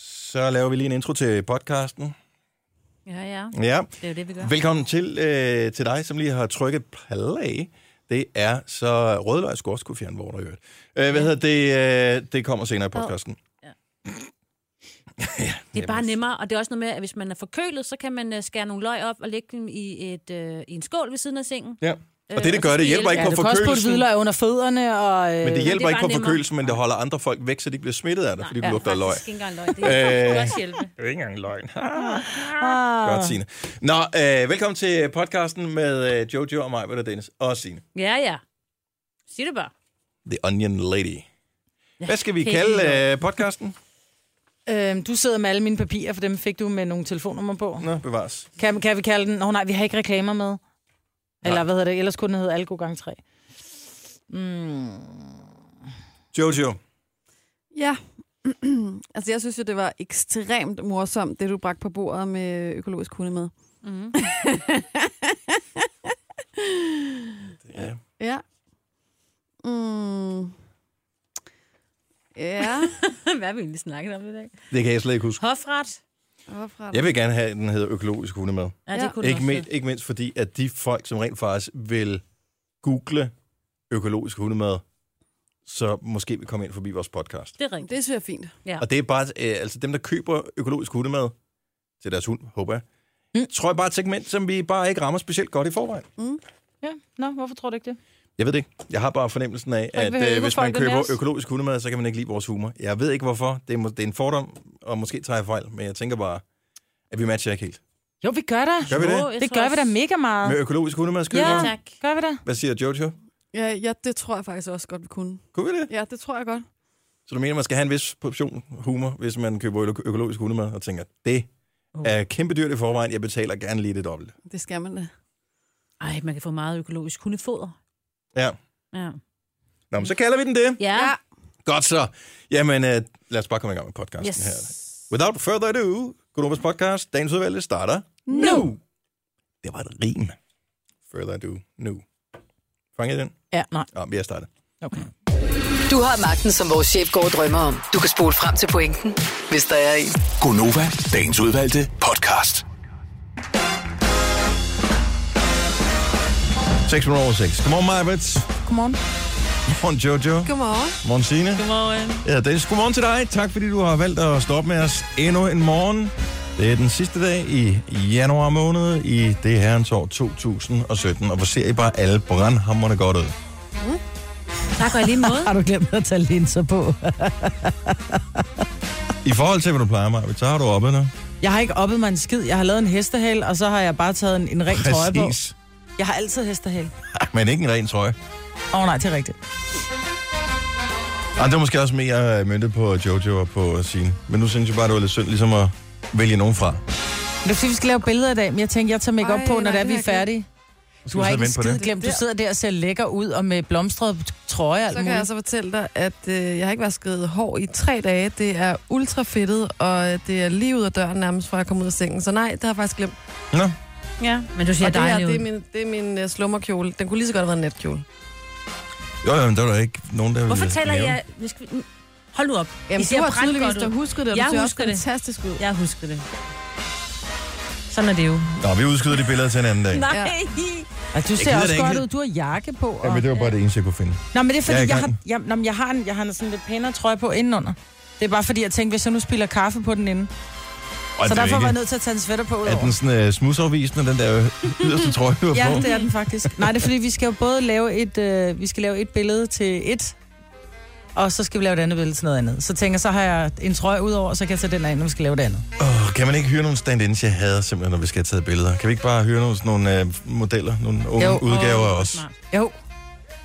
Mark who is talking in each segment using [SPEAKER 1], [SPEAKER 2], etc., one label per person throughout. [SPEAKER 1] Så laver vi lige en intro til podcasten.
[SPEAKER 2] Ja, ja.
[SPEAKER 1] Ja.
[SPEAKER 2] Det er jo det, vi gør.
[SPEAKER 1] Velkommen til, øh, til dig, som lige har trykket play. Det er så rødløg skorskufjern, hvor der i øvrigt. Øh, hvad hedder det? Øh, det kommer senere i podcasten.
[SPEAKER 2] Ja.
[SPEAKER 1] ja,
[SPEAKER 2] Det er bare
[SPEAKER 1] jamen,
[SPEAKER 2] nemmere, og det er også noget med, at hvis man er forkølet, så kan man øh, skære nogle løg op og lægge dem i, et, øh, i en skål ved siden af sengen.
[SPEAKER 1] Ja.
[SPEAKER 2] Øh,
[SPEAKER 1] Og det, det gør,
[SPEAKER 2] så
[SPEAKER 1] det
[SPEAKER 2] skal
[SPEAKER 1] hjælper ikke
[SPEAKER 2] hjælpe-
[SPEAKER 1] på
[SPEAKER 3] Du kan også putte
[SPEAKER 1] forkølelsen.
[SPEAKER 3] hvidløg under fødderne, og... Øh,
[SPEAKER 1] Men det hjælper
[SPEAKER 2] bare
[SPEAKER 1] ikke på
[SPEAKER 2] nemmere.
[SPEAKER 1] forkølelsen, men det holder andre folk væk, så de ikke bliver smittet af dig, fordi du
[SPEAKER 2] ja,
[SPEAKER 1] lugter af løg. Øh.
[SPEAKER 2] faktisk ikke engang løg. Det kan også hjælpe.
[SPEAKER 1] Det er ikke engang løgn.
[SPEAKER 3] ah,
[SPEAKER 1] Godt, Signe. Nå, øh, velkommen til podcasten med øh, Jojo og mig, og Dennis og Signe.
[SPEAKER 2] Ja, ja. Sig det bare.
[SPEAKER 1] The Onion Lady. Hvad skal vi
[SPEAKER 2] helt
[SPEAKER 1] kalde
[SPEAKER 2] enig.
[SPEAKER 1] øh, podcasten?
[SPEAKER 3] øhm, du sidder med alle mine papirer, for dem fik du med nogle telefonnummer på.
[SPEAKER 1] Nå, bevares.
[SPEAKER 3] Kan, kan vi kalde den... Nå nej, vi har ikke reklamer med. Eller hvad hedder det? Ellers kunne den hedde Algo gang Mm. 3.
[SPEAKER 1] Jojo,
[SPEAKER 4] Ja. altså, jeg synes jo, det var ekstremt morsomt, det du bragte på bordet med økologisk hundemad.
[SPEAKER 3] Mhm.
[SPEAKER 2] Mm.
[SPEAKER 1] ja.
[SPEAKER 4] Ja. Mm. Ja.
[SPEAKER 2] Hvad har vi egentlig snakket om i dag?
[SPEAKER 1] det kan jeg slet ikke huske.
[SPEAKER 2] Hofret.
[SPEAKER 4] Hvorfra er
[SPEAKER 1] Jeg
[SPEAKER 4] det?
[SPEAKER 1] vil gerne have, at den hedder økologisk hundemad.
[SPEAKER 2] Ja, det
[SPEAKER 4] Ja.
[SPEAKER 2] kunne
[SPEAKER 1] Ikke,
[SPEAKER 2] ikke
[SPEAKER 1] med, ikke mindst fordi, at de folk, som rent faktisk vil google økologisk hundemad, så måske vil komme ind forbi vores podcast.
[SPEAKER 2] Det er rigtigt.
[SPEAKER 4] Det synes jeg er fint.
[SPEAKER 2] Ja.
[SPEAKER 1] Og det er bare, øh, altså dem, der køber økologisk hundemad til deres hund, håber jeg, mm. tror jeg bare er et segment, som vi bare ikke rammer specielt godt i forvejen.
[SPEAKER 3] Ja, nå, hvorfor tror du ikke det?
[SPEAKER 1] Jeg ved det ikke. Jeg har bare fornemmelsen af,
[SPEAKER 3] Folk
[SPEAKER 1] at
[SPEAKER 3] vil høre,
[SPEAKER 1] øh,
[SPEAKER 3] hvor
[SPEAKER 1] hvis man
[SPEAKER 3] folk vil
[SPEAKER 1] køber
[SPEAKER 3] læres.
[SPEAKER 1] økologisk hundemad, så kan man ikke lide vores humor. Jeg ved ikke hvorfor. Det er, må- det er en fordom, og måske tager jeg fejl, men jeg tænker bare, at vi matcher ikke helt.
[SPEAKER 3] Jo, vi gør det.
[SPEAKER 1] Gør vi det?
[SPEAKER 2] jeg
[SPEAKER 3] Det
[SPEAKER 2] tror
[SPEAKER 3] gør vi da
[SPEAKER 2] også-
[SPEAKER 3] mega meget.
[SPEAKER 1] Med økologisk hundemad skal
[SPEAKER 3] Ah. Ja.
[SPEAKER 1] ja.
[SPEAKER 2] Tak.
[SPEAKER 3] Gør vi det?
[SPEAKER 1] Hvad siger Jojo?
[SPEAKER 4] Ja, ja, det tror jeg faktisk også godt, vi kunne.
[SPEAKER 1] Kunne vi det?
[SPEAKER 4] Ja, det tror jeg godt.
[SPEAKER 1] Så du mener, man skal have en vis portion humor, hvis man køber øko- økologisk hundemad, og tænker, det er kæmpe dyrt i forvejen, jeg betaler gerne lige det dobbelte.
[SPEAKER 4] Det skal man da.
[SPEAKER 2] Ej, man kan få meget økologisk hundefoder.
[SPEAKER 1] Ja.
[SPEAKER 2] Ja.
[SPEAKER 1] Nå, men så kalder vi den det.
[SPEAKER 2] Ja. ja.
[SPEAKER 1] Godt så. Jamen, øh, lad os bare komme i gang med podcasten
[SPEAKER 2] Yes.
[SPEAKER 1] yes. her. Without further ado, Gunnobas podcast, dagens udvalgte starter
[SPEAKER 4] Nu!
[SPEAKER 1] Det var et rim. Further ado, nu. Fangede I den?
[SPEAKER 3] Ja, nej.
[SPEAKER 1] Ja, vi har startet.
[SPEAKER 3] Okay.
[SPEAKER 5] Du har magten, som vores chef går og drømmer om. Du kan spole frem til pointen, hvis der er en.
[SPEAKER 6] Gonova, dagens udvalgte podcast.
[SPEAKER 1] 6 minutter over 6. Godmorgen, Majbets.
[SPEAKER 3] Godmorgen.
[SPEAKER 1] Godmorgen, Jojo.
[SPEAKER 4] Godmorgen.
[SPEAKER 1] Godmorgen, Signe.
[SPEAKER 2] Godmorgen.
[SPEAKER 1] Ja, Dennis, godmorgen til dig. Tak, fordi du har valgt at stoppe med os endnu en morgen. Det er den sidste dag i januar måned i det herrens år 2017. Og hvor ser I bare alle brandhammerne godt ud.
[SPEAKER 2] Tak og i lige måde.
[SPEAKER 3] Har du glemt at tage linser på?
[SPEAKER 1] I forhold til, hvad du plejer, Majbet, så har du oppe nu.
[SPEAKER 3] Jeg har ikke oppet mig en skid. Jeg har lavet en hestehal, og så har jeg bare taget en, en ren trøje på.
[SPEAKER 1] Præcis.
[SPEAKER 3] Jeg har altid hestehal.
[SPEAKER 1] Men ikke en ren trøje.
[SPEAKER 3] Åh oh, nej, det er rigtigt.
[SPEAKER 1] Og det var måske også mere myndet på Jojo og på Signe. Men nu synes jeg bare, det var lidt synd ligesom at vælge nogen fra.
[SPEAKER 3] Men Det er fordi, vi skal lave billeder i dag, men jeg tænker, jeg tager make op
[SPEAKER 4] Ej,
[SPEAKER 3] på, når
[SPEAKER 4] nej,
[SPEAKER 3] det er,
[SPEAKER 4] det har
[SPEAKER 3] vi er
[SPEAKER 4] jeg glemt.
[SPEAKER 3] færdige.
[SPEAKER 1] Skal
[SPEAKER 3] Du
[SPEAKER 1] vi
[SPEAKER 3] har
[SPEAKER 1] sidde og
[SPEAKER 3] ikke en
[SPEAKER 1] vente på
[SPEAKER 3] skid
[SPEAKER 1] det?
[SPEAKER 3] glemt. Du
[SPEAKER 4] Det der.
[SPEAKER 3] sidder der og ser lækker ud, og med blomstret trøje og alt
[SPEAKER 4] Så kan
[SPEAKER 3] muligt.
[SPEAKER 4] jeg så fortælle dig, at øh, jeg har ikke vasket hår i tre dage. Det er ultra fedtet, og øh, det er lige ud af døren nærmest, fra jeg kom ud af sengen. Så nej, det har jeg faktisk glemt.
[SPEAKER 1] Nå,
[SPEAKER 2] Ja. Men du ser
[SPEAKER 4] og det her,
[SPEAKER 2] dejlig
[SPEAKER 4] det er
[SPEAKER 2] ud.
[SPEAKER 4] min, det er min øh, slummerkjole. Den kunne lige så godt have været en netkjole.
[SPEAKER 1] jo, jo, men der var der ikke nogen, der
[SPEAKER 2] Hvorfor
[SPEAKER 1] ville
[SPEAKER 2] taler
[SPEAKER 1] nævne.
[SPEAKER 2] jeg... Nu skal vi- Hold nu op.
[SPEAKER 4] Jamen,
[SPEAKER 2] I ser
[SPEAKER 4] du har
[SPEAKER 2] brandgodt
[SPEAKER 4] tydeligvis
[SPEAKER 2] ud.
[SPEAKER 4] da husket det, og
[SPEAKER 2] Jeg
[SPEAKER 4] du ser også
[SPEAKER 2] husker det.
[SPEAKER 4] fantastisk ud.
[SPEAKER 2] Jeg husker det. Sådan er det jo.
[SPEAKER 1] Nå, vi udskyder de billeder til en anden dag.
[SPEAKER 2] Nej.
[SPEAKER 4] Ja.
[SPEAKER 3] Altså, du ser
[SPEAKER 1] gider
[SPEAKER 3] også
[SPEAKER 1] det ikke.
[SPEAKER 3] godt ud. Du har jakke på. Og...
[SPEAKER 1] Jamen, det var bare det eneste, jeg kunne finde.
[SPEAKER 3] Nå, men det er fordi,
[SPEAKER 1] Jeg er i
[SPEAKER 3] jeg, jeg, har,
[SPEAKER 1] gang.
[SPEAKER 3] jeg, nå, men jeg, har en, jeg har en sådan lidt pænere trøje på indenunder. Det er bare fordi, jeg tænkte, hvis jeg nu spiller kaffe på den inden.
[SPEAKER 1] Og
[SPEAKER 3] så
[SPEAKER 1] det er
[SPEAKER 3] derfor
[SPEAKER 1] ikke-
[SPEAKER 3] var jeg nødt til at tage en sweater på ud
[SPEAKER 1] Er
[SPEAKER 3] over.
[SPEAKER 1] den sådan uh, smudsafvisende, den der øh, yderste trøje, du har
[SPEAKER 3] Ja,
[SPEAKER 1] på?
[SPEAKER 3] det er den faktisk. Nej, det er fordi, vi skal jo både lave et, øh, vi skal lave et billede til et, og så skal vi lave et andet billede til noget andet. Så tænker jeg, så har jeg en trøje ud over, så kan jeg tage den af, når vi skal lave det andet.
[SPEAKER 1] Åh, kan man ikke hyre nogle stand-ins? Jeg hader simpelthen, når vi skal have taget billeder. Kan vi ikke bare hyre nogle, sådan nogle uh, modeller, nogle unge
[SPEAKER 3] Jo.
[SPEAKER 1] udgaver
[SPEAKER 2] Åh,
[SPEAKER 1] også,
[SPEAKER 2] smart.
[SPEAKER 3] Jo,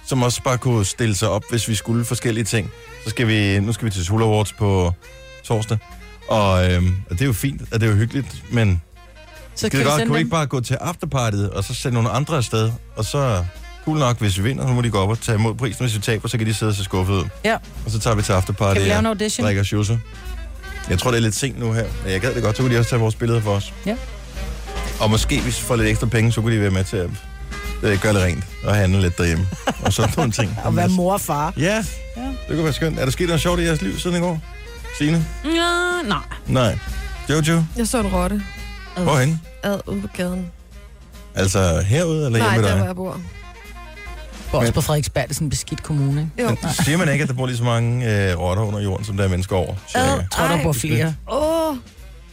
[SPEAKER 1] som også bare kunne stille sig op, hvis vi skulle forskellige ting. Så skal vi, nu skal vi til Soul Awards på torsdag, og, øhm, og det er jo fint, og det er jo hyggeligt, men
[SPEAKER 3] så
[SPEAKER 1] Kan
[SPEAKER 3] kan vi
[SPEAKER 1] godt,
[SPEAKER 3] sende
[SPEAKER 1] kunne vi
[SPEAKER 3] dem.
[SPEAKER 1] ikke bare gå til afterpartiet, og så sende nogle andre afsted, og så cool nok, hvis vi vinder, så må de gå op og tage imod prisen, hvis vi taber, så kan de sidde og se skuffet ud.
[SPEAKER 3] Ja.
[SPEAKER 1] Og så tager vi til afterpartiet
[SPEAKER 3] Kan vi lave en
[SPEAKER 1] og
[SPEAKER 3] audition?
[SPEAKER 1] drikker shoesser. Jeg tror, det er lidt sent nu her, men jeg gad det godt, så kunne de også tage vores billeder for os.
[SPEAKER 3] Ja.
[SPEAKER 1] Og måske, hvis vi får lidt ekstra penge, så kunne de være med til at øh, gøre det rent og handle lidt derhjemme. Og sådan nogle ting.
[SPEAKER 3] Og være mor og far.
[SPEAKER 1] Ja,
[SPEAKER 3] Ja.
[SPEAKER 1] det kunne være skønt. Er der sket noget sjovt i jeres liv siden i går? Signe?
[SPEAKER 2] Nå, Nej.
[SPEAKER 1] Nej. Jojo,
[SPEAKER 4] Jeg så en rotte
[SPEAKER 1] hvorhen?
[SPEAKER 4] ad ude på gaden.
[SPEAKER 1] Altså herude eller
[SPEAKER 4] Nej,
[SPEAKER 1] hjemme ved
[SPEAKER 4] der
[SPEAKER 1] dig?
[SPEAKER 4] hvor jeg bor.
[SPEAKER 3] Bor også
[SPEAKER 1] Men-
[SPEAKER 3] på Frederiksberg, det er sådan en beskidt kommune, ikke?
[SPEAKER 4] Jo.
[SPEAKER 1] Men siger man ikke, at der bor lige så mange øh, rotter under jorden, som der er mennesker over? cirka?
[SPEAKER 3] Jeg tror, der
[SPEAKER 4] Ej.
[SPEAKER 3] bor flere.
[SPEAKER 4] Åh, oh,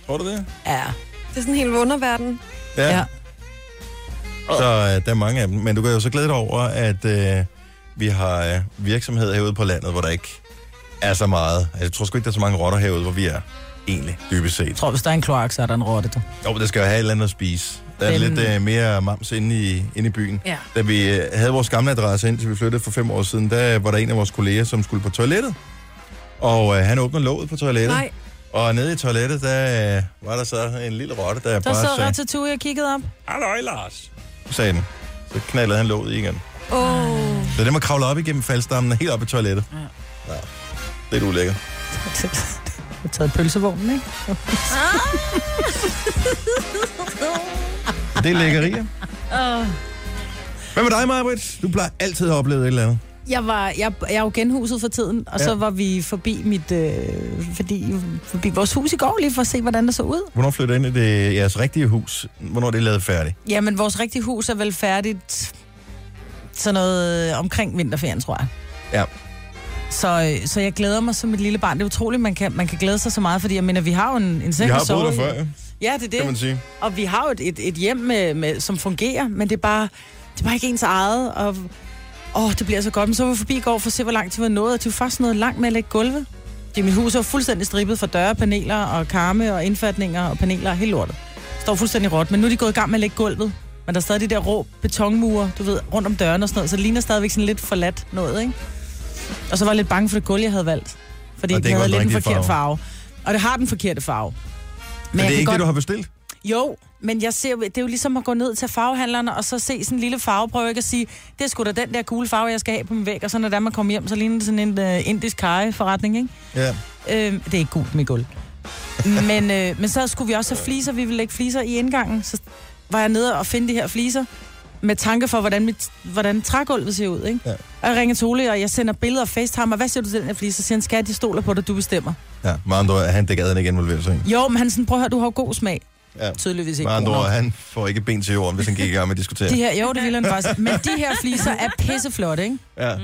[SPEAKER 1] Tror du det?
[SPEAKER 3] Ja.
[SPEAKER 4] det er sådan en hel underverden.
[SPEAKER 3] ja.
[SPEAKER 1] Så øh, der er mange af dem. Men du kan jo så glæde dig over, at øh, vi har øh, virksomheder herude på landet, hvor der ikke er så meget. Altså, jeg tror sgu ikke, der er så mange rotter herude, hvor vi er egentlig, dybest set.
[SPEAKER 3] Jeg tror, hvis der er en kloak, så er der en rotte. Du.
[SPEAKER 1] Jo, men der skal jo have et eller andet at spise. Der er
[SPEAKER 3] Den-
[SPEAKER 1] lidt øh, mere mams inde i, inde i byen.
[SPEAKER 2] Ja.
[SPEAKER 1] Da vi øh, havde vores gamle adresse, indtil vi flyttede for fem år siden, der var der en af vores kolleger, som skulle på toilettet. Og øh, han åbner låget på toilettet.
[SPEAKER 4] Nej,
[SPEAKER 1] Og nede i toilettet, der øh, var der så en lille rotte, der,
[SPEAKER 3] Der
[SPEAKER 1] bare
[SPEAKER 3] sad
[SPEAKER 1] sagde,
[SPEAKER 3] Ratatouille og kiggede op.
[SPEAKER 1] Halløj, Lars! sagde den. Så knaldede han låget i igen.
[SPEAKER 4] åh, oh,
[SPEAKER 1] Så det må kravle op igennem faldstammen og helt op i toilettet. Ja. ja. Lidt ulækkert.
[SPEAKER 3] Jeg har taget pølsevognen, ikke?
[SPEAKER 1] Men Det er lækkerier. Hvad med dig, Marbrit? Du plejer altid at opleve et eller andet.
[SPEAKER 3] Jeg, var, jeg, jeg er jo genhuset for tiden, og ja.
[SPEAKER 1] Ja.
[SPEAKER 3] så var vi forbi, mit, øh, fordi, forbi vores hus i går lige for at se, hvordan det så ud.
[SPEAKER 1] Hvornår flytter I ind i det, jeres rigtige hus? Hvornår er det lavet færdigt?
[SPEAKER 3] Jamen, vores rigtige hus er vel færdigt sådan noget øh, omkring vinterferien, tror jeg.
[SPEAKER 1] Ja.
[SPEAKER 3] Så, øh, så jeg glæder mig som et lille barn. Det er utroligt, man kan, man kan glæde sig så meget, fordi jeg mener, vi har jo en, en seng
[SPEAKER 1] Vi
[SPEAKER 3] at
[SPEAKER 1] har
[SPEAKER 3] sove
[SPEAKER 1] boet
[SPEAKER 3] i.
[SPEAKER 1] der før, ja,
[SPEAKER 3] Ja, det er det.
[SPEAKER 1] kan man sige.
[SPEAKER 3] Og vi har jo et, et, et hjem, med, med, som fungerer, men det er bare, det er bare ikke ens eget. Og, åh, det bliver så godt. Men så var vi forbi i går for at se, hvor langt de var nået. Og de var faktisk nået langt med at lægge gulvet. Det, mit hus er jo fuldstændig strippet for døre, paneler og karme og indfatninger og paneler og hele lortet. Står fuldstændig råt, men nu er de gået i gang med at lægge gulvet. Men der er stadig de der rå betonmure, du ved, rundt om dørene og sådan noget, så det ligner stadigvæk sådan lidt forladt noget, ikke? Og så var jeg lidt bange for det gulv, jeg havde valgt. Fordi
[SPEAKER 1] Og det er ikke
[SPEAKER 3] den
[SPEAKER 1] den
[SPEAKER 3] havde lidt en
[SPEAKER 1] rigtige
[SPEAKER 3] forkert
[SPEAKER 1] farve.
[SPEAKER 3] farve. farve. Og det har den forkerte farve.
[SPEAKER 1] Men
[SPEAKER 3] jeg
[SPEAKER 1] det
[SPEAKER 3] kan
[SPEAKER 1] er ikke
[SPEAKER 3] godt-
[SPEAKER 1] det, du har bestilt?
[SPEAKER 3] jo, men jeg ser, jo- det er jo ligesom at gå ned til farvehandlerne og så se sådan en lille farveprøve, ikke? Og sige, det er sgu da den der gule farve, jeg skal have på min væg, og så når det er, man kommer hjem, så ligner det sådan en uh, indisk karreforretning, ikke?
[SPEAKER 1] Ja.
[SPEAKER 3] Øh, det er ikke gult med gulv. men, øh, men så skulle vi også have fliser, vi ville lægge fliser i indgangen, så var jeg nede og finde de her fliser med tanke for, hvordan, mit, hvordan trægulvet ser ud, ikke?
[SPEAKER 1] Ja.
[SPEAKER 3] Og jeg ringer til Ole, og jeg sender billeder og facetimer, hvad siger du til den her flise? Så siger han, skat, de stoler på dig, du bestemmer.
[SPEAKER 1] Ja, med andre ord, han dækker den ikke involveret sig i.
[SPEAKER 3] Jo, men han sådan, prøv at høre, du har jo god smag.
[SPEAKER 1] Ja.
[SPEAKER 3] Tydeligvis ikke
[SPEAKER 1] Med andre
[SPEAKER 3] god nok.
[SPEAKER 1] ord, han får ikke ben til jorden, hvis han gik i gang med at diskutere.
[SPEAKER 3] De her, jo, det ville han faktisk. Men de her fliser er pisseflotte, ikke?
[SPEAKER 1] Ja.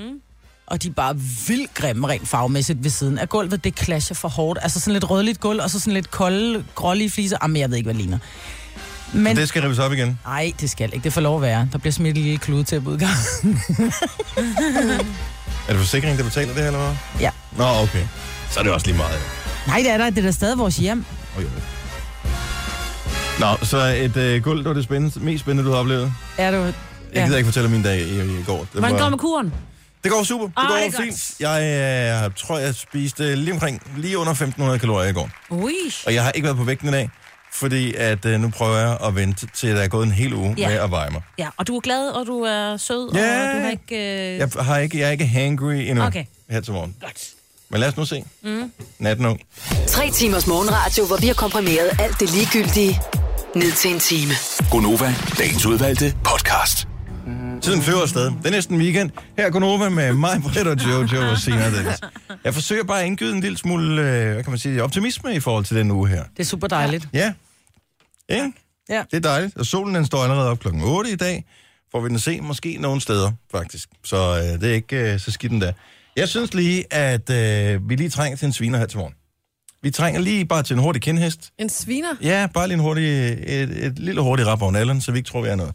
[SPEAKER 3] Og de er bare vildt grimme rent farvemæssigt ved siden af gulvet. Det clasher for hårdt. Altså sådan lidt rødligt gulv, og så sådan lidt kolde, grålige fliser. Jamen, jeg ved ikke, hvad det ligner. Men...
[SPEAKER 1] Det skal rives op igen.
[SPEAKER 3] Nej, det skal ikke. Det får lov at være. Der bliver smidt et lille klude til udgang.
[SPEAKER 1] Er det forsikringen, der betaler det her, eller hvad?
[SPEAKER 3] Ja.
[SPEAKER 1] Nå, okay. Så er det også lige meget.
[SPEAKER 3] Nej, det er der. Det er da stadig vores hjem.
[SPEAKER 1] Oh, jo. Nå, så et øh, guld, det var det spændende, mest spændende, du har oplevet.
[SPEAKER 3] Er du...
[SPEAKER 1] Jeg
[SPEAKER 3] Ja.
[SPEAKER 1] gider ikke fortælle om min dag i, i går. Det
[SPEAKER 2] Hvordan går med kuren?
[SPEAKER 1] det går super. Det
[SPEAKER 2] Ah,
[SPEAKER 1] går
[SPEAKER 2] det er godt.
[SPEAKER 1] fint. Jeg øh, tror, jeg spiste lige omkring lige under 1500 kalorier i går.
[SPEAKER 2] Ui.
[SPEAKER 1] Og jeg har ikke været på vægten i dag, fordi at, øh, nu prøver jeg at vente til, der er gået en hel uge
[SPEAKER 2] Ja.
[SPEAKER 1] med at veje mig.
[SPEAKER 2] Ja, og du er glad, og du er sød,
[SPEAKER 1] Ja.
[SPEAKER 2] og du har ikke... Øh...
[SPEAKER 1] Jeg, har ikke, jeg er ikke hangry endnu
[SPEAKER 2] Okay.
[SPEAKER 1] her til morgen.
[SPEAKER 2] Godt.
[SPEAKER 1] Men lad os nu se. Mm. Natten ung.
[SPEAKER 5] Tre timers morgenradio, hvor vi har komprimeret alt det ligegyldige ned til en time.
[SPEAKER 6] Gonova, dagens udvalgte podcast.
[SPEAKER 1] Tiden flyver afsted. Det er næsten weekend. Her er Gunova med mig, Britt og Jojo og Sina og Dennis. Jeg forsøger bare at indgyde en lille smule, øh, hvad kan man sige, optimisme i forhold til den uge her.
[SPEAKER 3] Det er super dejligt.
[SPEAKER 1] Ja. Ikke?
[SPEAKER 3] Ja.
[SPEAKER 1] Det er dejligt. Og solen den står allerede op klokken 8 i dag. Får vi den se måske nogle steder, faktisk. Så øh, det er ikke øh, så skidt endda. Jeg synes lige, at øh, vi lige trænger til en sviner her til morgen. Vi trænger lige bare til en hurtig kendhest.
[SPEAKER 4] en sviner.
[SPEAKER 1] Ja, bare lige en hurtig, et, et lille hurtigt rap over nallen, så vi ikke tror, vi er noget.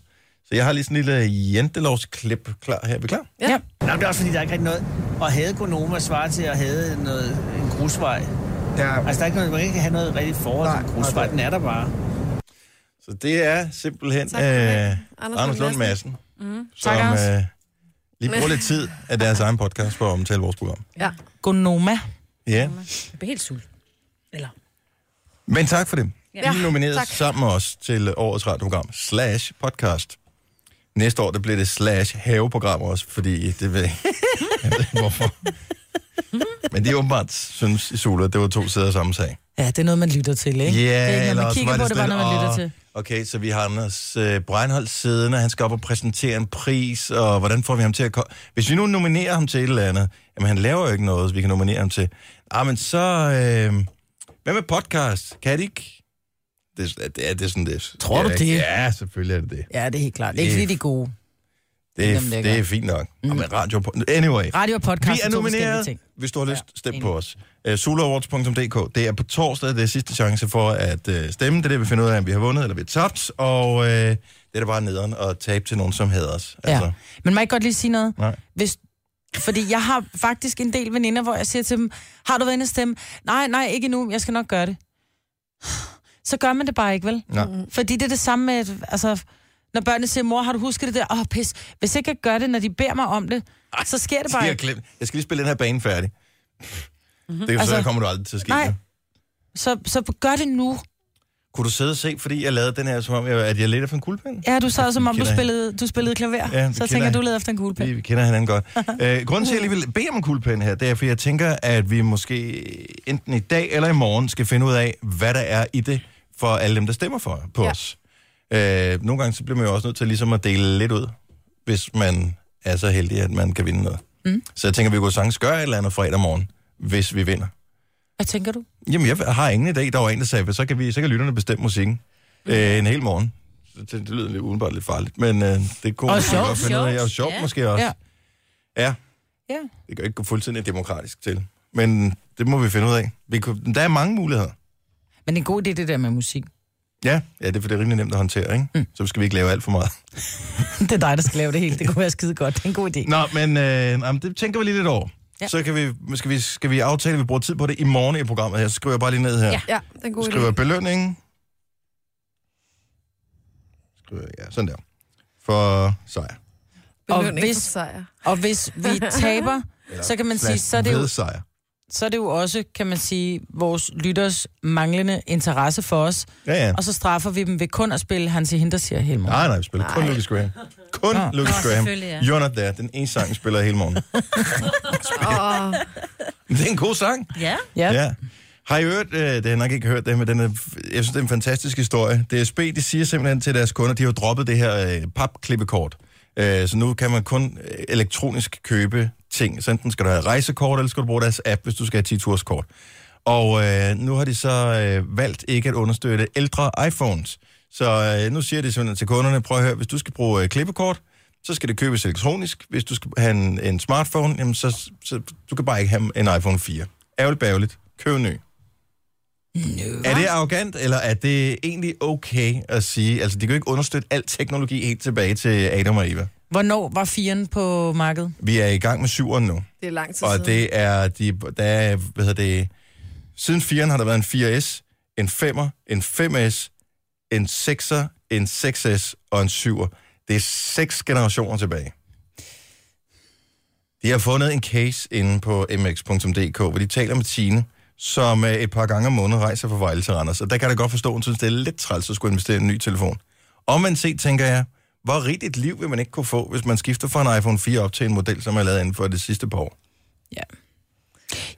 [SPEAKER 1] Så jeg har lige sådan en lille jentelovsklip klar her. Er vi klar?
[SPEAKER 3] Ja.
[SPEAKER 7] Nå, men det er også fordi, der er ikke rigtig noget. Og havde Gonoma svarer til at have noget, en grusvej.
[SPEAKER 8] Ja,
[SPEAKER 7] Altså, der er ikke noget, man kan ikke have noget rigtigt forhold
[SPEAKER 8] Nej,
[SPEAKER 7] til en grusvej.
[SPEAKER 8] nej,
[SPEAKER 7] Den er der bare.
[SPEAKER 1] Så det er simpelthen
[SPEAKER 4] Tak
[SPEAKER 1] tak, øh,
[SPEAKER 4] for det.
[SPEAKER 1] Anders,
[SPEAKER 4] Anders
[SPEAKER 1] Anders Lund
[SPEAKER 4] Lund
[SPEAKER 1] Madsen, mm. som
[SPEAKER 3] Tak, Anders.
[SPEAKER 1] øh, lige bruger lidt tid af deres egen podcast for at omtale vores program.
[SPEAKER 4] Ja.
[SPEAKER 3] Gonoma.
[SPEAKER 1] Ja,
[SPEAKER 2] Jeg bliver helt sult. Eller...
[SPEAKER 1] men tak for det. Ja,
[SPEAKER 2] Ja,
[SPEAKER 1] I er nomineret
[SPEAKER 4] tak.
[SPEAKER 1] sammen med os til årets radioprogram slash podcast. Næste år, der bliver det slash haveprogram også, fordi det ved jeg jeg ved ikke, hvorfor. Men de åbenbart synes i Sula, at det var to sider af samme sag.
[SPEAKER 3] Ja, det er noget, man lytter til, ikke? det er ikke
[SPEAKER 1] eller
[SPEAKER 3] noget, man
[SPEAKER 1] også
[SPEAKER 3] kigger på, det er bare
[SPEAKER 1] sådan,
[SPEAKER 3] noget, man lytter
[SPEAKER 1] åh,
[SPEAKER 3] til.
[SPEAKER 1] Okay, så vi har Anders øh, Breinholt siddende, og han skal op og præsentere en pris, og hvordan får vi ham til at komme? Hvis vi nu nominerer ham til et eller andet, jamen han laver jo ikke noget, så vi kan nominere ham til. Ah, men så, øh, Hvad med podcast? Kan de ikke? Det, er- det, er, det er sådan det.
[SPEAKER 3] Tror du
[SPEAKER 1] ja,
[SPEAKER 3] det?
[SPEAKER 1] Ja, selvfølgelig er det det.
[SPEAKER 3] Ja, det er helt klart. Det er ikke fordi, de er gode.
[SPEAKER 1] Det er,
[SPEAKER 3] Jamen, lækker.
[SPEAKER 1] det er fint nok. Mm. Og med radio på. Anyway.
[SPEAKER 3] Radio og podcast
[SPEAKER 1] Vi er
[SPEAKER 3] to forskellige
[SPEAKER 1] nomineret,
[SPEAKER 3] ting.
[SPEAKER 1] hvis du har lyst,
[SPEAKER 3] Ja,
[SPEAKER 1] stem
[SPEAKER 3] enig.
[SPEAKER 1] på os. Uh, soloawards.dk. Det er på torsdag, det er sidste chance for at uh, stemme. Det er det, vi finder ud af, om vi har vundet eller vi har tabt. Og uh, det er da bare nederen at tabe til nogen, som hader os. Altså,
[SPEAKER 3] Ja. Men må jeg ikke godt lige sige noget?
[SPEAKER 1] Nej.
[SPEAKER 3] Hvis, fordi jeg har faktisk en del veninder, hvor jeg siger til dem, har du været inde at stemme? Nej, nej, ikke nu. Jeg skal nok gøre det. Så gør man det bare ikke, vel?
[SPEAKER 1] Nej.
[SPEAKER 3] Fordi det er det samme med, at, altså, når børnene siger, mor, har du husket det der? Åh, oh, pis. Hvis ikke jeg gør det, når de beder mig om det, så sker det bare
[SPEAKER 1] Jeg,
[SPEAKER 3] ikke.
[SPEAKER 1] glemt. jeg skal lige spille den her bane færdig. Det kan altså,
[SPEAKER 3] Mhm. Altså,
[SPEAKER 1] så kommer du aldrig til at ske.
[SPEAKER 3] nej.
[SPEAKER 1] jo.
[SPEAKER 3] Så, så gør det nu.
[SPEAKER 1] Kunne du sidde og se, fordi jeg lavede den her, som om jeg, at jeg ledte efter en kuglepen?
[SPEAKER 3] Ja, du sad som om, du
[SPEAKER 1] Kender jeg.
[SPEAKER 3] spillede, du spillede klaver.
[SPEAKER 1] Ja,
[SPEAKER 3] Ja,
[SPEAKER 1] det
[SPEAKER 3] så
[SPEAKER 1] kender
[SPEAKER 3] tænker jeg, du
[SPEAKER 1] jeg.
[SPEAKER 3] leder efter en kuglepen.
[SPEAKER 1] Vi, vi kender hinanden godt. Øh, grunden til, at jeg lige vil bede om en kuglepen her, det er, fordi jeg tænker, at vi måske enten i dag eller i morgen skal finde ud af, hvad der er i det for alle dem, der stemmer for, på ja.
[SPEAKER 4] Ja.
[SPEAKER 1] os. Øh, nogle gange så bliver man jo også nødt til ligesom at dele lidt ud, hvis man er så heldig, at man kan vinde noget. Mm. Så jeg tænker, vi kunne sagtens gøre et eller andet fredag morgen, hvis vi vinder.
[SPEAKER 3] Hvad tænker du?
[SPEAKER 1] Jamen, jeg har ingen idé. Der var en, der sagde, så kan, vi, så kan lytterne bestemme musikken øh, en hel morgen. Så Det, det lyder lidt udenbart lidt farligt, men øh, det kunne
[SPEAKER 3] Og
[SPEAKER 1] man
[SPEAKER 3] sjovt.
[SPEAKER 1] godt finde ud af. Og
[SPEAKER 2] Sjovt,
[SPEAKER 1] sjovt
[SPEAKER 2] ja.
[SPEAKER 1] måske også. Ja.
[SPEAKER 3] Ja.
[SPEAKER 1] ja.
[SPEAKER 3] Ja.
[SPEAKER 1] Det kan ikke gå fuldstændig demokratisk til. Men det må vi finde ud af. Vi kunne, der er mange muligheder.
[SPEAKER 3] Men det er en god idé, det der med musik.
[SPEAKER 1] Ja, ja det, er, for det er rimelig nemt at håndtere, ikke? Mm. Så skal vi ikke lave alt for meget.
[SPEAKER 3] det er dig, der skal lave det hele. Det kunne være skide godt. Det er en god idé.
[SPEAKER 1] Nå, men øh, jamen, det tænker vi lige lidt over. Ja.
[SPEAKER 3] Ja.
[SPEAKER 1] Så kan vi, skal, vi, skal vi aftale, at vi bruger tid på det i morgen i programmet her. Så skriver jeg bare lige ned her.
[SPEAKER 2] Ja.
[SPEAKER 4] Ja, det er en god
[SPEAKER 1] Skriver
[SPEAKER 4] idé.
[SPEAKER 1] belønning. Skriver, ja, sådan der. For sejr.
[SPEAKER 4] Belønning
[SPEAKER 3] Og hvis-
[SPEAKER 4] for sejr.
[SPEAKER 3] Og hvis vi taber, så kan man sige, så er, det
[SPEAKER 1] jo...
[SPEAKER 3] jo,
[SPEAKER 1] sejr.
[SPEAKER 3] så er det jo også, kan man sige, vores lytters manglende interesse for os.
[SPEAKER 1] Ja, ja.
[SPEAKER 3] Og så straffer vi dem ved kun at spille Hansi Hinder siger hele morgen.
[SPEAKER 1] Nej, nej, vi spiller kun Lucas Graham. Kun
[SPEAKER 3] Nå.
[SPEAKER 1] Lucas
[SPEAKER 2] Nå,
[SPEAKER 1] Graham.
[SPEAKER 2] selvfølgelig, ja.
[SPEAKER 1] You're not there. Den ene sang, vi spiller hele morgen.
[SPEAKER 4] Og
[SPEAKER 1] Men det er en god sang.
[SPEAKER 2] Ja.
[SPEAKER 3] Ja. ja.
[SPEAKER 1] Ja. Har I hørt, øh, det har jeg nok ikke hørt det, men den er, jeg synes, det er en fantastisk historie. DSB, de siger simpelthen til deres kunder, de har jo droppet det her øh, papklippekort. Øh, så nu kan man kun øh, elektronisk købe ting. Så enten skal du have rejsekort, eller skal du bruge deres app, hvis du skal have 10-turskort. Og øh, nu har de så øh, valgt ikke at understøtte ældre iPhones. Så øh, nu siger de simpelthen til kunderne, prøv at høre, hvis du skal bruge øh, klippekort, så skal det købes elektronisk. Hvis du skal have en, en smartphone, jamen så, så du kan bare ikke have en iPhone 4. Ærgerligt bærgerligt. Køb en ny. No. Er det arrogant, eller er det egentlig okay at sige? Altså, de kan jo ikke understøtte al teknologi helt tilbage til Adam og Eva.
[SPEAKER 3] Hvornår var firen på markedet?
[SPEAKER 1] Vi er i gang med syveren nu.
[SPEAKER 4] det er lang tid
[SPEAKER 1] Og
[SPEAKER 4] siden.
[SPEAKER 1] det er, de, der er, hvad hedder det, siden 4'eren har der været en 4S, en 5'er, en 5S, en 6'er, en 6S og en 7'er. Det er seks generationer tilbage. De har fundet en case inde på mx.dk, hvor de taler med Tine, som øh, et par gange om måneden rejser fra Vejle til Randers. Og der kan jeg da godt forstå, at hun synes, det er lidt træls at skulle investere i en ny telefon. Og man set, tænker jeg, hvor rigt et liv vil man ikke kunne få, hvis man skifter fra en iPhone 4 op til en model, som er lavet inden for det sidste par år.
[SPEAKER 3] Ja.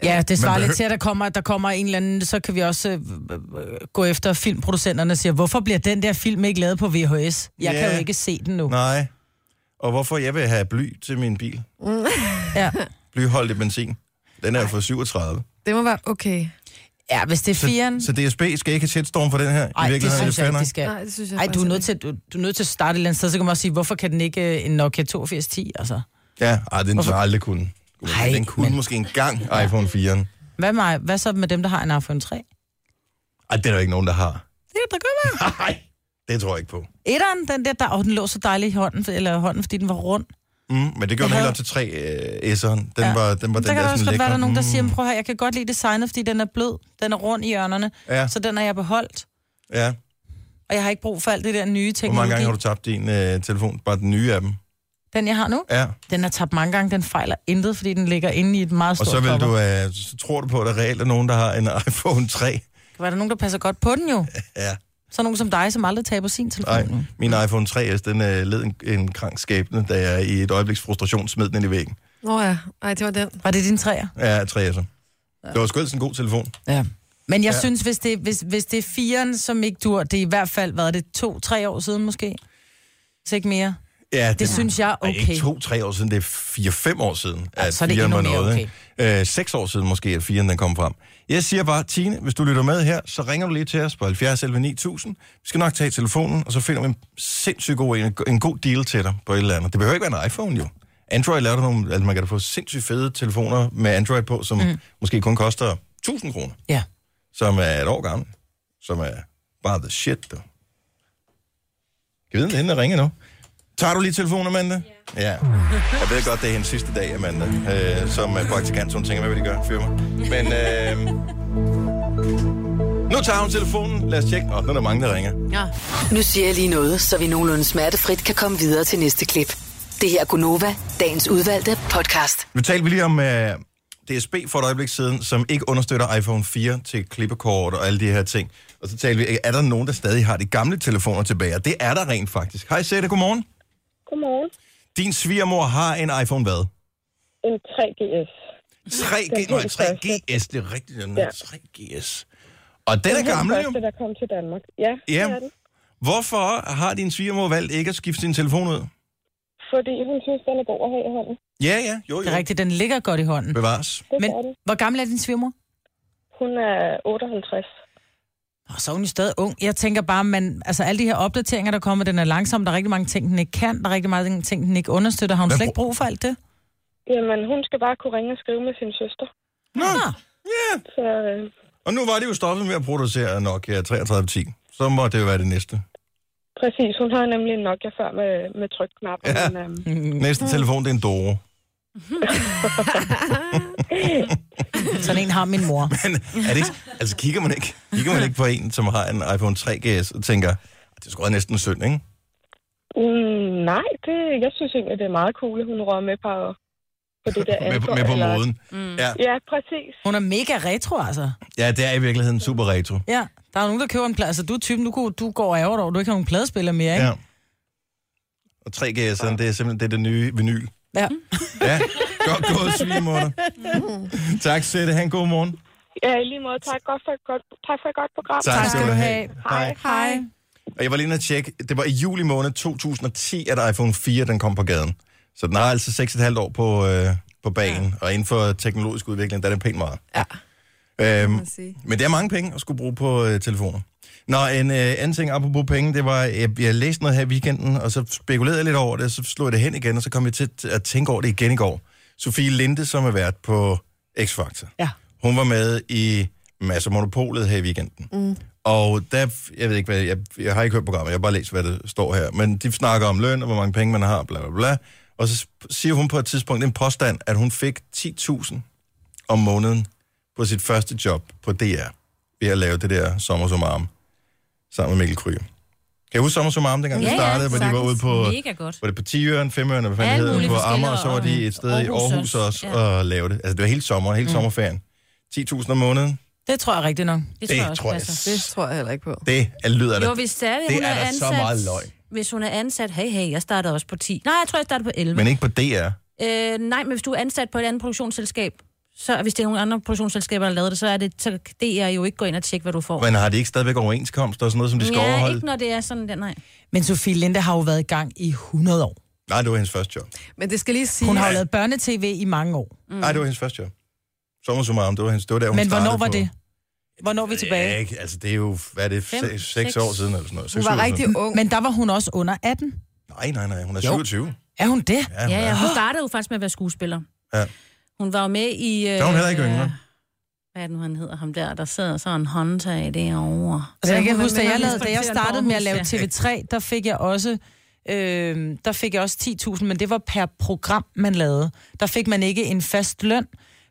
[SPEAKER 3] Ja, det svarer
[SPEAKER 1] Men
[SPEAKER 3] lidt
[SPEAKER 1] behø-
[SPEAKER 3] til, at der kommer, at der kommer en eller anden, så kan vi også øh, øh, gå efter filmproducenterne og sige, hvorfor bliver den der film ikke lavet på VHS? Jeg
[SPEAKER 1] Ja.
[SPEAKER 3] kan jo ikke se den nu.
[SPEAKER 1] Nej. Og hvorfor jeg vil have bly til min bil?
[SPEAKER 3] Ja.
[SPEAKER 1] Blyholdig benzin. Den er for 37.
[SPEAKER 4] Det må være okay.
[SPEAKER 3] ja, hvis det er firen...
[SPEAKER 1] Så DSB skal ikke have shitstorm for den her?
[SPEAKER 3] Ej,
[SPEAKER 1] I
[SPEAKER 3] det
[SPEAKER 1] virkeligheden
[SPEAKER 3] synes
[SPEAKER 1] er
[SPEAKER 3] jeg ikke,
[SPEAKER 1] det
[SPEAKER 3] de
[SPEAKER 1] skal...
[SPEAKER 3] skal.
[SPEAKER 4] Nej, det synes jeg
[SPEAKER 3] Ej, du er,
[SPEAKER 4] faktisk
[SPEAKER 3] nødt til, du, du er nødt til at starte et eller andet sted, så kan man også sige, hvorfor kan den ikke øh, en Nokia 8210? Altså.
[SPEAKER 1] Ja, ej, den
[SPEAKER 3] Hvorfor?
[SPEAKER 1] har aldrig kunnet. Ej,
[SPEAKER 3] Ej,
[SPEAKER 1] den kunne men...
[SPEAKER 3] men-
[SPEAKER 1] måske engang iPhone 4'eren.
[SPEAKER 3] Hvad, med, hvad så med dem, der har en iPhone 3?
[SPEAKER 1] Ej, det er der ikke nogen, der har.
[SPEAKER 3] Det er der godt være.
[SPEAKER 1] Nej, det tror jeg ikke på.
[SPEAKER 3] Etteren, den der, der oh, den lå så dejlig i hånden, for- eller hånden, fordi den var rund.
[SPEAKER 1] Mm, men det gjorde den
[SPEAKER 3] Jeg
[SPEAKER 1] helt
[SPEAKER 3] havde-
[SPEAKER 1] op til 3 øh, S'eren. Den var den,
[SPEAKER 3] Ja.
[SPEAKER 1] var den
[SPEAKER 3] der
[SPEAKER 1] der sådan
[SPEAKER 3] kan også
[SPEAKER 1] Mm.
[SPEAKER 3] godt være, der er
[SPEAKER 1] lækre.
[SPEAKER 3] nogen, der siger, "Men prøv her, jeg kan godt lide designet, fordi den er blød, den er rund i hjørnerne,
[SPEAKER 1] Ja.
[SPEAKER 3] så den har jeg beholdt,
[SPEAKER 1] Mm. Ja.
[SPEAKER 3] og jeg har ikke brug for alt det der nye
[SPEAKER 1] Hvor
[SPEAKER 3] teknologi.
[SPEAKER 1] mange gange har du tabt din øh, telefon? Bare den nye af dem.
[SPEAKER 3] Den, jeg har nu,
[SPEAKER 1] Ja.
[SPEAKER 3] den har tabt mange gange, den fejler intet, fordi den ligger inde i et meget
[SPEAKER 1] Og
[SPEAKER 3] stort
[SPEAKER 1] så, vil
[SPEAKER 3] cover.
[SPEAKER 1] du, øh, så tror du på, at der reelt er nogen, der har en iPhone 3.
[SPEAKER 3] Var der nogen, der passer godt på den jo?
[SPEAKER 1] Ja.
[SPEAKER 3] Så nogen som dig, som aldrig taber sin telefon.
[SPEAKER 1] Nej, min iPhone 3S, den øh, led en, en krank skæbne, da jeg i et øjebliks frustration smed den ind i væggen.
[SPEAKER 4] Nå ja, ej, det var den.
[SPEAKER 3] Var det din træer?
[SPEAKER 1] Ja, 3S'er. Det var sgu ellers en god telefon.
[SPEAKER 3] Ja. Men jeg
[SPEAKER 1] Ja.
[SPEAKER 3] ja. synes, hvis det, hvis, hvis det er firen, som ikke dur, det er i hvert fald, været det, to-tre år siden måske? Så ikke mere.
[SPEAKER 1] Ja,
[SPEAKER 3] Det synes jeg er
[SPEAKER 1] Ej, ikke
[SPEAKER 3] okay.
[SPEAKER 1] to-tre år siden, det er fire-fem år siden, at
[SPEAKER 3] så er det
[SPEAKER 1] firmaen
[SPEAKER 3] endnu mere
[SPEAKER 1] nåede, ikke? Øh, seks år siden måske, at firen den kom frem. Jeg siger bare, Tine, hvis du lytter med her, så ringer du lige til os på 70 11 9000. Vi skal nok tage telefonen, og så finder vi en sindssygt god, en, en god deal til dig på et eller andet. Det behøver ikke være en iPhone, jo. Android laver der nogle, altså man kan da få sindssygt fede telefoner med Android på, som mm. måske kun koster 1000 kroner,
[SPEAKER 3] Ja.
[SPEAKER 1] som er et år gammel, som er bare the shit, du. Kan vide, om det er hende, der ringer nu? Tager du lige telefonen, Amanda? Ja. ja. Jeg ved godt, det er hendes sidste dag, Amanda, øh, som er praktikant, så hun tænker, hvad vil de gøre? Fyre mig. Men øh, nu tager hun telefonen. Lad os tjekke. Åh, nu er der mange, der ringer.
[SPEAKER 5] Nu siger jeg lige noget, så vi nogenlunde smertefrit kan komme videre til næste klip. Det her er Gunova, dagens udvalgte podcast.
[SPEAKER 1] Nu talte vi lige om øh, DSB for et øjeblik siden, som ikke understøtter iPhone 4 til klippekort og alle de her ting. Og så talte vi, "Øh, er der nogen, der stadig har de gamle telefoner tilbage? Og det er der rent faktisk. Hej Sette, godmorgen.
[SPEAKER 8] Godmorgen.
[SPEAKER 1] Din svigermor har en iPhone hvad?
[SPEAKER 8] En 3GS.
[SPEAKER 1] 3G,
[SPEAKER 8] Den
[SPEAKER 1] nej,
[SPEAKER 8] helt første.
[SPEAKER 1] 3GS, det er rigtigt, den
[SPEAKER 8] Ja.
[SPEAKER 1] er 3GS. Og den er
[SPEAKER 8] Den
[SPEAKER 1] gammel
[SPEAKER 8] første,
[SPEAKER 1] jo.
[SPEAKER 8] der kom til Danmark. Ja,
[SPEAKER 1] Ja.
[SPEAKER 8] det er den.
[SPEAKER 1] Hvorfor har din svigermor valgt ikke at skifte sin telefon ud?
[SPEAKER 8] Fordi hun synes, den er god at have i hånden.
[SPEAKER 1] Ja, ja, jo,
[SPEAKER 3] Det er
[SPEAKER 1] jo.
[SPEAKER 3] rigtigt, den ligger godt i hånden.
[SPEAKER 1] Bevares.
[SPEAKER 8] Det
[SPEAKER 3] Men
[SPEAKER 8] er den.
[SPEAKER 3] hvor gammel er din svigermor?
[SPEAKER 8] Hun er 58.
[SPEAKER 3] Og så er hun jo stadig ung. Jeg tænker bare, man, altså alle de her opdateringer, der kommer, den er langsom. Der er rigtig mange ting, den ikke kan. Der er rigtig mange ting, den ikke understøtter. Har hun
[SPEAKER 1] Hvad
[SPEAKER 3] slet ikke
[SPEAKER 1] brug-
[SPEAKER 3] brug for alt det?
[SPEAKER 8] Jamen, hun skal bare kunne ringe og skrive med sin søster.
[SPEAKER 1] Nå, ja.
[SPEAKER 8] Så øh,
[SPEAKER 1] Og nu var det jo stoppet med at producere Nokia 3310. Så må det jo være det næste.
[SPEAKER 8] præcis, hun har nemlig en Nokia før med, med trykknap.
[SPEAKER 1] Ja.
[SPEAKER 8] Men, øh,
[SPEAKER 1] Næste telefon, det er en Doro.
[SPEAKER 3] Sådan en har min mor.
[SPEAKER 1] Men er det ikke, altså kigger man ikke, kigger man ikke på en, som har en iPhone 3GS og tænker, "Ah, det skulle næsten synd, ikke?
[SPEAKER 8] mm, nej, det, jeg synes egentlig, det er meget cool, at hun rører med på, på det der
[SPEAKER 1] Med, på-
[SPEAKER 8] Android,
[SPEAKER 1] med på
[SPEAKER 8] eller-
[SPEAKER 1] moden.
[SPEAKER 3] Mm.
[SPEAKER 1] Ja,
[SPEAKER 8] Ja, præcis.
[SPEAKER 3] Hun er mega retro, altså.
[SPEAKER 1] ja, det er i virkeligheden super retro.
[SPEAKER 3] Ja, der er jo nogen, der køber en plade. Altså, du er typen, du, kunne- du går ærger over, du ikke har nogen pladespiller mere, ikke?
[SPEAKER 1] Ja. Og 3GS'eren, det er simpelthen det, er det nye vinyl.
[SPEAKER 3] Ja.
[SPEAKER 1] Ja, godt gået, svigermutter. tak, Sette. Han, god morgen.
[SPEAKER 8] Ja, i lige måde. Tak, godt for et godt, tak for et godt program.
[SPEAKER 3] Tak skal du have.
[SPEAKER 1] Hej.
[SPEAKER 3] Hej.
[SPEAKER 1] Og jeg var lige inde og tjekke. Det var i juli måned 2010, at iPhone 4 den kom på gaden. Så den har altså 6,5 år på, øh, på banen. Ja. Og inden for teknologisk udvikling, der er det pænt meget. Ja. Øhm,
[SPEAKER 4] man sige.
[SPEAKER 1] men det er mange penge at skulle bruge på øh, telefoner. Nå, en øh, anden ting apropos penge, det var, jeg, jeg læste noget her i weekenden, og så spekulerede jeg lidt over det, og så slog jeg det hen igen, og så kom jeg til at tænke over det igen i går. Sofie Linde, som er vært på X-Factor.
[SPEAKER 3] Ja.
[SPEAKER 1] Hun var med i Mads og Monopolet her i weekenden. Mm. Og der, jeg ved ikke hvad, jeg, jeg har ikke hørt programmet, jeg har bare læst, hvad der står her. Men de snakker om løn og hvor mange penge man har, bla bla bla. Og så sp- siger hun på et tidspunkt en påstand, at hun fik 10.000 om måneden på sit første job på DR, ved at lave det der Sommer som Arm, sammen med Mikkel Kryger. Kan I huske Sommer som Arm, dengang ja,
[SPEAKER 2] Ja,
[SPEAKER 1] det
[SPEAKER 2] ja,
[SPEAKER 1] startede, hvor de var
[SPEAKER 2] sagtens.
[SPEAKER 1] ude på...
[SPEAKER 2] Mega godt.
[SPEAKER 1] Var det på 10'ørn, 5'ørn, hvad
[SPEAKER 2] Alle
[SPEAKER 1] fanden det hed,
[SPEAKER 2] mulige
[SPEAKER 1] på
[SPEAKER 2] forskellige,
[SPEAKER 1] Amager, og så var de
[SPEAKER 2] og
[SPEAKER 1] et sted i
[SPEAKER 2] Aarhus
[SPEAKER 1] Aarhus
[SPEAKER 2] også.
[SPEAKER 1] også,
[SPEAKER 2] Ja.
[SPEAKER 1] og lavede det. Altså, det var hele sommer, hele mm. sommerferien. 10.000 om måneden,
[SPEAKER 3] Det tror jeg er rigtigt nok.
[SPEAKER 1] det
[SPEAKER 2] Det, tror jeg også
[SPEAKER 1] tror jeg
[SPEAKER 2] passer.
[SPEAKER 4] Det tror jeg heller ikke på.
[SPEAKER 1] det er, lyder det.
[SPEAKER 2] Jo, hvis det er,
[SPEAKER 1] Det
[SPEAKER 2] hun
[SPEAKER 1] er
[SPEAKER 2] er,
[SPEAKER 1] da så
[SPEAKER 2] ansat,
[SPEAKER 1] meget løgn.
[SPEAKER 2] Hvis hun er ansat, hey, hey, jeg startede også på 10. Nej, jeg tror, jeg startede på 11.
[SPEAKER 1] Men ikke på DR.
[SPEAKER 2] Øh, nej, men hvis du er ansat på et andet produktionsselskab, så hvis det er nogle andre produktionsselskaber, der har lavet det, så er det, så det er jo ikke gå ind og tjekke, hvad du får.
[SPEAKER 1] Men har de ikke stadigvæk overenskomst og sådan noget, som de skal
[SPEAKER 2] ja,
[SPEAKER 1] overholde?
[SPEAKER 2] ikke når det er sådan der, nej.
[SPEAKER 3] Men Sofie Linde har jo været i gang i 100 år.
[SPEAKER 1] Nej, det var hendes første job. Mm.
[SPEAKER 4] Men det skal lige sige...
[SPEAKER 3] Hun har jo lavet børnetv i mange år.
[SPEAKER 1] Nej,
[SPEAKER 2] Mm.
[SPEAKER 1] det var hendes første job. Sommer som Arm, det var hendes, det var der, hun
[SPEAKER 3] Men hvornår
[SPEAKER 1] startede
[SPEAKER 3] var
[SPEAKER 1] på-
[SPEAKER 3] det? Hvornår er vi
[SPEAKER 1] Ja,
[SPEAKER 3] tilbage?
[SPEAKER 1] ikke? Altså, det er jo, hvad er det,
[SPEAKER 2] Fem,
[SPEAKER 1] 6,
[SPEAKER 2] seks.
[SPEAKER 1] 6 år siden eller sådan noget.
[SPEAKER 4] hun
[SPEAKER 1] Seks
[SPEAKER 4] var
[SPEAKER 1] år siden.
[SPEAKER 4] rigtig ung.
[SPEAKER 3] Men der var hun også under 18.
[SPEAKER 1] Nej, nej, nej, hun er
[SPEAKER 3] Jo.
[SPEAKER 1] 27.
[SPEAKER 3] Er hun det?
[SPEAKER 1] Ja, hun
[SPEAKER 2] Ja,
[SPEAKER 1] er.
[SPEAKER 2] ja, hun startede jo faktisk med at være skuespiller.
[SPEAKER 1] Ja.
[SPEAKER 2] Hun var jo med i... Øh,
[SPEAKER 1] Der er hun heller ikke yngre.
[SPEAKER 2] Hvad er det nu, han hedder ham der? Der sidder sådan en håndtag derovre.
[SPEAKER 3] Altså, jeg kan
[SPEAKER 4] hun
[SPEAKER 3] huske, da
[SPEAKER 4] er
[SPEAKER 3] jeg, lavede, da jeg
[SPEAKER 2] instruktøren på
[SPEAKER 3] startede med at lave
[SPEAKER 2] Aarhus,
[SPEAKER 3] TV3, der fik jeg også... Øh, der fik jeg også 10.000, men det var per program, man lavede. Der fik man ikke en fast løn.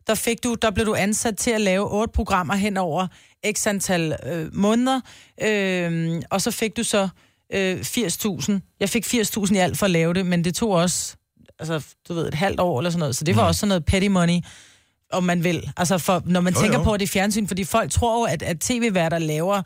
[SPEAKER 3] Der, fik du, der blev du ansat til at lave otte programmer hen over x antal øh, måneder, øh, og så fik du så øh, 80.000. Jeg fik 80.000 i alt for at lave det, men det tog også altså, du ved, et halvt år eller sådan noget, så det var også sådan noget petty money om man vil. Altså, for, når man
[SPEAKER 1] Jo,
[SPEAKER 3] jo, tænker
[SPEAKER 1] jo.
[SPEAKER 3] jo. på, at det er fjernsyn, fordi folk tror jo, at, at tv-værter laver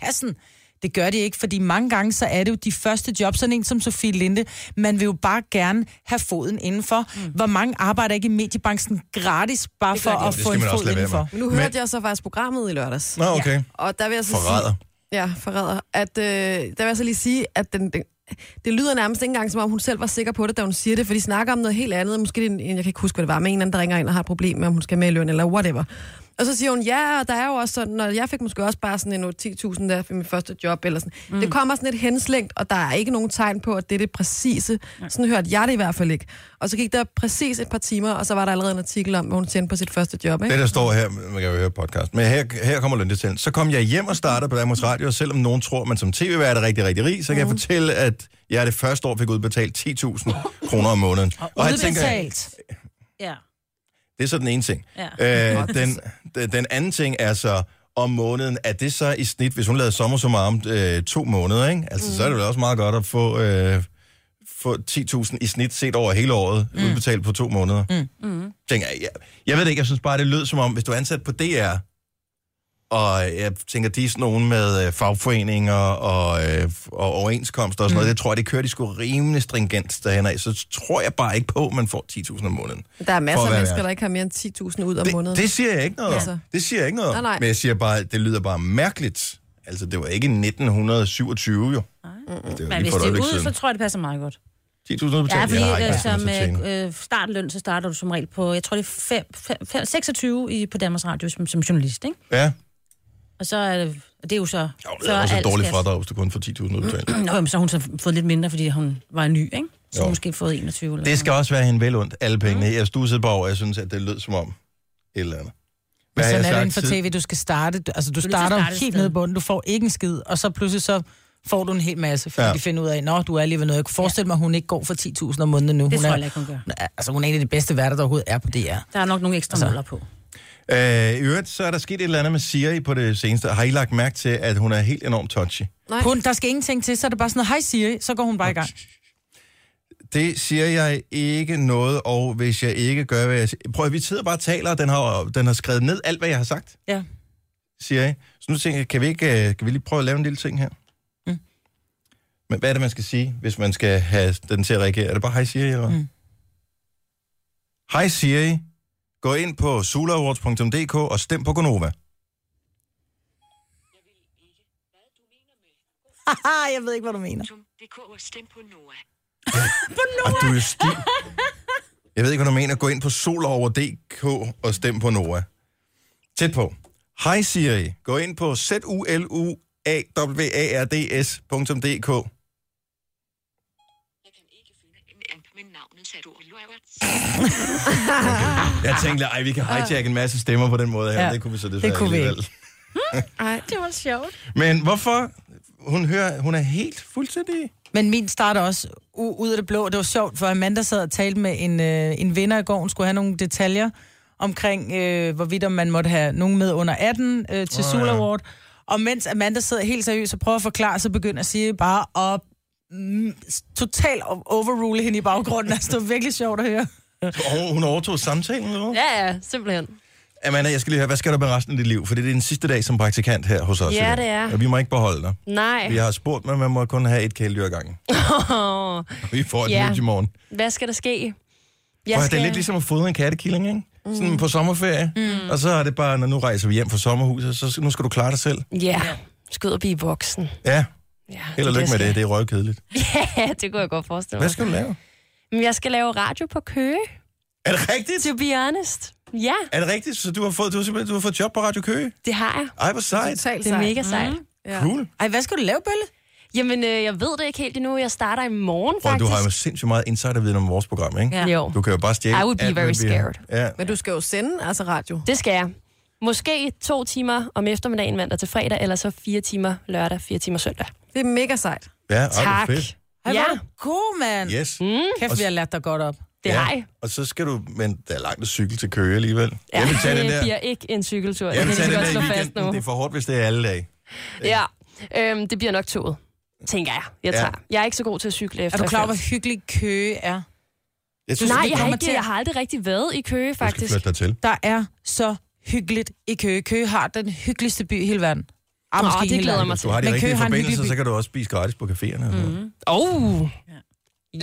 [SPEAKER 3] kassen. Det gør de ikke, fordi mange gange, så er det jo de første job, sådan en som Sofie Linde, man vil jo bare gerne have foden indenfor. Mm. Hvor mange arbejder ikke i mediebranchen gratis, bare for
[SPEAKER 1] de. Det
[SPEAKER 3] at få
[SPEAKER 1] skal
[SPEAKER 3] en
[SPEAKER 1] man også
[SPEAKER 3] fod
[SPEAKER 1] lade være
[SPEAKER 3] indenfor?
[SPEAKER 4] Men Nu hørte jeg så faktisk programmet i lørdags.
[SPEAKER 1] Nå, okay.
[SPEAKER 4] Og der vil jeg så
[SPEAKER 1] Forræder.
[SPEAKER 4] Sige, ja, forræder. At, øh, der vil jeg så lige sige, at den, den, det lyder nærmest ikke engang, som om hun selv var sikker på det, da hun siger det, for de snakker om noget helt andet. Måske, det er en, jeg kan ikke huske, hvad det var, men en eller anden, der ringer ind og har et problem med, om hun skal med i løn eller whatever. Og så siger hun, ja, og der er jo også sådan, og jeg fik måske også bare sådan en 10.000 der for mit første job, eller sådan. Mm. Det kommer sådan lidt henslængt, og der er ikke nogen tegn på, at det er det præcise. Sådan hørte jeg det i hvert fald ikke. Og så gik der præcis et par timer, og så var der allerede en artikel om, hvor hun tjente på sit første job, ikke?
[SPEAKER 1] Det, der står her, man kan jo høre podcast, men her, her kommer løndetalen. Så kom jeg hjem og startede på Danmarks Radio, og selvom nogen tror, man som tv-vært er rigtig, rigtig rig, så kan jeg fortælle, at jeg det første år fik udbetalt 10.000 kroner om måneden. Og her tænker jeg,
[SPEAKER 3] Udbetalt.
[SPEAKER 2] Ja.
[SPEAKER 1] det er så den ene ting.
[SPEAKER 2] Ja.
[SPEAKER 1] Øh, den, den- den anden ting er så, om måneden, er det så i snit, hvis hun lavede sommer som om øh, to måneder, ikke? Altså, mm. så er det vel også meget godt at få, øh, få 10.000 i snit set over hele året, mm. udbetalt på to måneder. Mm. Mm. Tænker, jeg, jeg, jeg ved det ikke, jeg synes bare, det lød som om, hvis du er ansat på DR, og jeg tænker, de er sådan nogen med øh, fagforeninger og, øh, og overenskomster og sådan mm. noget, det tror jeg, det kører de sgu rimelig stringent derhen af, så tror jeg bare ikke på, at man får 10.000 om måneden.
[SPEAKER 4] Der er
[SPEAKER 1] For
[SPEAKER 4] masser
[SPEAKER 1] at
[SPEAKER 4] af
[SPEAKER 1] være
[SPEAKER 4] mennesker,
[SPEAKER 1] værd.
[SPEAKER 4] der ikke har mere end 10.000 ud om måneden.
[SPEAKER 1] Det, det siger jeg ikke noget
[SPEAKER 4] Altså.
[SPEAKER 1] om. Det siger jeg ikke noget om.
[SPEAKER 4] Nej, nej.
[SPEAKER 1] Men jeg siger bare, det lyder bare mærkeligt. Altså, det var ikke 1927 jo. Nej. Det var
[SPEAKER 2] Men
[SPEAKER 1] lige
[SPEAKER 2] hvis
[SPEAKER 1] for et
[SPEAKER 2] det er
[SPEAKER 1] øjeblik
[SPEAKER 2] ude, så
[SPEAKER 1] siden.
[SPEAKER 2] tror jeg, det passer meget godt.
[SPEAKER 1] 10.000 udbetalt.
[SPEAKER 2] Ja, fordi
[SPEAKER 1] Jeg har ikke
[SPEAKER 2] ja,
[SPEAKER 1] haft sådan
[SPEAKER 2] som
[SPEAKER 1] noget til at tjene.
[SPEAKER 2] øh, øh, startløn, så starter du som regel på, jeg tror det er fem, fem, fem, 26 i, på Danmarks Radio som, som journalist, ikke?
[SPEAKER 1] Ja,
[SPEAKER 2] Og så er det, og det er jo så...
[SPEAKER 1] jo, det
[SPEAKER 2] så
[SPEAKER 1] er også et
[SPEAKER 2] alt
[SPEAKER 1] dårligt
[SPEAKER 2] skat. Mm.
[SPEAKER 1] fradrag, hvis du kun får 10.000 udbetalt.
[SPEAKER 2] Nå, jamen, så har hun så fået lidt mindre, fordi hun var ny, ikke? Så
[SPEAKER 1] Jo.
[SPEAKER 2] jo. måske fået 21 eller
[SPEAKER 1] Det skal også være hende vel ondt, alle pengene.
[SPEAKER 2] Mm.
[SPEAKER 1] Jeg stussede bare over, jeg synes, at det lød som om et eller andet. Hvad har
[SPEAKER 3] Sådan
[SPEAKER 1] jeg
[SPEAKER 3] er det inden
[SPEAKER 1] sagt
[SPEAKER 3] for
[SPEAKER 1] tid?
[SPEAKER 3] tv, du skal starte. Du- Altså, du
[SPEAKER 2] nødt til at
[SPEAKER 3] starter
[SPEAKER 2] starte et
[SPEAKER 3] helt
[SPEAKER 2] sted.
[SPEAKER 3] nede i bunden, du får ikke en skid, og så pludselig så får du en hel masse, fordi
[SPEAKER 1] Ja.
[SPEAKER 3] ja. de finder ud af, nå, du er alligevel noget. Jeg kunne forestille mig, at hun ikke går for 10.000 om måneden nu.
[SPEAKER 2] Det
[SPEAKER 3] hun
[SPEAKER 2] tror
[SPEAKER 3] er,
[SPEAKER 2] jeg heller ikke, hun gør.
[SPEAKER 3] Altså, hun er en af de bedste værter, der overhovedet er på DR.
[SPEAKER 2] Der er nok nogle ekstra altså. måler på.
[SPEAKER 1] Øh, I øvrigt, så er der sket et eller andet med Siri på det seneste. Har I lagt mærke til, at hun er helt enormt touchy?
[SPEAKER 4] Nej.
[SPEAKER 3] Hun, der skal ingenting til, så er det bare sådan noget, hej Siri, så går hun bare i gang.
[SPEAKER 1] Det siger jeg ikke noget, og hvis jeg ikke gør, hvad jeg siger... Prøv at vi sidder bare og taler, og den har, den har skrevet ned alt, hvad jeg har sagt.
[SPEAKER 3] Ja.
[SPEAKER 1] siger jeg. Så nu tænker jeg, kan vi, ikke, øh, kan vi lige prøve at lave en lille ting her? Mm. Men hvad er det, man skal sige, hvis man skal have den til at reagere? Er det bare, hej Siri, eller mm. Hej Siri, gå ind på sulawards.dk og stem på Gonova.
[SPEAKER 3] Haha, jeg ved ikke, hvad du mener.
[SPEAKER 1] Og du er stiv. Jeg ved ikke, hvad du mener. Gå ind på solover.dk og stem på Nora. Tæt på. Hej Siri. Gå ind på zuluawrds.dk. Okay. Jeg tænkte, ej, vi kan hijack en masse stemmer på den måde her. Ja,
[SPEAKER 3] Ja,
[SPEAKER 1] det kunne vi så desværre
[SPEAKER 3] kunne vi ikke.
[SPEAKER 1] alligevel.
[SPEAKER 4] Ej, det var...
[SPEAKER 1] Men hvorfor? Hun, hører, hun er helt fuldstændig...
[SPEAKER 3] Men min starter også u- ud af det blå. Det var sjovt, for Amanda sad og talte med en, øh, en vinder i går. Hun skulle have nogle detaljer omkring, øh, hvorvidt om man måtte have nogen med under 18 øh, til oh, Sula Award. Og mens Amanda sidder helt seriøst og prøver at forklare, så begynder Siri bare at mm, totalt overrule hende i baggrunden. altså, det var virkelig sjovt at høre.
[SPEAKER 1] Og hun overtog samtalen, eller hvad?
[SPEAKER 9] Ja, ja, simpelthen.
[SPEAKER 1] Amanda, jeg skal lige høre, hvad skal du med resten af dit liv? For det er din sidste dag som praktikant her hos os.
[SPEAKER 9] Ja,
[SPEAKER 1] i dag.
[SPEAKER 9] det er.
[SPEAKER 1] Og vi må ikke beholde dig.
[SPEAKER 9] Nej.
[SPEAKER 1] Vi har spurgt, men man må kun have et kæledyr ad gangen.
[SPEAKER 9] Åh,
[SPEAKER 1] Vi får et
[SPEAKER 9] Ja.
[SPEAKER 1] nyt i morgen.
[SPEAKER 9] Hvad skal der ske?
[SPEAKER 1] Jeg skal... Det er lidt ligesom at fodre en kattekilling, ikke?
[SPEAKER 9] Mm.
[SPEAKER 1] Sådan på sommerferie. Mm. Og så er det bare, når nu rejser vi hjem fra sommerhuset, så nu skal du klare dig selv.
[SPEAKER 9] Ja, skyd og blive voksen.
[SPEAKER 1] Ja,
[SPEAKER 9] Ja,
[SPEAKER 1] held og
[SPEAKER 9] er
[SPEAKER 1] lykke med
[SPEAKER 9] jeg
[SPEAKER 1] det. Det er røvkedeligt.
[SPEAKER 9] skal. Ja, det kunne jeg godt forestille
[SPEAKER 1] Hvad
[SPEAKER 9] mig.
[SPEAKER 1] skal du lave?
[SPEAKER 9] Men jeg skal lave radio på Køge,
[SPEAKER 1] Er det rigtigt?
[SPEAKER 9] to be honest. Ja,
[SPEAKER 1] Er det rigtigt? Så du har fået, du har simpelthen, du har fået job på Radio Køge?
[SPEAKER 9] det har jeg.
[SPEAKER 1] Ej, hvor sejt.
[SPEAKER 4] Totalt
[SPEAKER 9] Det er
[SPEAKER 4] sejt.
[SPEAKER 9] mega sejt. Mm.
[SPEAKER 4] Ja.
[SPEAKER 1] Cool.
[SPEAKER 3] Ej, hvad skal du lave, Bølle?
[SPEAKER 9] Jamen, øh, jeg ved det ikke helt endnu. Jeg starter i morgen,
[SPEAKER 1] Prøv, du
[SPEAKER 9] faktisk.
[SPEAKER 1] har jo sindssygt meget insiderviden om vores program, ikke?
[SPEAKER 2] Ja.
[SPEAKER 9] Jo,
[SPEAKER 1] Du kan jo bare stjæle
[SPEAKER 9] I would be
[SPEAKER 1] alt, hvad
[SPEAKER 9] very
[SPEAKER 1] vi har.
[SPEAKER 9] scared.
[SPEAKER 1] Ja.
[SPEAKER 4] Men du skal jo sende altså radio.
[SPEAKER 9] det skal jeg. Måske to timer om eftermiddagen mandag til fredag, eller så fire timer lørdag, fire timer søndag.
[SPEAKER 4] Det er mega sejt.
[SPEAKER 1] Ja, ej, hvor
[SPEAKER 9] Tak.
[SPEAKER 1] fedt.
[SPEAKER 3] Ej,
[SPEAKER 9] Ja.
[SPEAKER 3] ja. God, mand. Yeah.
[SPEAKER 1] Yes.
[SPEAKER 3] Kæft, vi har lært dig godt op.
[SPEAKER 9] Det har jeg.
[SPEAKER 1] Og så skal du, men der er langt at cykle til Køge alligevel.
[SPEAKER 9] Ja,
[SPEAKER 1] jeg vil tage den
[SPEAKER 9] det
[SPEAKER 1] der.
[SPEAKER 9] bliver ikke en cykeltur.
[SPEAKER 1] Jeg vil
[SPEAKER 9] det
[SPEAKER 1] tage
[SPEAKER 9] kan
[SPEAKER 1] den
[SPEAKER 9] vi godt
[SPEAKER 1] der
[SPEAKER 9] slå
[SPEAKER 1] i
[SPEAKER 9] fast
[SPEAKER 1] weekenden.
[SPEAKER 9] nu.
[SPEAKER 1] Det er for hårdt, hvis det er alle dage.
[SPEAKER 9] Ja, øhm, det bliver nok toget, tænker jeg. Jeg,
[SPEAKER 1] Ja.
[SPEAKER 9] tager. jeg er ikke så god til at cykle
[SPEAKER 3] Er
[SPEAKER 9] efter.
[SPEAKER 3] du klar over, hvor hyggelig køge er?
[SPEAKER 1] Jeg
[SPEAKER 9] Nej,
[SPEAKER 1] det
[SPEAKER 9] jeg har,
[SPEAKER 1] kommer-
[SPEAKER 9] ikke, jeg har aldrig rigtig været i Køge,
[SPEAKER 1] Du skal
[SPEAKER 9] faktisk.
[SPEAKER 1] flytte dig til.
[SPEAKER 3] der er så hyggeligt i Køge. Køge har den hyggeligste by i hele verden. Ah,
[SPEAKER 9] Nå,
[SPEAKER 3] måske
[SPEAKER 9] det
[SPEAKER 3] ikke hele
[SPEAKER 9] glæder
[SPEAKER 3] verden.
[SPEAKER 9] mig
[SPEAKER 1] Hvis du har de
[SPEAKER 3] Men
[SPEAKER 1] rigtige
[SPEAKER 3] Køge har en
[SPEAKER 1] forbindelser, så
[SPEAKER 3] hyggelig
[SPEAKER 1] kan du også spise gratis på caféerne. Mm.
[SPEAKER 9] Oh.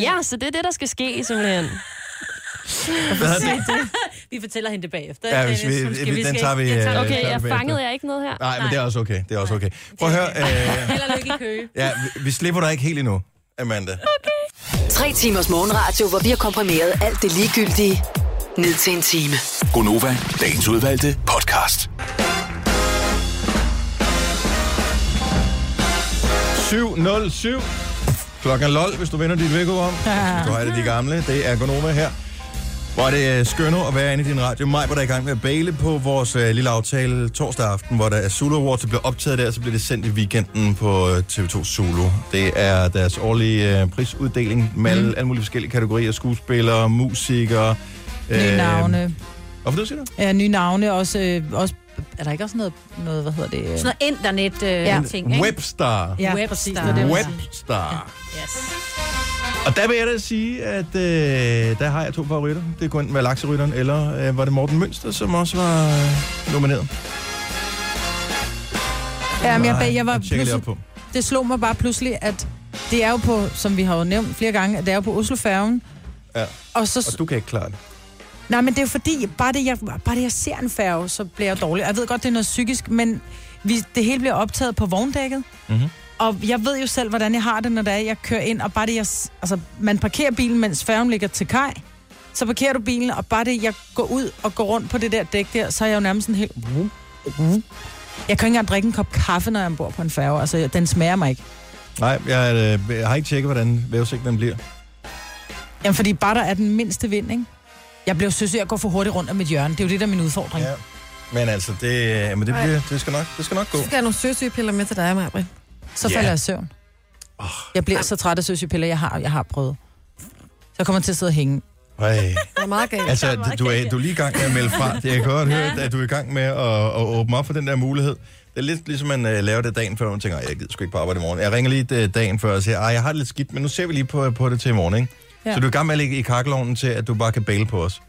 [SPEAKER 9] Ja, så det er det, der skal ske, simpelthen.
[SPEAKER 1] Hvad er det?
[SPEAKER 2] Vi fortæller hende det bagefter.
[SPEAKER 1] Ja, hvis
[SPEAKER 2] Det er sådan,
[SPEAKER 1] vi,
[SPEAKER 2] skal-
[SPEAKER 1] vi, den
[SPEAKER 2] skal
[SPEAKER 1] tager
[SPEAKER 2] ikke-
[SPEAKER 1] vi...
[SPEAKER 2] Jeg
[SPEAKER 1] øh,
[SPEAKER 2] tager-
[SPEAKER 9] Okay,
[SPEAKER 1] tager
[SPEAKER 9] jeg
[SPEAKER 1] vi
[SPEAKER 9] fangede
[SPEAKER 1] bagefter.
[SPEAKER 9] jeg ikke noget her.
[SPEAKER 1] Nej, men det er også okay. Det er også okay. Prøv at høre, øh,
[SPEAKER 2] Held og lykke i køge.
[SPEAKER 1] ja, vi- vi slipper dig ikke helt endnu. Amanda.
[SPEAKER 5] Tre timers morgenradio, hvor vi har komprimeret alt det ligegyldige ned til en time.
[SPEAKER 6] Gonova, dagens udvalgte podcast.
[SPEAKER 1] 707. Klokken er lol, hvis du vender dit vækkeord om. Ja. Du har det de gamle. Det er Gonova her. Hvor det er skønne at være inde i din radio. Maj var der i gang med at bale på vores øh, lille aftale torsdag aften, hvor der er Zulu Awards, der bliver optaget der, så bliver det sendt i weekenden på øh, TV2 Zulu. Det er deres årlige øh, prisuddeling med mm. alle mulige forskellige kategorier. Skuespillere, musikere. øh,
[SPEAKER 3] Nye
[SPEAKER 1] Øhm.
[SPEAKER 3] navne.
[SPEAKER 1] Hvorfor det, siger du?
[SPEAKER 3] Ja, nye navne. Også, øh, også, er der ikke også noget, noget hvad hedder det? øh?
[SPEAKER 2] Sådan noget internet-ting, øh, ja. ikke?
[SPEAKER 1] Webstar.
[SPEAKER 3] Ja,
[SPEAKER 2] Webstar.
[SPEAKER 3] præcis. Det var det, jeg ville sige.
[SPEAKER 1] Webstar.
[SPEAKER 2] Yes.
[SPEAKER 1] Og der vil jeg da sige, at øh, der har jeg to favoritter. Det kunne enten være Lakserytteren, eller øh, var det Morten Mønster, som også var øh, nomineret.
[SPEAKER 3] Ja, men jeg,
[SPEAKER 1] Nej,
[SPEAKER 3] jeg var
[SPEAKER 1] den tjekker jeg lige op
[SPEAKER 3] pludselig,
[SPEAKER 1] på.
[SPEAKER 3] det slog mig bare pludselig, at det er jo på, som vi har jo nævnt flere gange, at det er jo på Oslofærgen.
[SPEAKER 1] Ja.
[SPEAKER 3] Og så,
[SPEAKER 1] Og du kan ikke klare det.
[SPEAKER 3] Nej, men det er jo fordi, bare det, jeg, bare det, jeg ser en færge, så bliver jeg dårlig. Jeg ved godt, det er noget psykisk, men vi, det hele bliver optaget på vogndækket.
[SPEAKER 1] Mhm.
[SPEAKER 3] Og jeg ved jo selv, hvordan jeg har det, når det er, jeg kører ind, og bare det, jeg... s- Altså, man parkerer bilen, mens færgen ligger til kaj. Så parkerer du bilen, og bare det, jeg går ud og går rundt på det der dæk der, så er jeg jo nærmest sådan helt... Jeg kan ikke engang drikke en kop kaffe, når jeg er ombord på en færge. Altså, den smager mig ikke.
[SPEAKER 1] Nej, jeg, øh, jeg har ikke tjekket, hvordan vævesigten den bliver.
[SPEAKER 3] Jamen, fordi bare der er den mindste vind, ikke? Jeg bliver søs, jeg går for hurtigt rundt om et hjørne. Det er jo det, der er min udfordring. Ja.
[SPEAKER 1] Men altså, det, øh, men det,
[SPEAKER 4] Ej.
[SPEAKER 1] bliver, det, skal nok, det skal nok gå.
[SPEAKER 4] Så skal jeg have nogle søsygepiller med til dig, Maja.
[SPEAKER 3] Så
[SPEAKER 1] Ja.
[SPEAKER 3] falder jeg i søvn. Jeg bliver så træt af søsygepiller, jeg har, jeg har prøvet. Så jeg kommer til at sidde og hænge.
[SPEAKER 1] Ej.
[SPEAKER 4] Det er meget galt.
[SPEAKER 1] Altså, du er, du er lige i gang med at melde fra. Jeg kan godt høre, at du er i gang med at, at åbne op for den der mulighed. Det er lidt ligesom, man øh, laver det dagen før, og man tænker, "Ej, jeg gider sgu ikke på arbejde i morgen. Jeg ringer lige øh, dagen før og siger, at jeg har det lidt skidt, men nu ser vi lige på, på det til i morgen. Ikke? Ja.
[SPEAKER 3] Ja.
[SPEAKER 1] Så du er i gang med at ligge i kakkelovnen til, at du bare kan bale på os.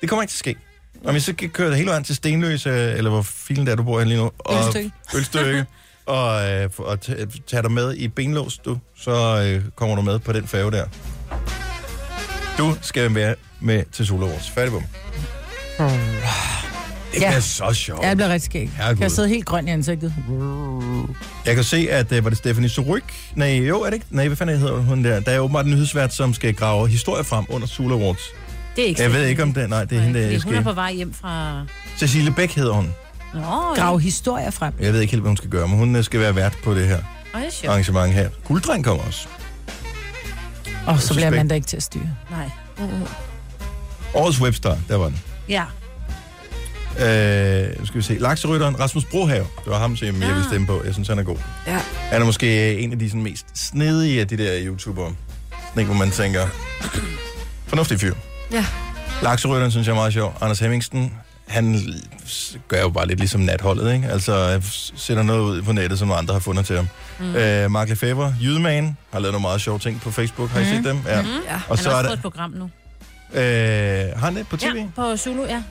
[SPEAKER 1] Det kommer ikke til at ske. Om jeg så kan køre det hele vejen til Stenløse, øh, eller hvor filen der du bor henne lige nu. Og
[SPEAKER 3] Ølstykke.
[SPEAKER 1] Ølstykke. og, øh, og t- tage dig med i benlås, du. Så øh, kommer du med på den færge der. Du skal være med til Solo Awards. Færdig bum. Det
[SPEAKER 3] Ja.
[SPEAKER 1] er så sjovt.
[SPEAKER 3] Ja, jeg bliver rigtig skæg.
[SPEAKER 1] Herregud.
[SPEAKER 3] Jeg sidder helt grøn i ansigtet.
[SPEAKER 1] Jeg kan se, at øh, var det Stephanie Suryk? Nej, jo, er det ikke? Nej, hvad fanden hedder hun der? Der er åbenbart en nyhedsvært, som skal grave historie frem under Sula Awards.
[SPEAKER 2] Det er ikke
[SPEAKER 1] Jeg ved
[SPEAKER 2] sikkert.
[SPEAKER 1] ikke, om det Nej, det er hende, der
[SPEAKER 2] Fordi hun er på
[SPEAKER 1] skal...
[SPEAKER 2] vej hjem fra...
[SPEAKER 1] Cecilie Bæk hedder hun.
[SPEAKER 2] Nå,
[SPEAKER 3] Grav historier frem.
[SPEAKER 1] Jeg ved ikke helt, hvad hun skal gøre, men hun øh, skal være vært på det her
[SPEAKER 2] Ej, det er sjovt.
[SPEAKER 1] arrangement her. Gulddreng kommer også.
[SPEAKER 3] Og så bliver
[SPEAKER 1] Suspekt.
[SPEAKER 3] man da ikke til at styre.
[SPEAKER 2] Nej.
[SPEAKER 1] Årets webstar, der var den.
[SPEAKER 2] Ja.
[SPEAKER 1] Øh, nu skal vi se. Lakserytteren Rasmus Brohave. Det var ham, som jeg ville stemme på. Jeg synes, han er god.
[SPEAKER 4] Ja.
[SPEAKER 1] Han er måske en af de sådan, mest snedige af de der YouTubere. Sådan ikke, hvor man tænker... Fornuftig fyr.
[SPEAKER 4] Ja.
[SPEAKER 1] Lakserytteren synes jeg er meget sjov. Anders Hemmingsen, han l- s- gør jo bare lidt ligesom natholdet, ikke? Altså, øh, s- sætter noget ud på nettet, som andre har fundet til ham. Mm. Øh, Mark Lefebvre, Jydeman, har lavet nogle meget sjove ting på Facebook. Har I set dem? Ja. Mm.
[SPEAKER 4] Ja.
[SPEAKER 1] Og
[SPEAKER 2] Han
[SPEAKER 1] så er
[SPEAKER 2] har også fået
[SPEAKER 1] der...
[SPEAKER 2] et program nu.
[SPEAKER 1] Øh, har han det på tv?
[SPEAKER 2] Ja, på Zulu, ja.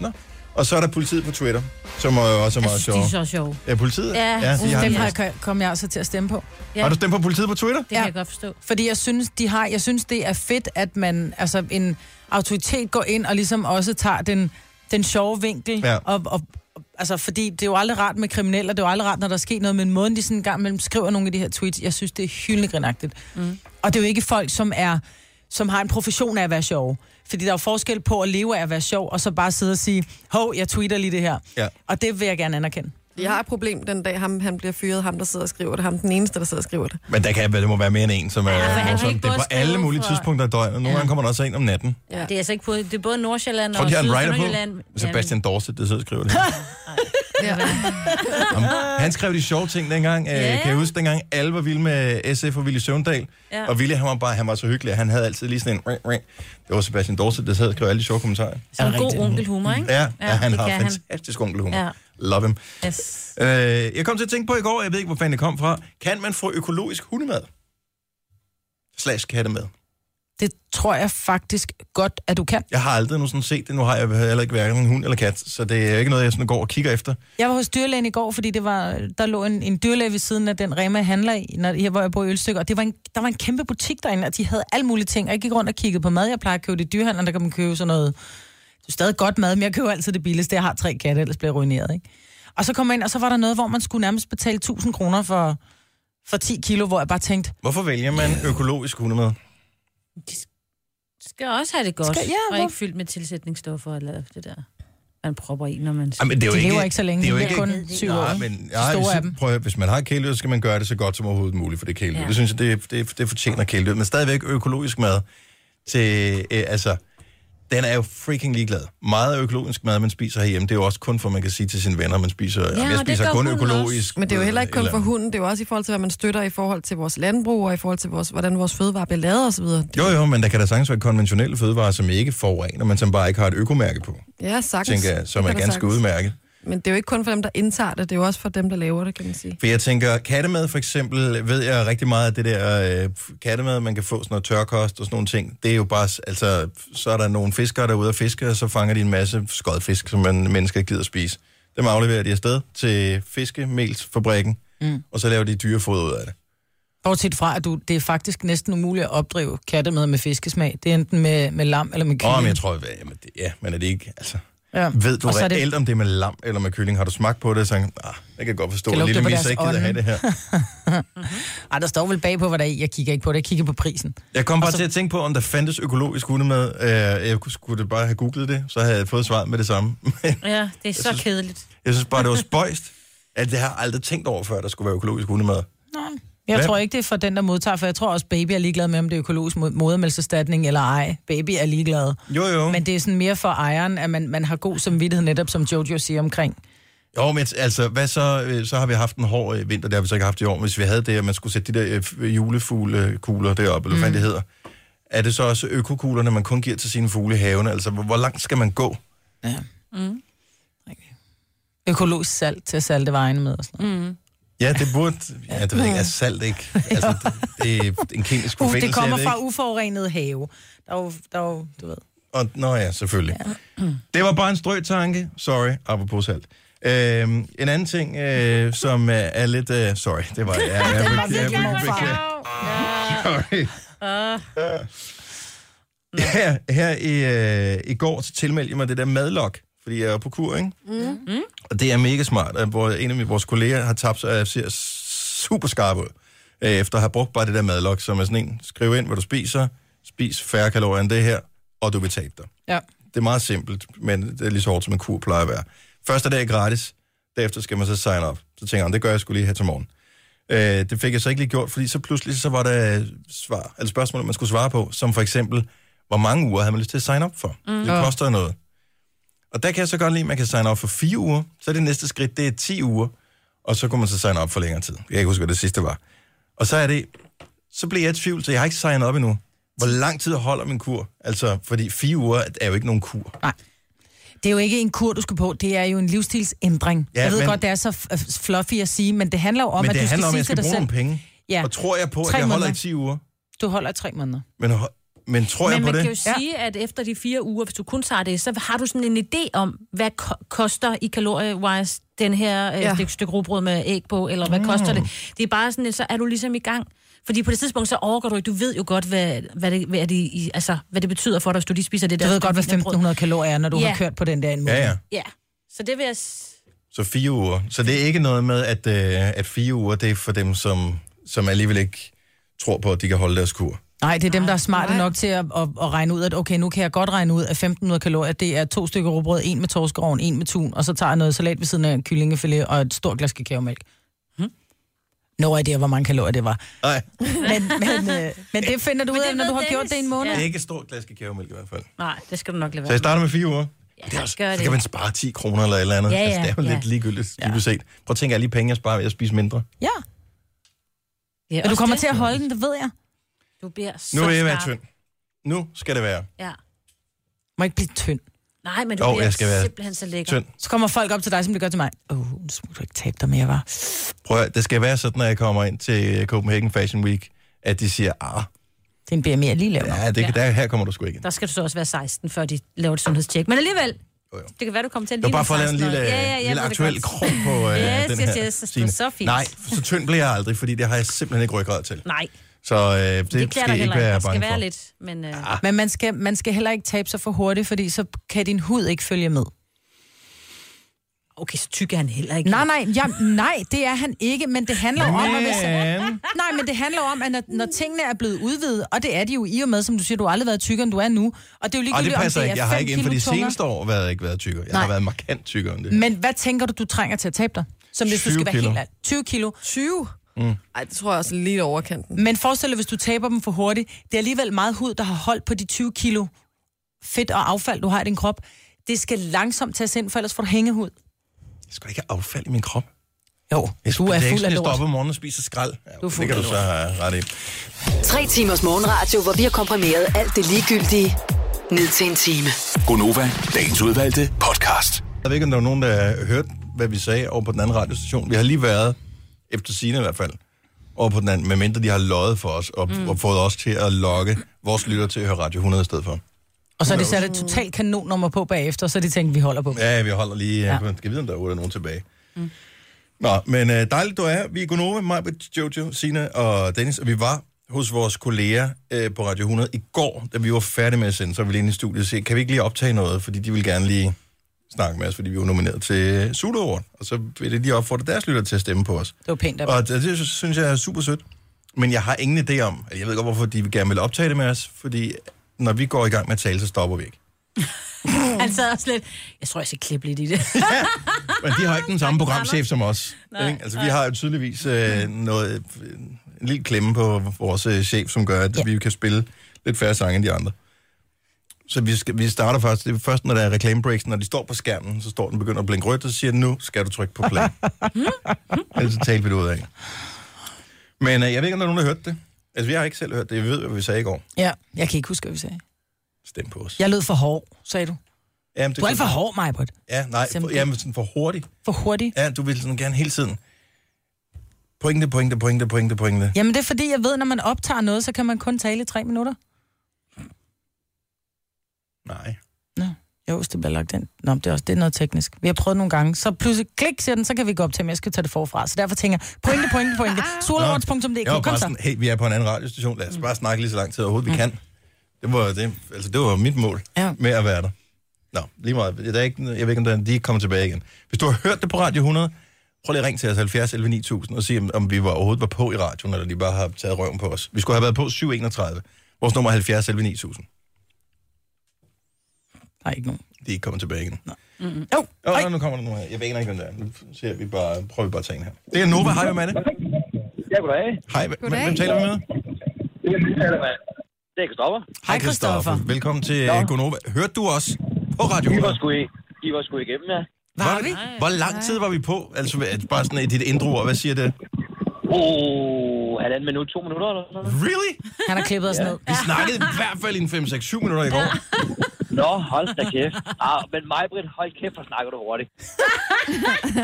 [SPEAKER 1] Og så er der politiet på Twitter, som er jo også er
[SPEAKER 2] Jeg
[SPEAKER 1] meget
[SPEAKER 2] synes, de er
[SPEAKER 1] sjovt.
[SPEAKER 2] så sjove.
[SPEAKER 1] Ja, politiet?
[SPEAKER 2] Ja,
[SPEAKER 1] de har,
[SPEAKER 3] Dem
[SPEAKER 1] det.
[SPEAKER 3] har jeg, kom jeg altså til at stemme på.
[SPEAKER 2] Ja.
[SPEAKER 1] har du stemt på politiet på Twitter?
[SPEAKER 2] Det kan
[SPEAKER 3] Ja.
[SPEAKER 2] jeg godt forstå.
[SPEAKER 3] Fordi jeg synes, de har, jeg synes, det er fedt, at man, altså en autoritet går ind og ligesom også tager den, den sjove vinkel.
[SPEAKER 1] Ja.
[SPEAKER 3] Og, og, altså, fordi det er jo aldrig rart med kriminelle, og det er jo aldrig rart, når der sker noget, men måden de sådan en gang imellem skriver nogle af de her tweets, jeg synes, det er hyldegrinagtigt. Mm. Og det er jo ikke folk, som er som har en profession af at være sjov. Fordi der er jo forskel på at leve af at være sjov, og så bare sidde og sige, hov, jeg tweeter lige det her.
[SPEAKER 1] Ja.
[SPEAKER 3] Og det vil jeg gerne anerkende.
[SPEAKER 4] Jeg har et problem den dag, ham, han bliver fyret, ham der sidder og skriver det, ham den eneste, der sidder og skriver det.
[SPEAKER 1] Men der kan være, det må være mere end en, som er
[SPEAKER 2] for han
[SPEAKER 1] ja,
[SPEAKER 2] kan
[SPEAKER 1] morsom.
[SPEAKER 2] ikke
[SPEAKER 1] Det er
[SPEAKER 2] både
[SPEAKER 1] på alle
[SPEAKER 2] skrive
[SPEAKER 1] mulige
[SPEAKER 2] for-
[SPEAKER 1] tidspunkter af døgnet. Nogle gange kommer der også en om natten.
[SPEAKER 2] Ja. Det er altså ikke på, det er både Nordsjælland
[SPEAKER 1] Tror
[SPEAKER 2] og
[SPEAKER 1] du, de har en
[SPEAKER 2] Syd- og
[SPEAKER 1] writer
[SPEAKER 2] Sønderjylland.
[SPEAKER 1] på? Sebastian Dorset, der sidder og skriver det.
[SPEAKER 4] Ja.
[SPEAKER 1] Jamen, han skrev de sjove ting dengang. Yeah.
[SPEAKER 2] Ja.
[SPEAKER 1] Kan jeg huske dengang, alle var vilde med SF og Ville Søvndal.
[SPEAKER 2] Ja.
[SPEAKER 1] Og Ville, han var, bare, han var så hyggelig, at han havde altid lige sådan en... Ring, ring. Det var Sebastian Dorset, der sad og skrev alle de sjove kommentarer.
[SPEAKER 2] Så en god onkelhumor, ikke?
[SPEAKER 1] Ja, ja han
[SPEAKER 2] det
[SPEAKER 1] har
[SPEAKER 2] kan han.
[SPEAKER 1] fantastisk onkelhumor.
[SPEAKER 2] Ja.
[SPEAKER 1] Love him.
[SPEAKER 2] Yes.
[SPEAKER 1] Øh, jeg kom til at tænke på i går, jeg ved ikke, hvor fanden det kom fra. Kan man få økologisk hundemad? Slash kattemad.
[SPEAKER 3] Det tror jeg faktisk godt, at du kan.
[SPEAKER 1] Jeg har aldrig nu sådan set det. Nu har jeg heller ikke hverken en hund eller kat, så det er ikke noget, jeg sådan går og kigger efter.
[SPEAKER 3] Jeg var hos dyrlægen i går, fordi det var, der lå en, en dyrlæge ved siden af den Rema, jeg handler i, når, her hvor jeg bor i Ølstykker. Og det var en, der var en kæmpe butik derinde, og de havde alle mulige ting. Og jeg gik rundt og kiggede på mad. Jeg plejer at købe det i dyrehandleren, der kan man købe sådan noget. Det er stadig godt mad, men jeg køber altid det billigste. Jeg har tre katte, ellers bliver jeg ruineret, ikke? Og så kom jeg ind, og så var der noget, hvor man skulle nærmest betale 1000 kroner for, for 10 kilo, hvor jeg bare tænkte,
[SPEAKER 1] Hvorfor vælger man økologisk hundemad?
[SPEAKER 2] skal også have det godt,
[SPEAKER 3] Skal-
[SPEAKER 2] skal,
[SPEAKER 3] ja,
[SPEAKER 2] ja, og
[SPEAKER 3] hvor-
[SPEAKER 2] ikke fyldt med tilsætningsstoffer eller det der, man propper i, når man...
[SPEAKER 1] Jamen, det er jo
[SPEAKER 3] de lever ikke så længe,
[SPEAKER 1] Det er jo
[SPEAKER 3] de
[SPEAKER 1] ikke,
[SPEAKER 3] bliver kun syv år,
[SPEAKER 1] nej,
[SPEAKER 3] ikke?
[SPEAKER 1] men,
[SPEAKER 3] De
[SPEAKER 1] nej,
[SPEAKER 3] store
[SPEAKER 1] hvis,
[SPEAKER 3] af dem.
[SPEAKER 1] prøv, at høre, hvis man har kæledyr, så skal man gøre det så godt som overhovedet muligt for det kæledyr. Ja.
[SPEAKER 2] Ja.
[SPEAKER 1] Det synes jeg, det, det, det fortjener kæledyr. Men stadigvæk økologisk mad til, øh, altså, den er jo freaking ligeglad. Meget af økologisk mad, man spiser herhjemme, det er jo også kun for, man kan sige til sine venner, man spiser, ja,
[SPEAKER 2] og
[SPEAKER 1] jeg
[SPEAKER 2] det
[SPEAKER 1] spiser
[SPEAKER 2] gør
[SPEAKER 1] kun
[SPEAKER 2] hunden
[SPEAKER 1] økologisk.
[SPEAKER 4] Men det er jo heller ikke kun
[SPEAKER 1] eller-
[SPEAKER 4] for hunden, det er jo også i forhold til, hvad man støtter i forhold til vores landbrug, og i forhold til, vores, hvordan vores fødevarer bliver lavet osv.
[SPEAKER 1] Jo, jo, men der kan da sagtens være konventionelle fødevarer, som ikke forurener, men som bare ikke har et økomærke på,
[SPEAKER 4] Ja, sagtens.
[SPEAKER 1] tænker jeg, som
[SPEAKER 4] Det
[SPEAKER 1] er
[SPEAKER 4] kan der
[SPEAKER 1] ganske
[SPEAKER 4] sagtens.
[SPEAKER 1] udmærket.
[SPEAKER 4] Men det er jo ikke kun for dem, der indtager det, det er jo også for dem, der laver det, kan man sige.
[SPEAKER 1] For jeg tænker, kattemad for eksempel, ved jeg rigtig meget af det der øh, kattemad, man kan få sådan noget tørkost og sådan nogle ting. Det er jo bare, s- altså, så er der nogle fiskere derude og fisker, og så fanger de en masse skodfisk, som man mennesker ikke gider at spise. Dem afleverer de afsted til fiskemelsfabrikken, mm. og så laver de dyrefoder ud af det.
[SPEAKER 3] bortset fra, at du, det er faktisk næsten umuligt at opdrive kattemad med fiskesmag. Det er enten med, med lam eller med
[SPEAKER 1] Åh,
[SPEAKER 3] kylling.
[SPEAKER 1] men jeg tror, hvad, jamen, det, ja, men er det ikke, altså...
[SPEAKER 3] ja.
[SPEAKER 1] Ved du
[SPEAKER 3] Og så er det-
[SPEAKER 1] reelt, det... om det er med lam eller med kylling? Har du smagt på det og sagt, ah, jeg kan godt forstå,
[SPEAKER 3] Kan
[SPEAKER 1] at
[SPEAKER 3] lugte
[SPEAKER 1] lille
[SPEAKER 3] på
[SPEAKER 1] Misa
[SPEAKER 3] deres
[SPEAKER 1] ikke gider
[SPEAKER 3] ånde."
[SPEAKER 1] have det her.
[SPEAKER 3] Ej, der står vel bagpå, hvad der er i. Jeg kigger ikke på det, jeg kigger på prisen.
[SPEAKER 1] Jeg kom bare til at tænke på, om der fandtes økologisk hundemad. Øh, Jeg kunne- skulle da bare have googlet det, så havde jeg fået svaret med det samme.
[SPEAKER 2] Ja, det er så
[SPEAKER 1] synes-
[SPEAKER 2] kedeligt.
[SPEAKER 1] jeg synes bare, det var spøjst, at det har jeg aldrig tænkt over før, der skulle være økologisk hundemad.
[SPEAKER 3] Jeg
[SPEAKER 1] Hvad?
[SPEAKER 3] tror ikke, det er for den, der modtager, for jeg tror også, baby er ligeglad med, om det er økologisk mod- modermælkserstatning eller ej. Baby er ligeglad.
[SPEAKER 1] Jo, jo. Men...
[SPEAKER 3] Men det er sådan mere for ejeren, at man, man har god samvittighed netop, som Jojo siger omkring.
[SPEAKER 1] Jo, men altså, hvad så? øh, Så har vi haft en hård øh, vinter, det har vi så ikke haft i år. Hvis vi havde det, at man skulle sætte de der øh, f- julefuglekugler deroppe, eller hvad fanden
[SPEAKER 3] Mm.
[SPEAKER 1] det hedder. Er det så også økokuglerne, man kun giver til sine fugle i haven? Altså, hvor hvor langt skal man gå?
[SPEAKER 3] Ja. Mm. Økologisk salt til at salte vejene med. Og sådan
[SPEAKER 1] Mm.
[SPEAKER 3] noget.
[SPEAKER 1] Ja, det burde... Ja, det ved jeg ikke. Er salt ikke? Altså, det, det er en kemisk
[SPEAKER 3] Mm. Uh,
[SPEAKER 1] forbindelse.
[SPEAKER 3] det
[SPEAKER 1] jeg
[SPEAKER 3] kommer
[SPEAKER 1] ved
[SPEAKER 3] fra uforurenet have. Der er jo, der er jo du ved.
[SPEAKER 1] Og, nå ja, selvfølgelig. Ja. Det var bare en strø-tanke. Sorry, apropos salt. Øhm, en anden ting, øh, som øh, er lidt... Øh, sorry, det var... Ja, jeg, jeg, jeg, jeg,
[SPEAKER 3] virkelig
[SPEAKER 1] jeg, Sorry. Ah. Ja, her i, øh, i går så tilmeldte jeg mig det der madlok, fordi jeg er på kur, ikke? Mm. Og det er mega smart, at hvor en af mine- vores kolleger har tabt sig, og jeg ser super skarp ud, øh, efter at have brugt bare det der madlok, som er sådan en, skriv ind, hvad du spiser, spis færre kalorier end det her, og du vil tabe dig.
[SPEAKER 3] Ja.
[SPEAKER 1] Det er meget simpelt, men det er lige så hårdt, som en kur plejer at være. Første dag er gratis, derefter skal man så sign up. Så tænker jeg, det gør jeg skulle lige her til morgen. Øh, det fik jeg så ikke lige gjort, fordi så pludselig så var der svar, eller spørgsmål, man skulle svare på, som for eksempel, hvor mange uger havde man lyst til at sign up for? Mm. Det koster noget. Og der kan jeg så godt lide, at man kan sign up for fire uger, så det næste skridt, det er 10 uger, og så kunne man så sign up for længere tid. Jeg kan ikke huske, hvad det sidste var. Og så er det, så blev jeg i tvivl, så jeg har ikke signet op endnu. Hvor lang tid holder min kur? Altså, fordi fire uger er jo ikke nogen kur.
[SPEAKER 3] Det er jo ikke en kur, du skal på. Det er jo en livsstilsændring.
[SPEAKER 1] Ja,
[SPEAKER 3] Ja, jeg ved
[SPEAKER 1] men-
[SPEAKER 3] men... godt, det er så f- f- fluffy at sige, men det handler jo om,
[SPEAKER 1] Men
[SPEAKER 3] at
[SPEAKER 1] det
[SPEAKER 3] du skal
[SPEAKER 1] handler om, at
[SPEAKER 3] sige
[SPEAKER 1] jeg skal
[SPEAKER 3] til dig
[SPEAKER 1] bruge
[SPEAKER 3] selv,
[SPEAKER 1] nogle penge.
[SPEAKER 3] Ja.
[SPEAKER 1] Og tror jeg på, at
[SPEAKER 3] Tre
[SPEAKER 1] jeg holder i
[SPEAKER 3] måneder.
[SPEAKER 1] 10 uger?
[SPEAKER 3] du holder i tre måneder.
[SPEAKER 1] Men, ho- men tror jeg
[SPEAKER 2] Men
[SPEAKER 1] på
[SPEAKER 2] man
[SPEAKER 1] det?
[SPEAKER 2] kan jo sige, at efter de fire uger, hvis du kun tager det, så har du sådan en idé om, hvad ko- koster i kalorie-wise den her øh,
[SPEAKER 4] Ja.
[SPEAKER 2] ja. stykke, stykke rugbrød med æg på, eller hvad mm. koster det? Det er bare sådan, at så er du ligesom i gang. Fordi på det tidspunkt, så overgår du ikke. Du ved jo godt, hvad, hvad, det, hvad, det, i- altså, hvad det betyder for dig, hvis du lige spiser det der.
[SPEAKER 3] Du ved godt, hvad
[SPEAKER 2] stykke wienerbrød.
[SPEAKER 3] 1500 kalorier er, når du
[SPEAKER 2] Ja.
[SPEAKER 3] har kørt på den der en måned.
[SPEAKER 1] Ja, ja.
[SPEAKER 2] Ja, så det vil jeg... s-
[SPEAKER 1] Så fire uger. Så det er ikke noget med, at, øh, at fire uger, det er for dem, som, som alligevel ikke tror på, at de kan holde deres kur.
[SPEAKER 3] Nej, det er dem, der er smarte
[SPEAKER 4] nej.
[SPEAKER 3] nok til at, at, at regne ud, at okay, nu kan jeg godt regne ud, at 1500 kalorier, det er to stykker råbrød, en med torskeroven, en med tun, og så tager jeg noget salat ved siden af en kyllingefilet og et stort glas kakaomælk. Hmm?
[SPEAKER 2] Hm?
[SPEAKER 3] No idea, hvor mange kalorier det var.
[SPEAKER 1] Nej,
[SPEAKER 3] Men, men, øh, men det finder du ud af,
[SPEAKER 2] det
[SPEAKER 3] når du
[SPEAKER 2] ved
[SPEAKER 3] har gjort
[SPEAKER 2] Dennis.
[SPEAKER 3] det i en måned.
[SPEAKER 1] det
[SPEAKER 2] Ja.
[SPEAKER 1] er ikke et stort glas kakaomælk i hvert fald.
[SPEAKER 2] Nej, det skal du nok lade
[SPEAKER 1] Så
[SPEAKER 2] være
[SPEAKER 1] jeg starter med fire uger.
[SPEAKER 2] med.
[SPEAKER 1] Det er
[SPEAKER 2] Ja,
[SPEAKER 1] også,
[SPEAKER 2] gør
[SPEAKER 1] så
[SPEAKER 2] det.
[SPEAKER 1] kan man spare 10 kroner eller et eller andet.
[SPEAKER 2] Ja, ja,
[SPEAKER 1] altså, det er jo
[SPEAKER 2] ja.
[SPEAKER 1] lidt ligegyldigt, ja. set. Prøv at tænke alle de penge, jeg sparer ved at spise mindre.
[SPEAKER 3] Ja,
[SPEAKER 2] Ja,
[SPEAKER 3] men du
[SPEAKER 2] også
[SPEAKER 3] kommer
[SPEAKER 2] det.
[SPEAKER 3] til at holde den, det ved jeg.
[SPEAKER 2] Du bliver så
[SPEAKER 1] Nu vil jeg være
[SPEAKER 2] skarp.
[SPEAKER 1] tynd. Nu skal det være
[SPEAKER 2] Ja.
[SPEAKER 3] Må ikke blive tynd.
[SPEAKER 2] Nej, men du
[SPEAKER 1] Jo,
[SPEAKER 2] bliver
[SPEAKER 1] jeg skal være
[SPEAKER 2] simpelthen så lækker.
[SPEAKER 1] tynd.
[SPEAKER 3] Så kommer folk op til dig, som det gør til mig. Åh, oh, nu skulle du ikke tabe dig mere, var.
[SPEAKER 1] Prøv at, høre, det skal være sådan, når jeg kommer ind til Copenhagen Fashion Week, at de siger, ah,
[SPEAKER 3] Din BMI er lige lavere.
[SPEAKER 1] ja, det, ja. Der, her kommer du sgu ikke ind.
[SPEAKER 2] Der skal du så også være 16, før de laver et sundhedstjek. Men alligevel,
[SPEAKER 1] Jo, jo.
[SPEAKER 2] det kan være, du kommer til at
[SPEAKER 1] Det var
[SPEAKER 2] ligne
[SPEAKER 1] bare for at lave en
[SPEAKER 2] 16-årig.
[SPEAKER 1] lille, ja, ja, ja, lille
[SPEAKER 2] ved det
[SPEAKER 1] aktuel
[SPEAKER 2] godt.
[SPEAKER 1] krog på øh,
[SPEAKER 2] Yes,
[SPEAKER 1] den
[SPEAKER 2] yes,
[SPEAKER 1] her.
[SPEAKER 2] yes, det var
[SPEAKER 1] Signe.
[SPEAKER 2] så fint.
[SPEAKER 1] Nej, så tynd bliver jeg aldrig, fordi det har jeg simpelthen ikke ryggrad til.
[SPEAKER 2] Nej,
[SPEAKER 1] Så øh, det,
[SPEAKER 2] det, det klæder
[SPEAKER 1] skal
[SPEAKER 2] dig
[SPEAKER 1] jeg ikke
[SPEAKER 2] heller ikke.
[SPEAKER 1] være
[SPEAKER 2] Der skal
[SPEAKER 1] bange for.
[SPEAKER 2] være lidt, men... Øh, ja.
[SPEAKER 3] Men man skal, man skal heller ikke tabe sig for hurtigt, fordi så kan din hud ikke følge med.
[SPEAKER 1] Ah.
[SPEAKER 2] Okay, så tyk er han heller ikke.
[SPEAKER 3] Nej, nej, ja, nej, det er han ikke, men det handler om, at hvis,
[SPEAKER 1] Men,
[SPEAKER 3] nej, men det handler om, at når, når, tingene er blevet udvidet, og det er de jo i og med, som du siger, du har aldrig været tykkere, end du er nu, og det er jo
[SPEAKER 1] og det
[SPEAKER 3] ligegyldigt,
[SPEAKER 1] passer
[SPEAKER 3] om
[SPEAKER 1] ikke.
[SPEAKER 3] det er
[SPEAKER 1] Jeg har
[SPEAKER 3] fem
[SPEAKER 1] ikke inden for de
[SPEAKER 3] kilo tungere.
[SPEAKER 1] seneste år været, ikke været tykkere. Jeg har
[SPEAKER 3] Nej. Mm.
[SPEAKER 1] været markant tykkere end det.
[SPEAKER 3] Men hvad tænker du, du trænger til at tabe dig? Som hvis du
[SPEAKER 1] 20
[SPEAKER 3] skal være
[SPEAKER 1] kilo.
[SPEAKER 3] helt ærlig. 20 kilo.
[SPEAKER 4] 20? Mm. Ej, det tror jeg også er lidt overkanten.
[SPEAKER 3] Men forestil dig, hvis du taber dem for hurtigt. Det er alligevel meget hud, der har holdt på de 20 kilo fedt og affald, du har i din krop. Det skal langsomt tages ind, for ellers får du hængehud.
[SPEAKER 1] Jeg skal da ikke have affald i min krop.
[SPEAKER 3] Jo,
[SPEAKER 1] Jeg
[SPEAKER 3] du er
[SPEAKER 1] det ikke
[SPEAKER 3] fuld
[SPEAKER 1] sådan,
[SPEAKER 3] af
[SPEAKER 1] jeg står
[SPEAKER 3] lort.
[SPEAKER 1] op om morgenen og spiser skrald. Ja, okay,
[SPEAKER 3] fuld
[SPEAKER 1] det kan
[SPEAKER 3] af
[SPEAKER 1] du så have ret i.
[SPEAKER 5] Tre timers morgenradio, hvor vi har komprimeret alt det ligegyldige ned til en time.
[SPEAKER 6] Gonova, dagens udvalgte podcast.
[SPEAKER 1] Jeg ved ikke, om der var nogen, der hørte, hvad vi sagde over på den anden radiostation. Vi har lige været, efter sine i hvert fald, over på den anden, medmindre de har løjet for os og, mm. og fået os til at lokke vores lytter til at høre Radio 100 i stedet for.
[SPEAKER 3] Og så er det sat et totalt kanonnummer på bagefter, så de tænker, vi holder på. dem.
[SPEAKER 1] Ja, vi holder lige... Ja. Skal vide, om der overhovedet er nogen tilbage. Mm. Nå, men øh, dejligt, du er. Vi er Gunova, mig, Jojo, Sina og Dennis, og vi var hos vores kolleger øh, på Radio 100 i går, da vi var færdige med at sende, så var vi lige inde i studiet og sige, kan vi ikke lige optage noget, fordi de vil gerne lige snakke med os, fordi vi var nomineret til Zulu Award, og så vil de lige opfordre deres lytter til at stemme på os.
[SPEAKER 3] Det var pænt af dem.
[SPEAKER 1] Og det, det synes jeg er super sødt. Men jeg har ingen idé om, jeg ved godt, hvorfor de vil gerne vil optage det med os, fordi når vi går i gang med at tale, så stopper vi ikke.
[SPEAKER 2] Han sad Altså, også lidt... Jeg tror, jeg skal klippe lidt i det.
[SPEAKER 1] Men de har ikke
[SPEAKER 3] Ah,
[SPEAKER 1] den samme programchef som os. ikke? Altså, vi har jo tydeligvis øh, noget, øh, en lille klemme på vores øh, chef, som gør, at ja. vi kan spille lidt færre sange end de andre. Så vi, skal, vi starter først, det er først, når der er reklamebreaks, når de står på skærmen, så står den begynder at blinke rødt, og så siger den, nu skal du trykke på play. Ellers så taler vi det ud af. Men øh, jeg ved ikke, om der er nogen, der har hørt det. Altså, vi har ikke selv hørt det. Vi ved, hvad vi sagde i går.
[SPEAKER 3] Ja, jeg kan ikke huske, hvad vi sagde.
[SPEAKER 1] Stem på os.
[SPEAKER 3] Jeg lød for hård, sagde du.
[SPEAKER 1] Jamen, det
[SPEAKER 3] Du er alt for
[SPEAKER 1] kunne-
[SPEAKER 3] hård, Majbert.
[SPEAKER 1] Ja, nej, for,
[SPEAKER 3] Simpelthen.
[SPEAKER 1] jamen, sådan for hurtigt.
[SPEAKER 3] For hurtig.
[SPEAKER 1] Ja, du vil sådan gerne hele tiden. Pointe, pointe, pointe, pointe, pointe.
[SPEAKER 3] Jamen, det er fordi, jeg ved, når man optager noget, så kan man kun tale i tre minutter.
[SPEAKER 1] Nej.
[SPEAKER 3] Jo, hvis det bliver lagt ind. Nå, men det er også det er noget teknisk. Vi har prøvet nogle gange. Så pludselig, klik, siger den, så kan vi gå op til, at jeg skal tage det forfra. Så derfor tænker jeg, pointe, pointe, pointe. Solords.dk,
[SPEAKER 1] Jeg var
[SPEAKER 3] kom
[SPEAKER 1] bare
[SPEAKER 3] så.
[SPEAKER 1] sådan, hey, vi er på en anden radiostation, lad os bare snakke lige så lang tid overhovedet, vi kan. Det var, det, altså, det var mit mål
[SPEAKER 3] Ja.
[SPEAKER 1] med at være der. Nå, lige meget. Der er ikke, jeg ved ikke, om der, de kommer tilbage igen. Hvis du har hørt det på Radio 100, prøv lige at ringe til os 70 11 9000 og se, om, om vi var, overhovedet var på i radioen, eller de bare har taget røven på os. Vi skulle have været på 731. Vores nummer er 70 11 9000.
[SPEAKER 3] Nej, ikke nogen.
[SPEAKER 1] De er ikke kommet tilbage igen.
[SPEAKER 3] Jo,
[SPEAKER 1] Åh,
[SPEAKER 3] Ej,
[SPEAKER 1] oh, nu kommer der nogen her. Jeg ved ikke, hvem der er. Nu ser vi bare, prøver vi bare at tage en her. Det er Nova. Hej, hvem er det?
[SPEAKER 10] Ja, goddag.
[SPEAKER 1] Hej, hvem,
[SPEAKER 4] Goddag.
[SPEAKER 1] hvem taler vi med?
[SPEAKER 10] Det er Kristoffer.
[SPEAKER 3] hej Christoffer.
[SPEAKER 1] Velkommen til øh, Gonova. Hørte du os på Radio
[SPEAKER 10] I
[SPEAKER 1] 100?
[SPEAKER 10] var sgu, i, I var sgu igennem, ja.
[SPEAKER 3] Var vi?
[SPEAKER 1] Hvor lang tid var vi på? Altså, hvad- bare sådan i dit indre ord. Hvad siger det?
[SPEAKER 10] Oh, halvanden minut, to minutter eller sådan noget.
[SPEAKER 1] Really?
[SPEAKER 3] Han har klippet os ned.
[SPEAKER 1] Vi snakkede i hvert fald i en 5-6-7 minutter i går.
[SPEAKER 10] Nå, hold da kæft. Ah, men mig, Britt, hold kæft, hvor snakker du hurtigt.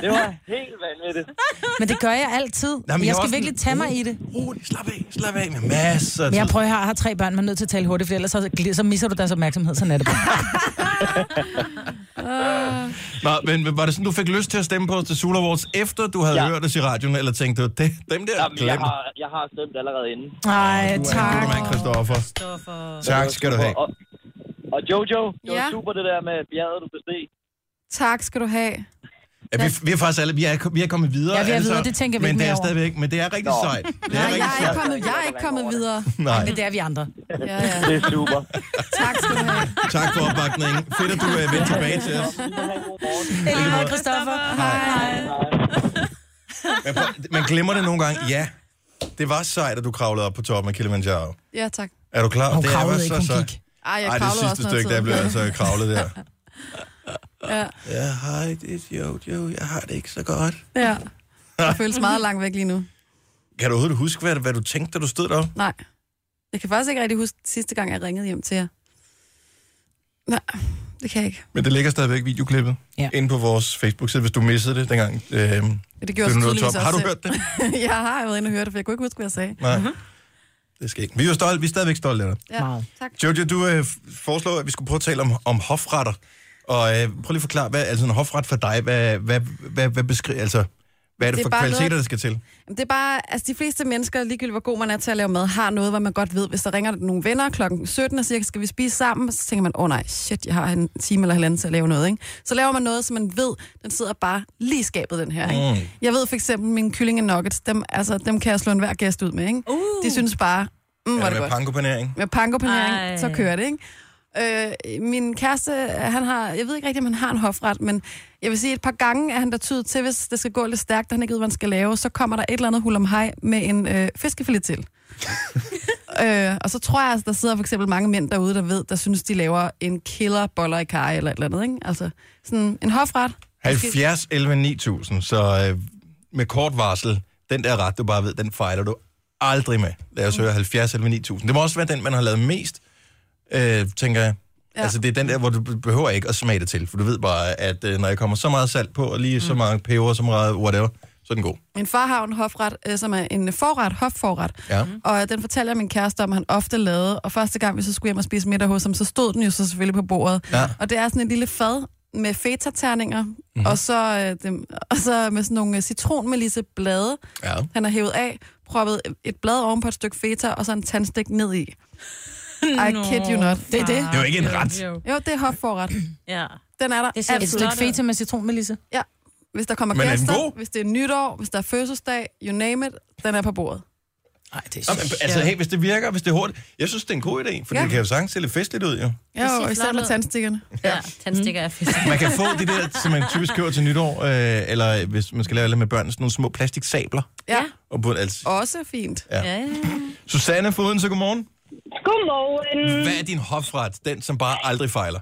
[SPEAKER 10] det var helt vanvittigt.
[SPEAKER 3] Men det gør jeg altid.
[SPEAKER 1] men jeg
[SPEAKER 3] jeg
[SPEAKER 1] er
[SPEAKER 3] skal
[SPEAKER 1] også
[SPEAKER 3] virkelig
[SPEAKER 1] sådan-
[SPEAKER 3] tage mig i det.
[SPEAKER 1] Rolig, slap af, slap af med masser af
[SPEAKER 3] Men jeg
[SPEAKER 1] tid.
[SPEAKER 3] prøver, jeg har- har tre børn, man er nødt til at tale hurtigt, for ellers så, så misser du deres opmærksomhed, sådan er det bare.
[SPEAKER 1] Nå, men var det sådan, du fik lyst til at stemme på os til Sula Awards, efter du havde ja.
[SPEAKER 10] Ja.
[SPEAKER 1] hørt os i radioen, eller tænkte du, det, dem der
[SPEAKER 10] Jamen, jeg,
[SPEAKER 1] glem.
[SPEAKER 10] har, jeg har stemt allerede inden.
[SPEAKER 3] Nej, tak.
[SPEAKER 1] Godt mand, Christoffer. Tak skal du have.
[SPEAKER 10] Og, og Jojo, det var
[SPEAKER 4] Ja.
[SPEAKER 10] super det der med bjerget, du besteg.
[SPEAKER 4] Tak skal du have.
[SPEAKER 1] Ja, vi, vi er faktisk alle, vi er, vi er kommet videre.
[SPEAKER 3] Ja, vi er
[SPEAKER 1] alle
[SPEAKER 3] videre,
[SPEAKER 1] sammen,
[SPEAKER 3] det tænker vi
[SPEAKER 1] men
[SPEAKER 3] ikke
[SPEAKER 1] det er
[SPEAKER 3] mere over.
[SPEAKER 1] stadigvæk, Men det er rigtig
[SPEAKER 10] Nå.
[SPEAKER 1] sejt. Det er
[SPEAKER 4] Nej,
[SPEAKER 1] rigtig
[SPEAKER 4] jeg er ikke
[SPEAKER 1] sejt.
[SPEAKER 4] kommet, jeg er ikke kommet videre.
[SPEAKER 1] Nej,
[SPEAKER 3] Men det er vi andre.
[SPEAKER 4] Ja, ja.
[SPEAKER 10] Det er super.
[SPEAKER 4] Tak skal du have.
[SPEAKER 1] tak for opbakningen. Fedt, at du er vendt tilbage til os.
[SPEAKER 3] Hej, Christoffer. Hej.
[SPEAKER 1] Men prøv- Man glemmer det nogle gange. Ja, det var sejt, at du kravlede op på toppen af Kilimanjaro.
[SPEAKER 4] Ja, tak.
[SPEAKER 1] Er du klar?
[SPEAKER 3] Hun
[SPEAKER 1] Det er
[SPEAKER 3] kravlede
[SPEAKER 1] også
[SPEAKER 3] ikke,
[SPEAKER 1] så
[SPEAKER 3] hun
[SPEAKER 1] sejt.
[SPEAKER 3] gik.
[SPEAKER 4] Ej, jeg
[SPEAKER 1] Ej, det
[SPEAKER 4] kravlede også
[SPEAKER 1] sidste
[SPEAKER 4] noget
[SPEAKER 1] stykke, der
[SPEAKER 4] tid.
[SPEAKER 1] blev altså kravlet der.
[SPEAKER 4] Ja.
[SPEAKER 1] Ja, hej, det er Jojo. Jeg har det ikke så godt.
[SPEAKER 4] Ja. Det føles meget langt væk lige nu.
[SPEAKER 1] Kan du overhovedet huske, hvad, hvad du tænkte, da du stod deroppe?
[SPEAKER 4] Nej. Jeg kan faktisk ikke rigtig huske sidste gang, jeg ringede hjem til jer. Nej, det kan jeg ikke.
[SPEAKER 1] Men det ligger stadigvæk videoklippet
[SPEAKER 3] Ja.
[SPEAKER 1] inde på vores Facebook-side, hvis du missede det dengang. Øh, det
[SPEAKER 4] Det
[SPEAKER 1] blev
[SPEAKER 4] gjorde jeg
[SPEAKER 1] noget
[SPEAKER 4] tydeligvis
[SPEAKER 1] top.
[SPEAKER 4] også.
[SPEAKER 1] Har du
[SPEAKER 4] selv. Mhm.
[SPEAKER 1] hørt det?
[SPEAKER 4] jeg har været inde og hørt det, for jeg kunne ikke huske, hvad jeg sagde.
[SPEAKER 1] Nej. Det skal ikke. Vi er jo stolte. Vi er stadigvæk stolte af dig.
[SPEAKER 4] Ja,
[SPEAKER 3] Meget.
[SPEAKER 4] tak.
[SPEAKER 1] Jojo, du øh, foreslår, at vi skulle prøve at tale om, om hofretter. Og øh, prøv lige at forklare, hvad altså en hofret for dig, hvad, hvad, hvad, hvad beskriver, altså, Hvad er det,
[SPEAKER 4] Det er
[SPEAKER 1] for
[SPEAKER 4] bare
[SPEAKER 1] kvaliteter,
[SPEAKER 4] noget- Mm,
[SPEAKER 1] der skal til?
[SPEAKER 4] Det er bare, altså de fleste mennesker, ligegyldigt hvor god man er til at lave mad, har noget, hvor man godt ved, hvis der ringer nogle venner klokken 17 og siger, skal vi spise sammen? Så tænker man, åh oh, nej, shit, jeg har en time eller halvanden til at lave noget, ikke? Så laver man noget, som man ved, den sidder bare lige i skabet, den her, ikke?
[SPEAKER 11] Mm.
[SPEAKER 4] Jeg ved for eksempel, mine kyllinge nuggets, dem, altså, dem kan jeg slå enhver gæst ud med, ikke? Uh. De synes bare, mm, hvor er
[SPEAKER 1] Eller
[SPEAKER 4] det
[SPEAKER 1] med
[SPEAKER 4] godt.
[SPEAKER 1] pankopanering?
[SPEAKER 4] Med pankopanering,
[SPEAKER 1] Ej.
[SPEAKER 4] så kører det, ikke? Øh, min kæreste, han har, jeg ved ikke rigtig, om han har en hofret, men jeg vil sige, et par gange er han der tydet til, hvis det skal gå lidt stærkt, og han ikke ved, hvad han skal lave, så kommer der et eller andet hul om hej med en øh, fiskefilet til. øh, og så tror jeg, altså, der sidder for eksempel mange mænd derude, der ved, der synes, de laver en killer boller i kaj eller et eller andet, ikke? Altså, sådan en hofret.
[SPEAKER 1] 70, 11, 9000. Så øh, med kort varsel, den der ret, du bare ved, den fejler du aldrig med. Lad os høre 70, 11, 9000. Det må også være den, man har lavet mest, øh, tænker jeg. Ja. Altså, det er den der, hvor du behøver ikke at smage det til, for du ved bare, at øh, når jeg kommer så meget salt på, og lige mm. så meget peber, så meget whatever, så er den god.
[SPEAKER 4] Min far har jo en hofret, øh, som er en forret, hofforret.
[SPEAKER 1] Ja.
[SPEAKER 4] Og den fortæller min kæreste om, at han ofte lavede. Og første gang, vi så skulle hjem og spise middag hos ham, så stod den jo så selvfølgelig på bordet.
[SPEAKER 1] Ja. Mhm.
[SPEAKER 4] Og det er sådan et lille fad med feta-terninger, mm-hmm. og, så, øh, dem, og så med sådan nogle øh, citronmelisseblade,
[SPEAKER 1] ja.
[SPEAKER 4] han har hævet af, proppet et blad oven på et stykke feta, og så en tandstik ned i. I
[SPEAKER 3] Nå,
[SPEAKER 4] kid you not. Det er det.
[SPEAKER 3] Det er jo ikke en ret.
[SPEAKER 4] Jo, det er hofforret.
[SPEAKER 2] ja.
[SPEAKER 4] Den er der
[SPEAKER 3] Det ser Et stykke feta med citronmelisse.
[SPEAKER 4] Ja. Hvis der kommer
[SPEAKER 1] Men er den
[SPEAKER 4] gæster,
[SPEAKER 1] god?
[SPEAKER 4] hvis det er nytår, hvis der er fødselsdag, you name it, den er på bordet.
[SPEAKER 3] Nej, det
[SPEAKER 1] Nå, men, altså, hey, hvis det virker, hvis det er hurtigt. Jeg synes, det er en god idé, for ja.
[SPEAKER 4] Ja.
[SPEAKER 1] det kan jo sagtens se lidt festligt ud, jo.
[SPEAKER 4] Ja, og især med tandstikkerne.
[SPEAKER 2] Ja, tandstikker er fedt.
[SPEAKER 1] Man kan få de der, som man typisk køber til nytår, øh, eller hvis man skal lave lidt med børn, sådan nogle små plastiksabler.
[SPEAKER 4] Ja.
[SPEAKER 1] Og på, altså,
[SPEAKER 4] Også fint.
[SPEAKER 1] Ja.
[SPEAKER 2] ja.
[SPEAKER 1] Susanne Foden, så godmorgen.
[SPEAKER 11] Godmorgen.
[SPEAKER 1] Hvad er din hofret? Den, som bare aldrig fejler.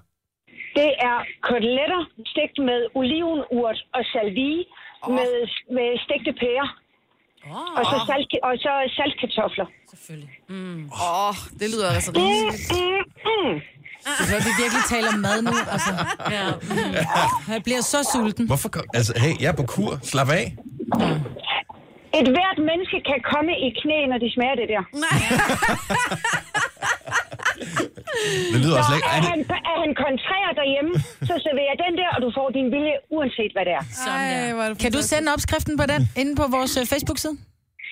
[SPEAKER 11] Det er koteletter stegt med olivenurt og salvie oh. med, med stegte pærer. Oh. Og, så salt, og så saltkartofler.
[SPEAKER 4] Åh, oh, det lyder altså
[SPEAKER 11] rimeligt. Mm, mm, mm.
[SPEAKER 3] Jeg tror, vi virkelig taler om mad nu. Altså. Jeg bliver så sulten.
[SPEAKER 1] Hvorfor? kom- Altså, hey, jeg er på kur. Slap af.
[SPEAKER 11] Et hvert menneske kan komme i knæ, når de smager det der.
[SPEAKER 4] Nej.
[SPEAKER 1] Det lyder også
[SPEAKER 11] Så
[SPEAKER 1] lækkert.
[SPEAKER 11] er
[SPEAKER 1] Er det,
[SPEAKER 11] han, er han kontrærer derhjemme, så serverer jeg den der, og du får din vilje, uanset hvad det er.
[SPEAKER 4] Ej, hvor er det
[SPEAKER 3] Kan du sende opskriften på den inde på vores øh, Facebook-side?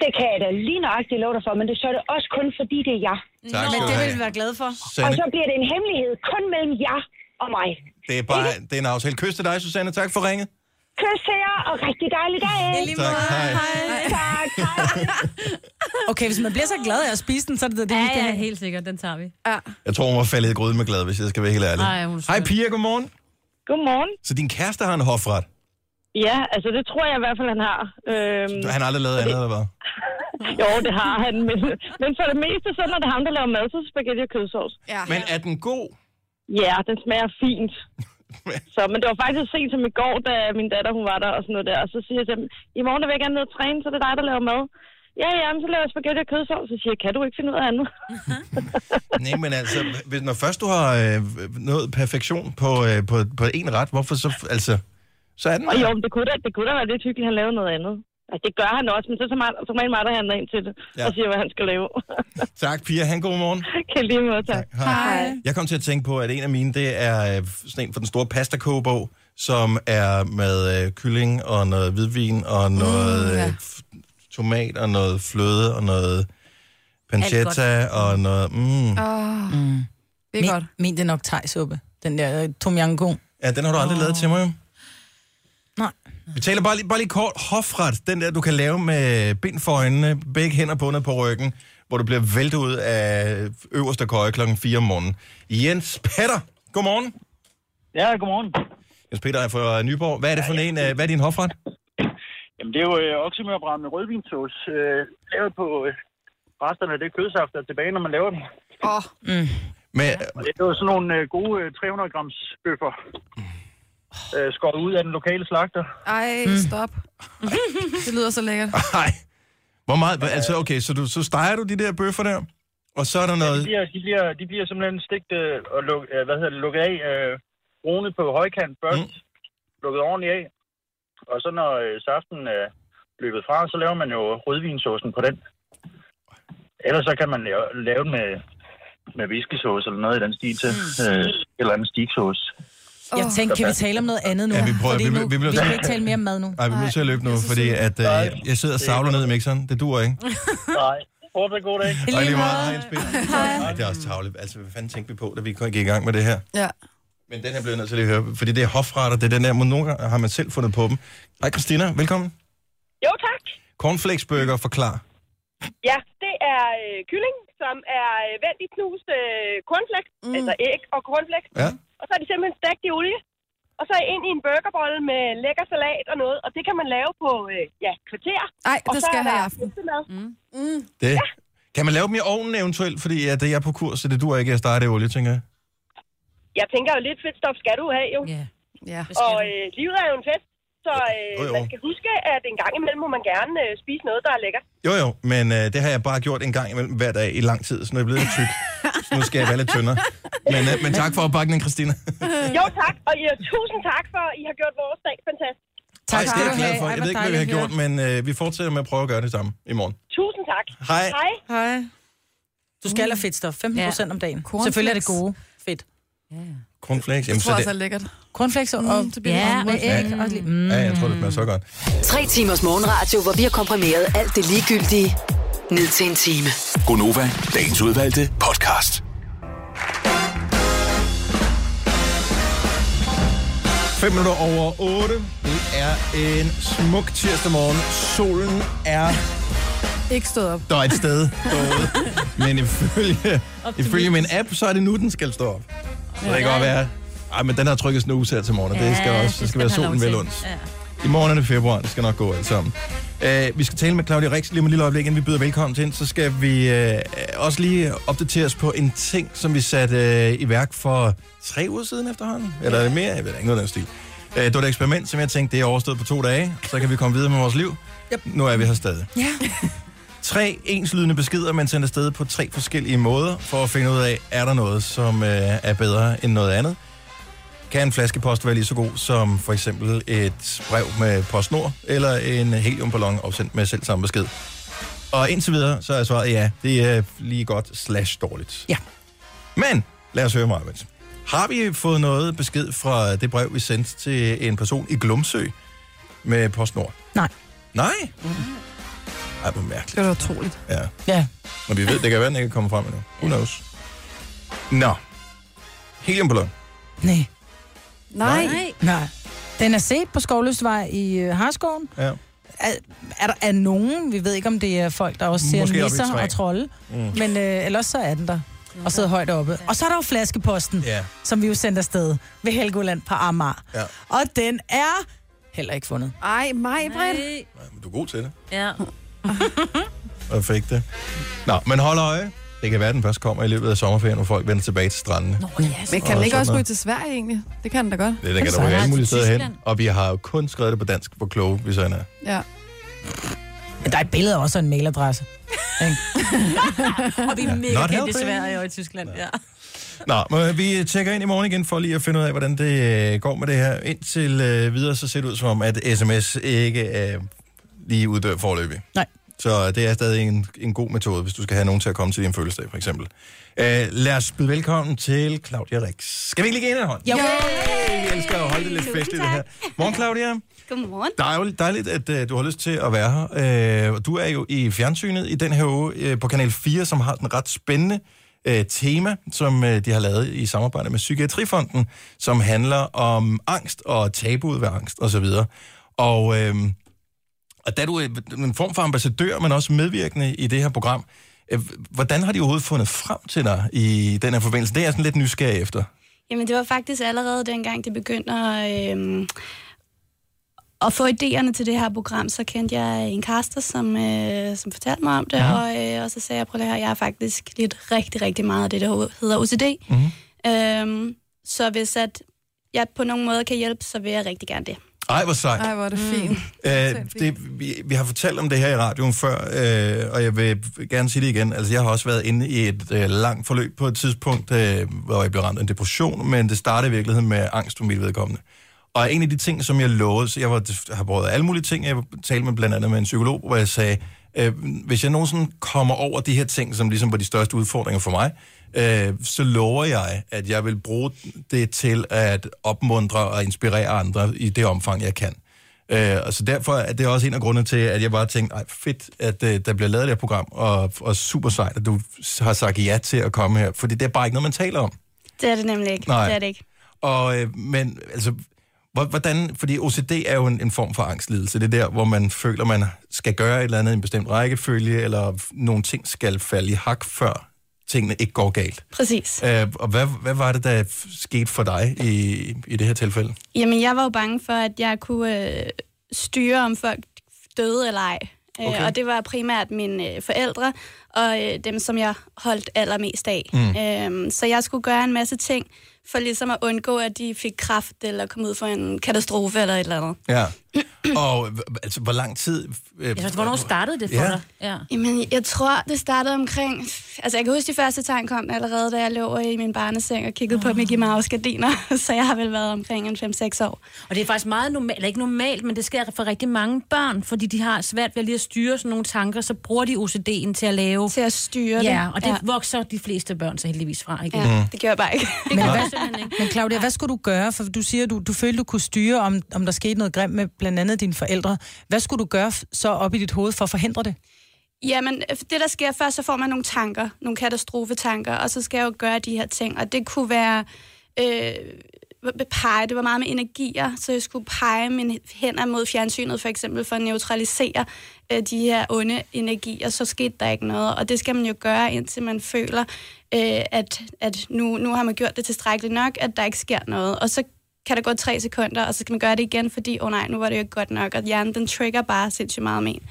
[SPEAKER 11] Det kan jeg da lige nøjagtigt love dig for, men det, så er det også kun fordi, det er jeg.
[SPEAKER 1] Tak Nå, skal
[SPEAKER 3] men
[SPEAKER 1] du
[SPEAKER 3] det
[SPEAKER 1] have.
[SPEAKER 3] vil vi være glade for.
[SPEAKER 11] Og
[SPEAKER 1] Susanne,
[SPEAKER 11] så bliver det en hemmelighed kun mellem jer og mig.
[SPEAKER 1] det er bare det er en aftale. Kys til dig, Susanne. Tak for ringet.
[SPEAKER 11] Kys til jer, og rigtig dejlig dag.
[SPEAKER 1] Tak. Hej.
[SPEAKER 11] Tak.
[SPEAKER 3] Okay, hvis man bliver så glad af at spise den, så er det det,
[SPEAKER 2] Ja,
[SPEAKER 3] vi skal
[SPEAKER 2] ja,
[SPEAKER 3] have.
[SPEAKER 2] helt sikkert. Den tager vi.
[SPEAKER 1] Jeg tror, hun var faldet i gryden med glad, hvis jeg skal være helt ærlig.
[SPEAKER 2] Ej, hun er
[SPEAKER 1] Hej,
[SPEAKER 2] sød.
[SPEAKER 1] Pia. Godmorgen.
[SPEAKER 12] Godmorgen.
[SPEAKER 1] Så din kæreste har en hofret.
[SPEAKER 12] Ja, altså det tror jeg i hvert fald, han har. Øhm,
[SPEAKER 1] Han har aldrig lavet andet, eller hvad?
[SPEAKER 12] jo, det har han, men, men for det meste, så når det er ham, der laver mad, så er det spaghetti og kødsovs.
[SPEAKER 4] Ja.
[SPEAKER 1] Men er den god?
[SPEAKER 12] Ja, den smager fint. Så, men det var faktisk så sent som i går, da min datter hun var der og sådan noget der. Og så siger jeg til ham, i morgen der vil jeg gerne ned og træne, så er det dig, der laver mad. Ja, ja, men så laver jeg spaghetti og kødsovs. Så siger jeg, kan du ikke finde ud af andet?
[SPEAKER 1] Nej, men altså, hvis, når først du har øh, nået perfektion på, øh, på, på en ret, hvorfor så, altså, så er den
[SPEAKER 12] Og jo, men det kunne da, det kunne da være lidt hyggeligt, at han lavede noget andet. Altså, det gør han også, men så er det så meget, så meget mig, der handler ind til det,
[SPEAKER 1] Ja.
[SPEAKER 12] ja. og siger, hvad han skal lave.
[SPEAKER 1] Tak, Pia. Han god morgen.
[SPEAKER 12] kan lige måde, tak.
[SPEAKER 1] Hej. Jeg kom til at tænke på, at en af mine, det er øh, sådan en fra den store pasta kogebog, som er med øh, kylling og noget hvidvin og noget mm, ja. tomat og noget fløde og noget pancetta
[SPEAKER 3] Alt
[SPEAKER 1] og noget... Mm.
[SPEAKER 4] Åh,
[SPEAKER 3] Mm.
[SPEAKER 4] det er
[SPEAKER 3] Min,
[SPEAKER 4] godt.
[SPEAKER 3] min det er nok thai-suppe. Den der øh, tom yang kung.
[SPEAKER 1] Ja, den har du aldrig oh. lavet til mig. jo.
[SPEAKER 3] Nej.
[SPEAKER 1] Vi taler bare lige, bare lige kort hofret, den der, du kan lave med bind for øjnene, begge hænder bundet på ryggen, hvor du bliver væltet ud af øverste køje klokken 4 om morgenen. Jens Petter, godmorgen.
[SPEAKER 13] Ja, godmorgen.
[SPEAKER 1] Jens Peter er fra Nyborg. Hvad er det for en, øh, hvad er din hofret?
[SPEAKER 13] Jamen, det er jo øh, oksemørbrænd med rødvinsauce, øh, lavet på øh, resterne af det kødsaft, der er tilbage, når man laver den.
[SPEAKER 4] Åh.
[SPEAKER 1] Mm. Men,
[SPEAKER 13] Og det er jo sådan nogle øh, gode øh, 300 grams bøffer, øh, skåret ud af den lokale slagter.
[SPEAKER 4] Ej, stop. det lyder så lækkert.
[SPEAKER 1] Nej. Hvor meget? hva- Altså, okay, så, du, så steger du de der bøffer der, og så er der
[SPEAKER 13] Ja, de,
[SPEAKER 1] noget...
[SPEAKER 13] bliver, de, bliver, de bliver simpelthen stegt øh, og luk, øh, hvad hedder det, lukket af, øh, brune på højkant først, mm. lukket ordentligt af. Og så når øh, saften er øh, løbet fra, så laver man jo rødvinsaucen på den. Ellers så kan man lave, lave den med, med viskesauce eller noget i den stil til. Mm. Øh, eller anden stiksauce.
[SPEAKER 3] Jeg tænkte, kan vi tale om noget andet nu?
[SPEAKER 1] Ja, vi prøver-
[SPEAKER 3] Fordi
[SPEAKER 1] vi-
[SPEAKER 3] nu,
[SPEAKER 1] vi- vi
[SPEAKER 3] vi,
[SPEAKER 1] bliver-
[SPEAKER 3] kan ikke tale mere om mad nu.
[SPEAKER 1] Nej, vi er nødt til at løbe nu, fordi at, øh, jeg sidder og savler ned i mixeren. Det duer ikke.
[SPEAKER 13] Nej. Fortsat god dag.
[SPEAKER 1] Og lige meget. Hej, Hans Peter. Ej, det er også tavligt. Altså, hvad fanden tænkte vi på, da vi gik i gang med det her?
[SPEAKER 4] Ja.
[SPEAKER 1] Men den her bliver jeg nødt til lige at høre, fordi det er hofretter, det er den der, men nogle gange har man selv fundet på dem. Hej Christina, velkommen.
[SPEAKER 14] Jo tak.
[SPEAKER 1] Cornflakesburger, forklar.
[SPEAKER 14] Ja, det er øh, kylling, som er øh, vendt i knust øh, cornflakes, mm. altså æg og cornflakes.
[SPEAKER 1] Ja.
[SPEAKER 14] Og så er de simpelthen stegt i olie. Og så ind i en burgerbolle med lækker salat og noget. Og det kan man lave på, øh, ja, kvarter.
[SPEAKER 4] Nej,
[SPEAKER 14] og
[SPEAKER 4] det
[SPEAKER 14] så
[SPEAKER 4] skal
[SPEAKER 14] er
[SPEAKER 4] jeg have i
[SPEAKER 14] der
[SPEAKER 4] aften.
[SPEAKER 14] Med. Mm. Mm.
[SPEAKER 1] Det. Ja. Kan man lave dem i ovnen eventuelt? Fordi at jeg er på kurs, så det dur ikke at starte i olie, tænker jeg.
[SPEAKER 14] Jeg tænker jo, lidt fedtstof skal du have, jo.
[SPEAKER 2] Yeah.
[SPEAKER 4] Ja.
[SPEAKER 14] Og øh, livet er jo en fest. Så øh,
[SPEAKER 1] Jo, jo.
[SPEAKER 14] man skal huske, at en gang imellem må man gerne øh, spise noget, der er lækkert.
[SPEAKER 1] Jo jo, men øh, det har jeg bare gjort en gang imellem hver dag i lang tid, så nu er jeg blevet lidt tyk. Så nu skal jeg være lidt tyndere. Men, øh, men tak for opbakningen, Christina.
[SPEAKER 4] Øh.
[SPEAKER 14] jo tak, og ja, tusind tak for, at I har gjort vores dag fantastisk.
[SPEAKER 1] Ej, det er jeg glad for. Jeg ved ikke, hvad vi har gjort, men øh, vi fortsætter med at prøve at gøre det samme i morgen.
[SPEAKER 14] Tusind tak.
[SPEAKER 1] Hej.
[SPEAKER 14] Hej.
[SPEAKER 3] Hej. Du skal have fedtstof. 15 procent om dagen. Selvfølgelig er det gode fedt.
[SPEAKER 1] Cornflakes. Jamen, så det,
[SPEAKER 4] lækkert.
[SPEAKER 3] Cornflakes og, og
[SPEAKER 4] ja,
[SPEAKER 3] ja, med æg. Og lige, mm.
[SPEAKER 1] ja, jeg tror, det smager så godt.
[SPEAKER 5] Tre timers morgenradio, hvor vi har komprimeret alt det ligegyldige ned til en time.
[SPEAKER 6] Gonova, dagens udvalgte podcast.
[SPEAKER 1] Fem minutter over 8. Det er en smuk tirsdag morgen. Solen er
[SPEAKER 4] Ikke stået op.
[SPEAKER 1] der er et sted stået. Men ifølge, ifølge min app, så er det nu, den skal stå op. Så det kan godt være... Ej, men den har trykket snus her til morgen, og det skal også det skal, være solen vel ondt.
[SPEAKER 2] Ja.
[SPEAKER 1] I morgen er det februar, det skal nok gå alt sammen. Uh, vi skal tale med Claudia Rix lige om et lille øjeblik, inden vi byder velkommen til hende. Så skal vi uh, også lige opdatere os på en ting, som vi satte uh, i værk for tre uger siden efterhånden. Eller er det mere? Jeg ved det ikke noget af den stil. Uh, det var et eksperiment, som jeg tænkte, det er overstået på to dage. Så kan vi komme videre med vores liv. Yep. Nu er vi her stadig.
[SPEAKER 3] Ja.
[SPEAKER 1] Tre enslydende beskeder, man sender afsted på tre forskellige måder, for at finde ud af, er der noget, som øh, er bedre end noget andet. Kan en flaskepost være lige så god som for eksempel et brev med postnord, eller en heliumballon opsendt med selv samme besked? Og indtil videre, så er svaret ja, det er lige godt slash dårligt.
[SPEAKER 3] Ja.
[SPEAKER 1] Men, lad os høre mig, Arbejds. Har vi fået noget besked fra det brev, vi sendte til en person i Glumsø med postnord?
[SPEAKER 3] Mm. Nej.
[SPEAKER 1] Nej? Ej, hvor mærkeligt.
[SPEAKER 4] Det var da utroligt.
[SPEAKER 1] Ja.
[SPEAKER 3] Ja.
[SPEAKER 1] Men vi ved, det kan være, den ikke kommer frem endnu. Who knows? Nå. Heliumballon.
[SPEAKER 3] Nej.
[SPEAKER 4] Nej.
[SPEAKER 3] Nej. Den er set på Skovløsvej i øh, Harskoven.
[SPEAKER 1] Ja.
[SPEAKER 3] Er, er der er nogen, vi ved ikke, om det er folk, der også ser
[SPEAKER 1] Måske oppe i et
[SPEAKER 3] nisser
[SPEAKER 1] træ.
[SPEAKER 3] og trolde,
[SPEAKER 1] Mm.
[SPEAKER 3] mm. men øh, ellers så er den der og sidder højt oppe. Og så er der jo flaskeposten,
[SPEAKER 1] Ja.
[SPEAKER 3] som vi jo sendte afsted ved Helgoland på Amager.
[SPEAKER 1] Ja.
[SPEAKER 3] Og den er heller ikke fundet.
[SPEAKER 4] Ej, mig, Britt.
[SPEAKER 1] Du er god til det.
[SPEAKER 2] Ja.
[SPEAKER 1] Og fik det. Nå, men hold øje. Det kan være, den først kommer i løbet af sommerferien, hvor folk vender tilbage til strandene. Nå,
[SPEAKER 4] Yes. Men kan den ikke også ryge til Sverige egentlig? Det kan den da godt.
[SPEAKER 1] Det der kan der ryge alle mulige steder hen. Og vi har jo kun skrevet det på dansk, hvor kloge vi så end er.
[SPEAKER 4] Ja.
[SPEAKER 3] Men der er et billede og også en mailadresse.
[SPEAKER 2] og vi er
[SPEAKER 1] Ja.
[SPEAKER 2] mega
[SPEAKER 1] Not
[SPEAKER 2] kendt i
[SPEAKER 1] helping.
[SPEAKER 2] Sverige og i Tyskland. Ja.
[SPEAKER 1] Nå, men vi tjekker ind i morgen igen for lige at finde ud af, hvordan det øh, går med det her. Indtil øh, videre, så ser det ud som om, at sms ikke øh, lige uddør forløbig.
[SPEAKER 3] Nej.
[SPEAKER 1] Så øh, det er stadig en, en god metode, hvis du skal have nogen til at komme til din fødselsdag, for eksempel. Øh, lad os byde velkommen til Claudia Rix. Skal vi ikke lige give hende en hånd?
[SPEAKER 15] Jo.
[SPEAKER 1] Yay! Jeg elsker at holde det lidt
[SPEAKER 15] Tusind
[SPEAKER 1] festligt, det
[SPEAKER 15] tak.
[SPEAKER 1] her. Morgen, Claudia.
[SPEAKER 15] Godmorgen.
[SPEAKER 1] Dejligt, dejligt at øh, du har lyst til at være her. Øh, og du er jo i fjernsynet i den her uge øh, på Kanal 4, som har den ret spændende øh, tema, som øh, de har lavet i samarbejde med Psykiatrifonden, som handler om angst og tabuet ved angst osv. Og, øh, og da du er en form for ambassadør, men også medvirkende i det her program, øh, hvordan har de overhovedet fundet frem til dig i den her forbindelse? Det er jeg sådan lidt nysgerrig efter.
[SPEAKER 15] Jamen, det var faktisk allerede dengang, det begyndte at, øhm, at få idéerne til det her program, så kendte jeg en caster, som, øh, som fortalte mig om det,
[SPEAKER 16] Ja.
[SPEAKER 15] ja. og, øh, og så sagde jeg, prøv lige her, jeg har faktisk lidt rigtig, rigtig meget af det, der ho- hedder OCD.
[SPEAKER 1] Mhm.
[SPEAKER 15] Øhm, så hvis at jeg på nogen måde kan hjælpe, så vil jeg rigtig gerne det.
[SPEAKER 1] Ej, hvor sejt.
[SPEAKER 4] Ej, hvor er det
[SPEAKER 15] Mm.
[SPEAKER 4] fint.
[SPEAKER 1] Øh, det, vi, vi har fortalt om det her i radioen før, øh, og jeg vil gerne sige det igen. Altså, jeg har også været inde i et øh, langt forløb på et tidspunkt, øh, hvor jeg blev ramt af en depression, men det startede i virkeligheden med angst for mit vedkommende. Og en af de ting, som jeg lovede, så jeg var, har prøvet alle mulige ting, jeg talte med blandt andet med en psykolog, hvor jeg sagde, Øh, hvis jeg nogensinde kommer over de her ting, som ligesom var de største udfordringer for mig, øh, så lover jeg, at jeg vil bruge det til at opmuntre og inspirere andre i det omfang, jeg kan. Øh, og så derfor er det også en af grundene til, at jeg bare tænkte, ej fedt, at øh, der bliver lavet det her program, og, og super sejt, at du har sagt ja til at komme her, fordi det er bare ikke noget, man taler om.
[SPEAKER 15] Det er det nemlig ikke.
[SPEAKER 1] Nej.
[SPEAKER 15] Det er det ikke.
[SPEAKER 1] Og, øh, men altså, hvor- hvordan, fordi OCD er jo en, en form for angstlidelse. Det er der, hvor man føler, man skal gøre et eller andet i en bestemt rækkefølge, eller f- nogle ting skal falde i hak, før tingene ikke går galt.
[SPEAKER 15] Præcis.
[SPEAKER 1] Øh, og hvad, hvad var det, der f- skete for dig i, i det her tilfælde?
[SPEAKER 15] Jamen, jeg var jo bange for, at jeg kunne øh, styre, om folk døde eller ej.
[SPEAKER 1] Okay.
[SPEAKER 15] Okay. Og det var primært mine øh, forældre, og øh, dem, som jeg holdt allermest af.
[SPEAKER 16] Mm.
[SPEAKER 15] Øhm, så jeg skulle gøre en masse ting, for ligesom at undgå, at de fik kraft, eller kom ud for en katastrofe, eller et eller andet.
[SPEAKER 1] Ja. Og h- altså, hvor lang tid... Øh,
[SPEAKER 15] startede
[SPEAKER 1] det for Ja. dig?
[SPEAKER 15] Ja. Jamen, jeg tror, det startede omkring... Altså, jeg kan huske, de første tegn kom allerede, da jeg lå i min barneseng og kiggede oh. på Mickey Mouse-gardiner. Så jeg har vel været omkring en 5-6 år.
[SPEAKER 2] Og det er faktisk meget normalt, eller ikke normalt, men det sker for rigtig mange børn, fordi de har svært ved lige at styre sådan nogle tanker, så bruger de OCD'en til at lave...
[SPEAKER 15] Til at styre
[SPEAKER 2] ja,
[SPEAKER 3] det.
[SPEAKER 2] og det
[SPEAKER 3] Ja.
[SPEAKER 2] ja. vokser de fleste børn så heldigvis fra igen.
[SPEAKER 3] Ja, Mm.
[SPEAKER 15] det gør jeg bare ikke.
[SPEAKER 3] Men, hvad, men Claudia, hvad skulle du gøre? For du siger, du, du følte, du kunne styre, om, om der skete noget grimt med blandt andet dine forældre. Hvad skulle du gøre f- så op i dit hoved for at forhindre det?
[SPEAKER 15] Jamen, det der sker først, så får man nogle tanker, nogle katastrofetanker, og så skal jeg jo gøre de her ting. Og det kunne være øh, pege, det var meget med energier, så jeg skulle pege mine hænder mod fjernsynet for eksempel, for at neutralisere øh, de her onde energier, så skete der ikke noget. Og det skal man jo gøre, indtil man føler, øh, at, at nu, nu har man gjort det tilstrækkeligt nok, at der ikke sker noget. Og så kan der gå tre sekunder, og så skal man gøre det igen, fordi, åh oh nej, nu var det jo ikke godt nok, og hjernen den trigger bare sindssygt meget med en.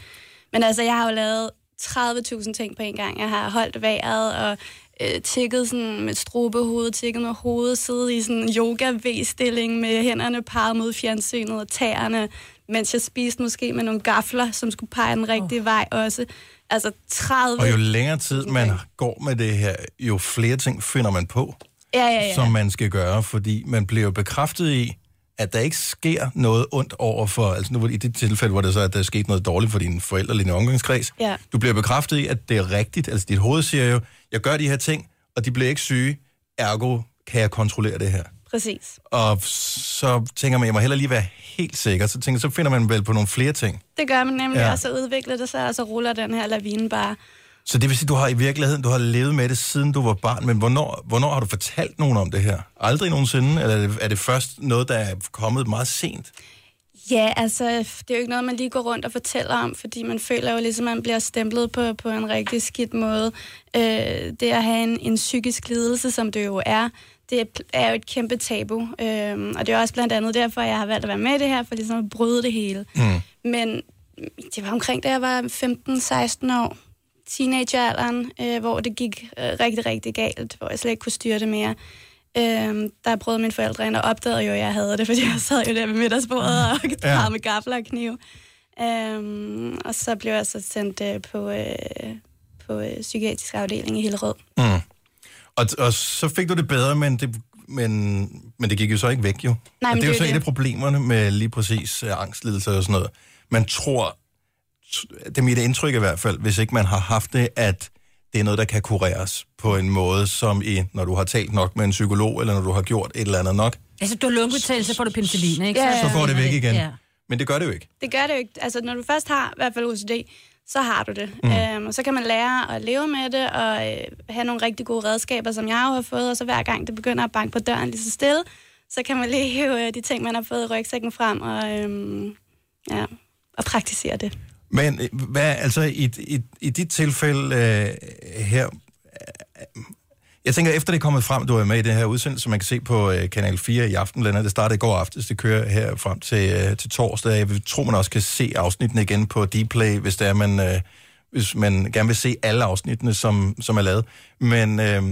[SPEAKER 15] Men altså, jeg har jo lavet 30.000 ting på en gang. Jeg har holdt vejret og øh, tikket sådan med strubehoved, tikket med hovedet, siddet i sådan en yoga V-stilling med hænderne parret mod fjernsynet og tæerne, mens jeg spiste måske med nogle gafler, som skulle pege den rigtige oh. vej også. Altså 30...
[SPEAKER 1] Og jo længere tid man går med det her, jo flere ting finder man på,
[SPEAKER 15] ja, ja, ja.
[SPEAKER 1] som man skal gøre, fordi man bliver jo bekræftet i, at der ikke sker noget ondt over for, altså nu var det i det tilfælde, hvor det så er, at der er sket noget dårligt for dine forældre eller din omgangskreds.
[SPEAKER 15] Ja.
[SPEAKER 1] Du bliver bekræftet i, at det er rigtigt. Altså dit hoved siger jo, jeg gør de her ting, og de bliver ikke syge, ergo kan jeg kontrollere det her.
[SPEAKER 15] Præcis.
[SPEAKER 1] Og så tænker man, jeg må hellere lige være helt sikker. Så, tænker, så finder man vel på nogle flere ting.
[SPEAKER 15] Det gør man nemlig,
[SPEAKER 1] Ja.
[SPEAKER 15] ja. og så udvikler det sig, og så ruller den her lavine bare.
[SPEAKER 1] Så det vil sige, du har i virkeligheden du har levet med det, siden du var barn, men hvornår, hvornår har du fortalt nogen om det her? Aldrig nogensinde, eller er det, er det først noget, der er kommet meget sent?
[SPEAKER 15] Ja, altså, det er jo ikke noget, man lige går rundt og fortæller om, fordi man føler jo ligesom, at man bliver stemplet på, på en rigtig skidt måde. Øh, det at have en, en psykisk lidelse, som det jo er, det er jo et kæmpe tabu. Øh, og det er også blandt andet derfor, jeg har valgt at være med i det her, for ligesom at bryde det hele.
[SPEAKER 1] Mm.
[SPEAKER 15] Men det var omkring, da jeg var 15-16 år, teenagealderen, øh, hvor det gik øh, rigtig, rigtig galt, hvor jeg slet ikke kunne styre det mere. Øhm, der prøvede mine forældre ind og opdagede jo, at jeg havde det, fordi jeg sad jo der ved middagsbordet og
[SPEAKER 16] Ja.
[SPEAKER 15] ja. med gafler og kniv. Øhm, og så blev jeg så sendt øh, på, øh, på øh, psykiatrisk afdeling i Hillerød.
[SPEAKER 1] Mm. Og, og så fik du det bedre, men det, men, men det gik jo så ikke væk, jo.
[SPEAKER 15] men
[SPEAKER 1] og det er jo
[SPEAKER 15] det
[SPEAKER 1] så
[SPEAKER 15] er
[SPEAKER 1] et
[SPEAKER 15] det.
[SPEAKER 1] af problemerne med lige præcis øh, angstlidelser og sådan noget. Man tror, det er mit indtryk i hvert fald, hvis ikke man har haft det, at det er noget, der kan kureres på en måde, som i, når du har talt nok med en psykolog, eller når du har gjort et eller andet nok,
[SPEAKER 2] Altså, du har lungebetændelse, så får du penicillin, ikke?
[SPEAKER 15] Ja,
[SPEAKER 1] så går det væk igen.
[SPEAKER 15] Ja.
[SPEAKER 1] Men det gør det jo ikke.
[SPEAKER 15] Det gør det jo ikke. Altså, når du først har i hvert fald OCD, så har du det.
[SPEAKER 1] Mm.
[SPEAKER 15] Mm. Øhm, og så kan man lære at leve med det, og øh, have nogle rigtig gode redskaber, som jeg jo har fået, og så hver gang det begynder at banke på døren lige så stille, så kan man lige hive øh, de ting, man har fået i rygsækken frem, og, øhm, ja, og praktisere det.
[SPEAKER 1] Men øh, hvad, altså, i, i, i dit tilfælde øh, her, øh, jeg tænker, efter det er kommet frem, du er med i den her udsendelse, som man kan se på øh, Kanal 4 i aften, blandt andet. det startede i går aftes, det kører her frem til, øh, til torsdag. Jeg vil tro, man også kan se afsnittene igen på Dplay, hvis det er, man, øh, hvis man gerne vil se alle afsnittene, som, som er lavet. Men øh,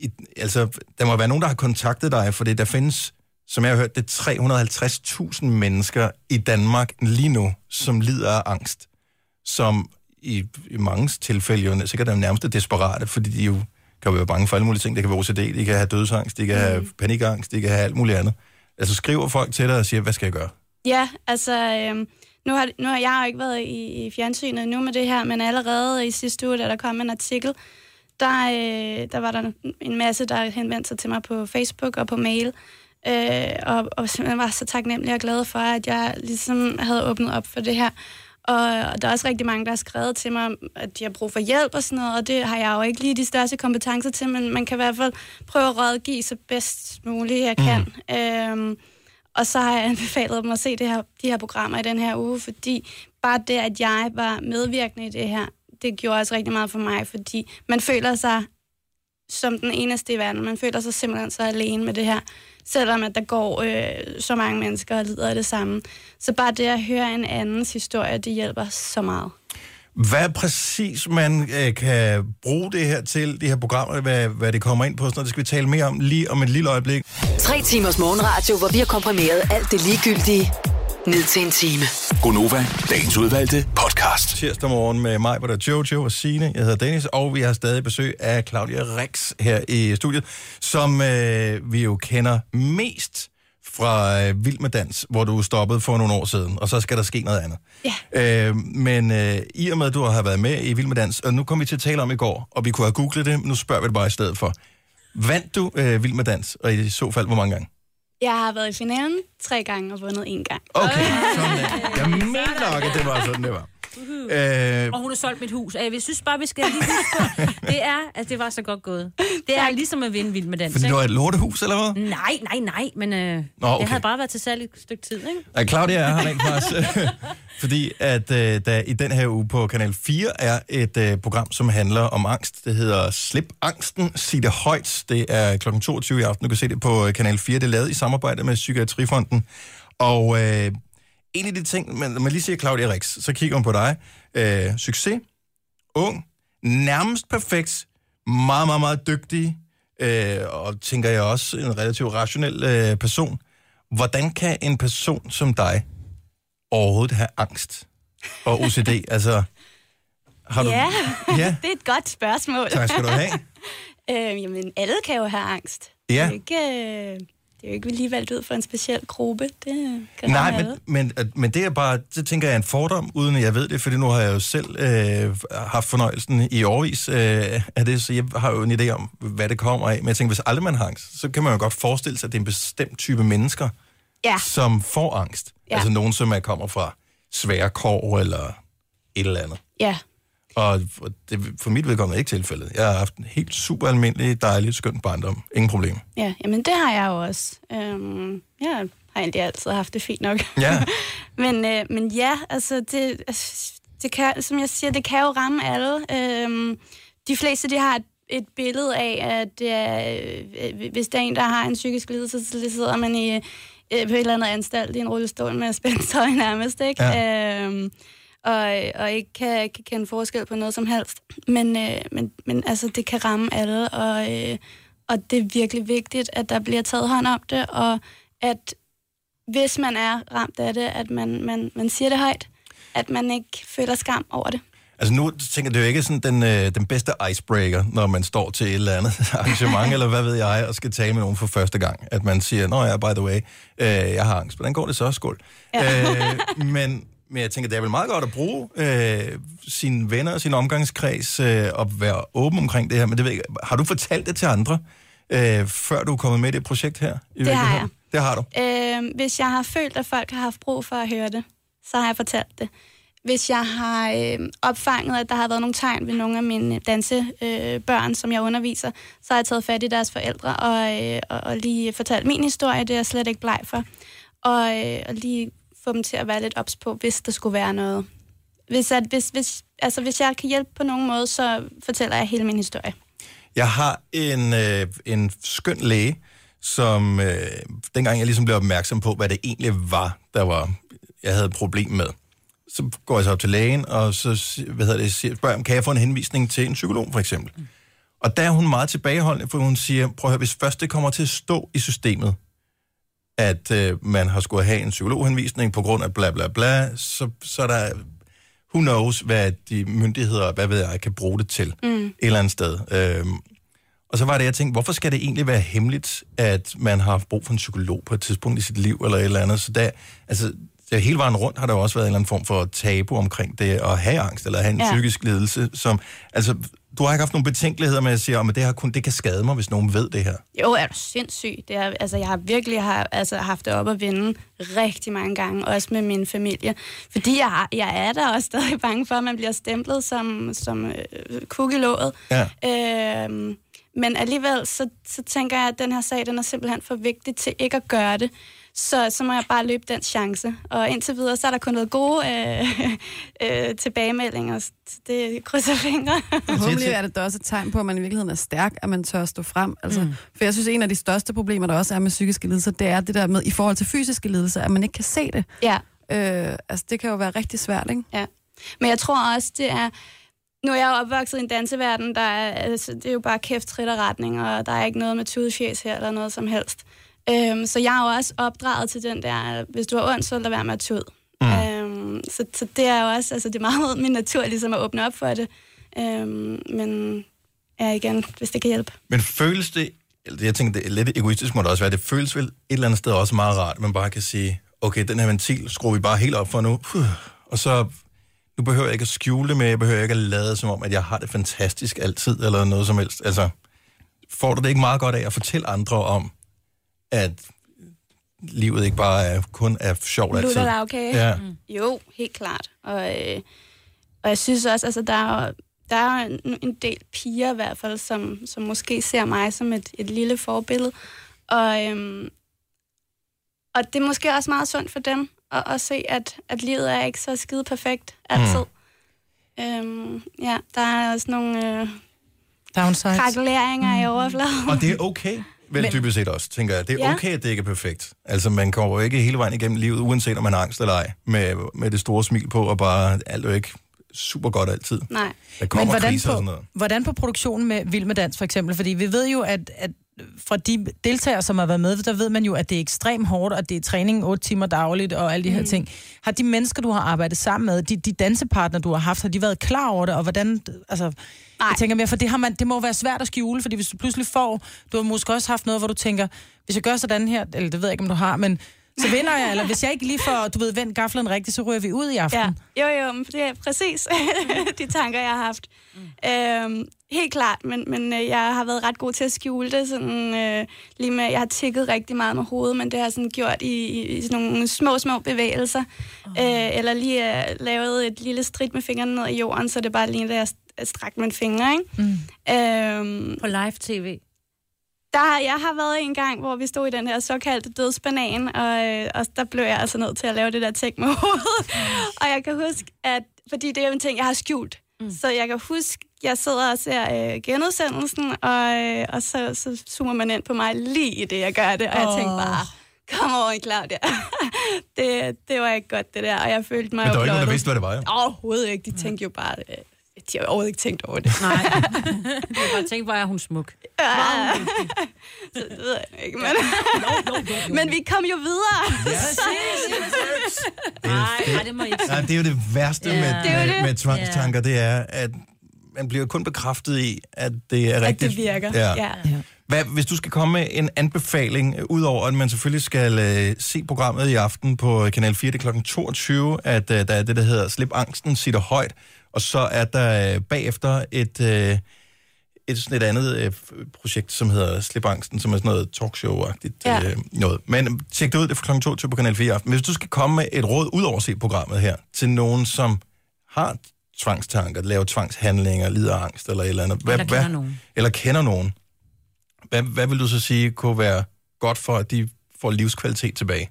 [SPEAKER 1] i, altså, der må være nogen, der har kontaktet dig, for der findes, som jeg har hørt, det er 350.000 mennesker i Danmark lige nu, som lider af angst, som i, i mange tilfælde jo sikkert er nærmest desperate, fordi de jo kan være bange for alle mulige ting. Det kan være OCD, de kan have dødsangst, de kan have panikangst, de kan have alt muligt andet. Altså skriver folk til dig og siger, hvad skal jeg gøre?
[SPEAKER 15] Ja, altså, øhm, Nu har, nu har jeg jo ikke været i, i fjernsynet nu med det her, men allerede i sidste uge, da der kom en artikel, der, øh, der var der en masse, der henvendte sig til mig på Facebook og på mail, øh, og, og simpelthen var så taknemmelig og glad for, at jeg ligesom havde åbnet op for det her. Og, og der er også rigtig mange, der har skrevet til mig, at de har brug for hjælp og sådan noget, og det har jeg jo ikke lige de største kompetencer til, men man kan i hvert fald prøve at rådgive så bedst muligt, jeg kan. Mm. Øhm, og så har jeg anbefalet dem at se det her, de her programmer i den her uge, fordi bare det, at jeg var medvirkende i det her, det gjorde også rigtig meget for mig, fordi man føler sig som den eneste i verden. Man føler sig simpelthen så alene med det her, selvom at der går øh, så mange mennesker og lider af det samme. Så bare det at høre en andens historie, det hjælper så meget.
[SPEAKER 1] Hvad præcis man øh, kan bruge det her til, det her program, hvad, hvad det kommer ind på, så det skal vi tale mere om lige om et lille øjeblik.
[SPEAKER 5] Tre timers morgenradio, hvor vi har komprimeret alt det ligegyldige ned til en time.
[SPEAKER 1] Gonova, dagens udvalgte podcast. Tirsdag morgen med mig, hvor der er Jojo og Signe. Jeg hedder Dennis, og vi har stadig besøg af Claudia Rex her i studiet, som øh, vi jo kender mest fra øh, Vild med Dans, hvor du stoppede for nogle år siden, og så skal der ske noget andet. Ja. Øh, men øh, i og med, at du har været med i Vild med Dans, og nu kom vi til at tale om i går, og vi kunne have googlet det, men nu spørger vi det bare i stedet for. Vandt du øh, Vild med Dans, og i så fald, hvor mange gange?
[SPEAKER 15] Jeg har været i finalen tre gange og vundet en gang.
[SPEAKER 1] Okay, sådan der. Jeg mener nok, at det var sådan, det var. Øh,
[SPEAKER 2] Og hun har solgt mit hus. Jeg synes bare, vi skal lige huske på, det er, at det var så godt gået. Det er ligesom at vinde vild med dans.
[SPEAKER 1] fordi det
[SPEAKER 2] ikke?
[SPEAKER 1] var et lortehus, eller hvad?
[SPEAKER 2] Nej, nej, nej, men øh,
[SPEAKER 1] Nå,
[SPEAKER 2] Nå,
[SPEAKER 1] okay.
[SPEAKER 2] okay. det havde bare været til salg et stykke tid, ikke?
[SPEAKER 1] Ja, Claudia er her rent faktisk, fordi at øh, der i den her uge på Kanal 4 er et øh, program, som handler om angst. Det hedder Slip Angsten, sig det højt. Det er kl. 22 i aften. Du kan se det på øh, Kanal 4. Det er lavet i samarbejde med Psykiatrifonden. Og øh, en af de ting, man, når man lige siger Claudia Rix, så kigger hun på dig. Øh, succes, ung, nærmest perfekt, meget, meget, meget dygtig, øh, og tænker jeg også en relativt rationel øh, person. Hvordan kan en person som dig overhovedet have angst og OCD? altså, har du...
[SPEAKER 15] Ja,
[SPEAKER 1] Ja.
[SPEAKER 15] ja, det er et godt spørgsmål.
[SPEAKER 1] Tak skal du have.
[SPEAKER 15] øh, jamen, alle kan jo have angst.
[SPEAKER 1] Ja.
[SPEAKER 15] Det er jo ikke, øh, det er jo ikke lige valgt ud for en speciel gruppe. Det øh, kan
[SPEAKER 1] Nej,
[SPEAKER 15] ramme alle.
[SPEAKER 1] men, men, at- men det er bare, det tænker jeg er en fordom, uden at jeg ved det, fordi nu har jeg jo selv øh, haft fornøjelsen i årvis øh, af det, så jeg har jo en idé om, hvad det kommer af. Men jeg tænker, hvis aldrig man har angst, så kan man jo godt forestille sig, at det er en bestemt type mennesker,
[SPEAKER 15] Ja.
[SPEAKER 1] som får angst.
[SPEAKER 15] Ja.
[SPEAKER 1] Altså nogen, som er kommer fra svære kår eller et eller andet.
[SPEAKER 15] Ja,
[SPEAKER 1] Og for- det, for mit vedkommende er ikke tilfældet. Jeg har haft en helt super almindelig, dejlig, skøn barndom. Ingen problem.
[SPEAKER 15] ja, jamen det har jeg jo også. Øhm, jeg har egentlig altid haft det fint nok.
[SPEAKER 1] Ja.
[SPEAKER 15] men, øh, men ja, altså det, det kan, som jeg siger, det kan jo ramme alle. Øhm, de fleste, de har et, et billede af, at øh, øh, hvis der er en, der har en psykisk lidelse, så sidder man i, øh, på et eller andet anstalt i en rullestol med spændtøj nærmest, ikke? Ja. Øhm, og, og ikke kan, kan kende forskel på noget som helst. Men, øh, men, men altså, det kan ramme alle, og, øh, og det er virkelig vigtigt, at der bliver taget hånd om det, og at hvis man er ramt af det, at man, man, man siger det højt, at man ikke føler skam over det.
[SPEAKER 1] Altså nu tænker jeg, det er jo ikke sådan den, øh, den bedste icebreaker, når man står til et eller andet arrangement, eller hvad ved jeg, og skal tale med nogen for første gang. At man siger, nå ja, by the way, øh, jeg har angst. Hvordan går det så, skål? Ja. Øh, men, men jeg tænker, det er vel meget godt at bruge øh, sine venner og sin omgangskreds øh, og være åben omkring det her. Men det ved jeg, ikke. har du fortalt det til andre, øh, før du er kommet med i det projekt her? I
[SPEAKER 15] Det har
[SPEAKER 1] virkeligheden?
[SPEAKER 15] jeg.
[SPEAKER 1] Det har du.
[SPEAKER 15] Øh, hvis jeg har følt, at folk har haft brug for at høre det, så har jeg fortalt det. Hvis jeg har øh, opfanget, at der har været nogle tegn ved nogle af mine dansebørn, øh, børn, som jeg underviser, så har jeg taget fat i deres forældre og, øh, og, og lige fortalt min historie, det er jeg slet ikke bleg for. Og, øh, og lige få dem til at være lidt ops på, hvis der skulle være noget. Hvis, at, hvis, hvis, altså, hvis jeg kan hjælpe på nogen måde, så fortæller jeg hele min historie.
[SPEAKER 1] Jeg har en, øh, en skøn læge, som øh, dengang jeg ligesom blev opmærksom på, hvad det egentlig var, der var, jeg havde et problem med. Så går jeg så op til lægen, og så si- hvad hedder det, siger- spørger jeg, kan jeg få en henvisning til en psykolog, for eksempel? Og der er hun meget tilbageholdende, for hun siger, prøv at høre, hvis først det kommer til at stå i systemet, at øh, man har skulle have en psykologhenvisning på grund af bla bla bla, så, så er der, who knows, hvad de myndigheder, hvad ved jeg, kan bruge det til
[SPEAKER 16] Mm.
[SPEAKER 1] et eller andet sted. Øhm, og så var det, jeg tænkte, hvorfor skal det egentlig være hemmeligt, at man har haft brug for en psykolog på et tidspunkt i sit liv, eller et eller andet? Så der, altså, Så hele vejen rundt har der jo også været en eller anden form for tabu omkring det at have angst eller have en ja.
[SPEAKER 16] Ja.
[SPEAKER 1] psykisk lidelse, som... Altså, du har ikke haft nogen betænkeligheder med at sige, at det, her kun, det kan skade mig, hvis nogen ved det her.
[SPEAKER 15] Jo, er du sindssyg. Det er, altså, jeg har virkelig har, altså, haft det op at vende rigtig mange gange, også med min familie. Fordi jeg, har- jeg er der også stadig bange for, at man bliver stemplet som, som øh, kuk i låget.
[SPEAKER 1] Ja.
[SPEAKER 15] Øhm, men alligevel, så, så tænker jeg, at den her sag, den er simpelthen for vigtig til ikke at gøre det. Så, så må jeg bare løbe den chance. Og indtil videre, så er der kun noget gode øh, øh, tilbagemeldinger. Så Det krydser fingre.
[SPEAKER 4] Forhåbentlig er det da også et tegn på, at man i virkeligheden er stærk, at man tør at stå frem. Altså, mm. For jeg synes, en af de største problemer, der også er med psykiske lidelser, det er det der med, i forhold til fysiske lidelser, at man ikke kan se det.
[SPEAKER 15] Ja.
[SPEAKER 4] Øh, altså, det kan jo være rigtig svært, ikke?
[SPEAKER 15] Ja. Men jeg tror også, det er... Nu er jeg jo opvokset i en danseverden, der er, altså, det er jo bare kæft, trit og retning, og der er ikke noget med tudefjes her eller noget som helst. Øhm, så jeg er jo også opdraget til den der, hvis du har ondt, så lad være med at tude. Mm. Øhm, så, så det er jo også, altså det er meget min natur ligesom at åbne op for det. Øhm, men ja, igen, hvis det kan hjælpe.
[SPEAKER 1] Men føles det, eller jeg tænker, det er lidt egoistisk må det også være, det føles vel et eller andet sted også meget rart, at man bare kan sige, okay, den her ventil skruer vi bare helt op for nu, Puh, og så, nu behøver jeg ikke at skjule det med, jeg behøver ikke at lade som om, at jeg har det fantastisk altid, eller noget som helst. Altså, får du det ikke meget godt af at fortælle andre om, at livet ikke bare er, kun er sjovt altid?
[SPEAKER 15] Lutter der okay?
[SPEAKER 1] Ja.
[SPEAKER 15] Jo, helt klart. Og, øh, og jeg synes også, altså, der er jo, der er jo en, en del piger i hvert fald, som, som måske ser mig som et, et lille forbillede. Og, øhm, og det er måske også meget sundt for dem at, at se, at, at livet er ikke så skide perfekt altid. Mm. Øhm, ja, der er også nogle øh,
[SPEAKER 3] Downsides.
[SPEAKER 15] krakuleringer mm. i overfladen.
[SPEAKER 1] Og det er okay, vel
[SPEAKER 15] Men-
[SPEAKER 1] Men... dybest set også, tænker jeg. Det er
[SPEAKER 15] Ja.
[SPEAKER 1] okay, at det ikke er perfekt. Altså, man kommer jo ikke hele vejen igennem livet, uanset om man har angst eller ej, med, med det store smil på, og bare alt er jo ikke super godt altid.
[SPEAKER 15] Nej.
[SPEAKER 1] Der kommer
[SPEAKER 3] hvordan
[SPEAKER 1] kriser
[SPEAKER 3] på,
[SPEAKER 1] og sådan noget.
[SPEAKER 3] hvordan på produktionen med Vild med Dans for eksempel? Fordi vi ved jo, at, at fra de deltagere, som har været med, der ved man jo, at det er ekstremt hårdt, og det er træning 8 timer dagligt og alle de her
[SPEAKER 15] Mm.
[SPEAKER 3] ting. Har de mennesker, du har arbejdet sammen med, de, de dansepartner, du har haft, har de været klar over det, og hvordan... Altså, Nej. Jeg tænker mere, for det, har man, det må være svært at skjule, fordi hvis du pludselig får... Du har måske også haft noget, hvor du tænker, hvis jeg gør sådan her, eller det ved jeg ikke, om du har, men så vinder jeg, eller hvis jeg ikke lige får, du ved, vendt gaflen rigtigt, så ryger vi ud i aften. Ja.
[SPEAKER 15] Jo, jo, men det er præcis de tanker, jeg har haft. Mm. Øhm, helt klart, men, men øh, jeg har været ret god til at skjule det. Sådan, øh, lige med, jeg har tikket rigtig meget med hovedet, men det har jeg sådan gjort i, i, i sådan nogle små, små bevægelser. Oh. Øh, eller lige øh, lavet et lille strid med fingrene ned i jorden, så det bare lige at jeg st- strakte mine fingre. Ikke? Mm. Øhm,
[SPEAKER 2] På live-tv?
[SPEAKER 15] Der, jeg har været en gang, hvor vi stod i den her såkaldte dødsbanan, og, øh, og der blev jeg altså nødt til at lave det der ting med hovedet. og jeg kan huske, at fordi det er jo en ting, jeg har skjult. Mm. Så jeg kan huske, jeg sidder og ser øh, genudsendelsen, og, øh, og så, så zoomer man ind på mig lige i det, jeg gør det. Og jeg tænkte
[SPEAKER 3] Åh.
[SPEAKER 15] bare, kom over i Claudia. det, det var ikke godt, det der. Og jeg følte mig
[SPEAKER 1] Men der var ikke nogen, der
[SPEAKER 15] blottet.
[SPEAKER 1] vidste, hvad det var, jo.
[SPEAKER 15] Overhovedet ikke. De tænkte jo bare, øh, de har overhovedet ikke tænkt over det.
[SPEAKER 2] Nej. Jeg kan bare tænke, hvor er hun smuk.
[SPEAKER 15] Ja. Så det ved jeg ikke, men... men vi kom jo videre.
[SPEAKER 2] Nej, nej, det må I ikke
[SPEAKER 1] Nej, det er jo det værste
[SPEAKER 2] Ja.
[SPEAKER 1] yeah. med,
[SPEAKER 2] Det er jo
[SPEAKER 1] med,
[SPEAKER 2] det.
[SPEAKER 1] med tvangstanker, det er, at man bliver kun bekræftet i, at det er rigtigt. Hvad, hvis du skal komme med en anbefaling, øh, udover at man selvfølgelig skal øh, se programmet i aften på øh, Kanal 4, det er kl. 22, at øh, der er det, der hedder Slip angsten, sig det højt, og så er der øh, bagefter et, øh, et, sådan et andet øh, f- projekt, som hedder Slip angsten, som er sådan noget talkshow-agtigt
[SPEAKER 15] Ja.
[SPEAKER 1] ja. øh, noget. Men øh, tjek det ud, det er fra kl. 22 på Kanal 4 i aften. Hvis du skal komme med et råd, udover at se programmet her, til nogen, som har tvangstanker, laver tvangshandlinger, lider af angst eller et eller andet. Hvad,
[SPEAKER 2] Eller kender
[SPEAKER 1] hvad-
[SPEAKER 2] nogen.
[SPEAKER 1] Eller kender nogen. Hvad, hvad vil du så sige kunne være godt for, at de får livskvalitet tilbage?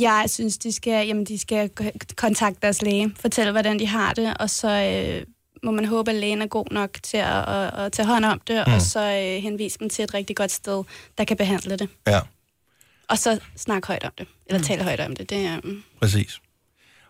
[SPEAKER 15] Jeg synes, de skal, jamen, de skal k- kontakte deres læge, fortælle, hvordan de har det, og så øh, må man håbe, at lægen er god nok til at, at, at tage hånd om det, mm.
[SPEAKER 1] Mm.
[SPEAKER 15] og så øh, henvise dem til et rigtig godt sted, der kan behandle det.
[SPEAKER 1] Ja.
[SPEAKER 15] Og så snakke højt om det, eller mm. tale højt om det. det er, mm.
[SPEAKER 1] Præcis.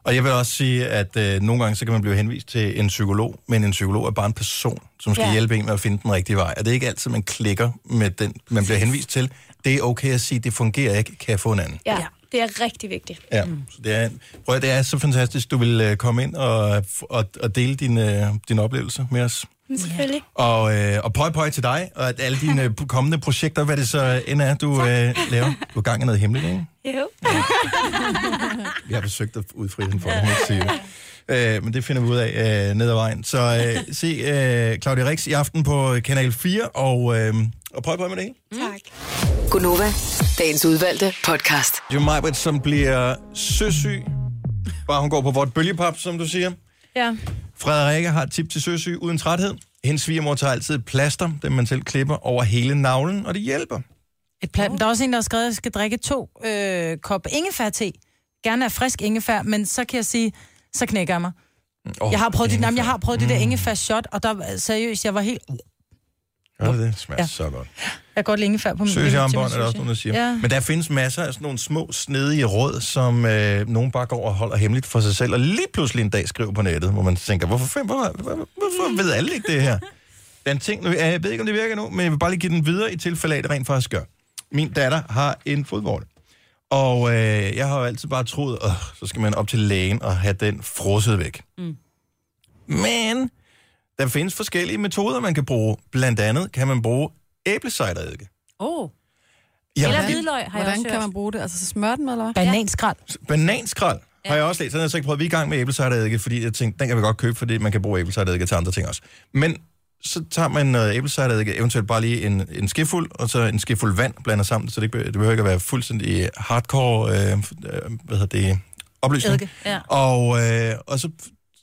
[SPEAKER 1] Og jeg vil også sige, at øh, nogle gange så kan man blive henvist til en psykolog, men en psykolog er bare en person, som skal
[SPEAKER 15] Ja.
[SPEAKER 1] ja. hjælpe en med at finde den rigtige vej. Og det er ikke altid, man klikker med den, man bliver henvist til. Det er okay at sige, det fungerer ikke, kan jeg få en anden?
[SPEAKER 15] ja, ja, det er rigtig vigtigt.
[SPEAKER 1] Ja, mm. så det er, prøv at, det er så fantastisk, du vil øh, komme ind og, og, og dele din, øh, din oplevelse med os.
[SPEAKER 15] men selvfølgelig.
[SPEAKER 1] Og, øh, og pøj pøj til dig, og at alle dine øh, kommende projekter, hvad det så end er, du øh, laver. Du er gang i noget hemmeligt, ikke?
[SPEAKER 15] Jo.
[SPEAKER 1] Jeg har forsøgt at udfri hende for, at hun ikke siger det. Øh, men det finder vi ud af øh, ned ad vejen. Så øh, se øh, Claudia Rix i aften på Kanal 4, og, øh, og prøv på med det hele.
[SPEAKER 5] Tak. Gunova, dagens udvalgte podcast.
[SPEAKER 1] Det er jo Majbrit, som bliver søsyg. Bare hun går på vort bølgepap, som du siger.
[SPEAKER 3] Ja.
[SPEAKER 1] Frederikke har et tip til søsyg uden træthed. Hendes svigermor tager altid et plaster, den man selv klipper, over hele navlen, og det hjælper.
[SPEAKER 3] Et plat. Der er også en, der har skrevet, at jeg skal drikke to øh, kop ingefær-te. Gerne af frisk ingefær, men så kan jeg sige, så knækker jeg mig.
[SPEAKER 1] Åh,
[SPEAKER 3] Oh, jeg har prøvet, det,
[SPEAKER 1] ingefær.
[SPEAKER 3] jamen, jeg har prøvet mm. det der ingefær-shot, og der seriøst, jeg var helt...
[SPEAKER 1] Gør det det? Smager ja. så godt.
[SPEAKER 3] Jeg kan godt lide ingefær på min
[SPEAKER 1] Søsjambånd
[SPEAKER 3] til
[SPEAKER 1] er
[SPEAKER 3] min
[SPEAKER 1] der
[SPEAKER 3] sushi.
[SPEAKER 1] også nogen, der siger.
[SPEAKER 3] Ja.
[SPEAKER 1] Ja. Men der findes masser af sådan nogle små, snedige råd, som øh, nogen bare går og holder hemmeligt for sig selv, og lige pludselig en dag skriver på nettet, hvor man tænker, hvorfor, fanden- hvor, hvor, hvorfor ved alle ikke det her? Den ting, nu, jeg ved ikke, om det virker nu, men jeg vil bare lige give den videre i tilfælde af, at det rent faktisk gør. Min datter har en fodbold. Og øh, jeg har jo altid bare troet, at så skal man op til lægen og have den frosset væk.
[SPEAKER 2] Mm.
[SPEAKER 1] Men der findes forskellige metoder, man kan bruge. Blandt andet kan man bruge æblecideredike.
[SPEAKER 2] Åh. Oh.
[SPEAKER 1] Ja,
[SPEAKER 2] Eller
[SPEAKER 1] fordi-
[SPEAKER 2] hvidløg, har jeg
[SPEAKER 4] Hvordan
[SPEAKER 2] også
[SPEAKER 4] kan
[SPEAKER 2] hørt.
[SPEAKER 4] man bruge det? Altså, så smør den, eller hvad?
[SPEAKER 3] Bananskrald.
[SPEAKER 1] Bananskrald har jeg også læst. Den har jeg så ikke prøvet. Vi er i gang med æblecideredike, fordi jeg tænkte, den kan vi godt købe, fordi man kan bruge æblecideredike til andre ting også. Men så tager man noget æblecideredike, eventuelt bare lige en, en skefuld, og så en skefuld vand blander sammen, så det, ikke, be- det behøver ikke at være fuldstændig hardcore, øh, øh, hvad hedder det, opløsning.
[SPEAKER 2] Eddike, ja.
[SPEAKER 1] Og, øh, og så,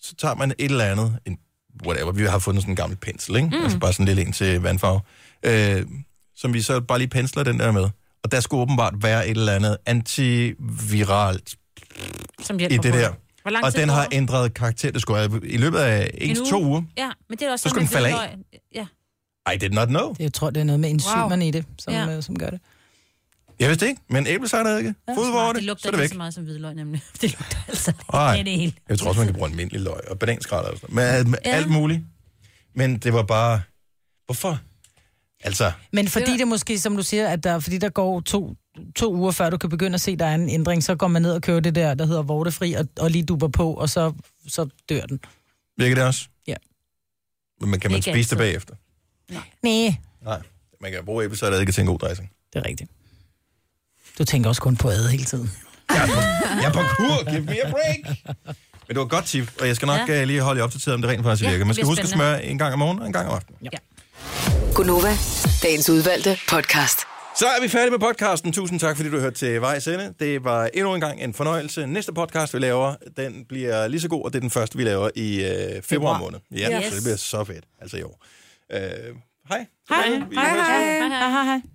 [SPEAKER 1] så tager man et eller andet, en, whatever, vi har fundet sådan en gammel pensel, ikke?
[SPEAKER 2] Mm.
[SPEAKER 1] Mm. Altså bare sådan en lille en til vandfarve, øh, som vi så bare lige pensler den der med. Og der skulle åbenbart være et eller andet antiviralt
[SPEAKER 2] Som
[SPEAKER 1] i
[SPEAKER 2] hjælper
[SPEAKER 1] det
[SPEAKER 2] på
[SPEAKER 1] der.
[SPEAKER 2] Hvor lang
[SPEAKER 1] Og
[SPEAKER 2] tid
[SPEAKER 1] den har
[SPEAKER 2] går der?
[SPEAKER 1] ændret karakter. Det skulle have i løbet af en, til to uger.
[SPEAKER 2] Ja, men det er også
[SPEAKER 1] Så
[SPEAKER 2] sådan
[SPEAKER 1] skulle
[SPEAKER 2] med
[SPEAKER 1] den falde af.
[SPEAKER 2] hvidløg. Ja.
[SPEAKER 1] I did not know.
[SPEAKER 3] Det, jeg tror, det er noget med enzymerne wow. i det, som,
[SPEAKER 2] Ja.
[SPEAKER 3] ja. øh, som gør det.
[SPEAKER 1] Jeg vidste ikke, men æblesejder ikke. Ja, Fodvore
[SPEAKER 2] det
[SPEAKER 1] det, så
[SPEAKER 2] lugter
[SPEAKER 1] er det
[SPEAKER 2] ikke
[SPEAKER 1] væk.
[SPEAKER 2] så meget som hvidløg, nemlig. Det lugter altså
[SPEAKER 1] Ej.
[SPEAKER 2] af det hele.
[SPEAKER 1] Jeg tror også, man kan bruge almindelig løg og bananskralder og sådan noget. Men, ja. alt muligt. Men det var bare... Hvorfor? Altså,
[SPEAKER 3] Men fordi det, er måske, som du siger, at der, fordi der går to, to uger før du kan begynde at se, der er en ændring, så går man ned og kører det der, der hedder vortefri, og, og lige duber på, og så, så dør den.
[SPEAKER 1] virker det også?
[SPEAKER 3] Ja.
[SPEAKER 1] Men kan man
[SPEAKER 3] Ikke
[SPEAKER 1] spise det
[SPEAKER 3] altid.
[SPEAKER 1] bagefter?
[SPEAKER 3] Nej,
[SPEAKER 1] Nej. Man kan bruge æblesejder ikke til en god dressing.
[SPEAKER 3] det er rigtigt. Du tænker også kun på ad hele tiden.
[SPEAKER 1] Jeg er på kur. Give me a break. Men det var et godt tip, og jeg skal nok
[SPEAKER 5] Ja.
[SPEAKER 1] ja. lige holde jer opdateret, om det rent faktisk
[SPEAKER 5] Ja,
[SPEAKER 1] virker. Man
[SPEAKER 5] det
[SPEAKER 1] skal
[SPEAKER 5] bliver
[SPEAKER 1] huske at
[SPEAKER 5] spændende.
[SPEAKER 1] smøre en gang om morgenen og en gang om aftenen.
[SPEAKER 3] Ja.
[SPEAKER 5] Gunova, dagens udvalgte podcast.
[SPEAKER 1] Så er vi færdige med podcasten. Tusind tak, fordi du hørte til vejs ende. Det var endnu en gang en fornøjelse. Næste podcast, vi laver, den bliver lige så god, og det er den første, vi laver i øh, februar måned. Ja, yes.
[SPEAKER 2] Yes.
[SPEAKER 1] så det bliver så fedt, altså i år. Øh, hej.
[SPEAKER 3] Hej, hej, hej. hej, hej.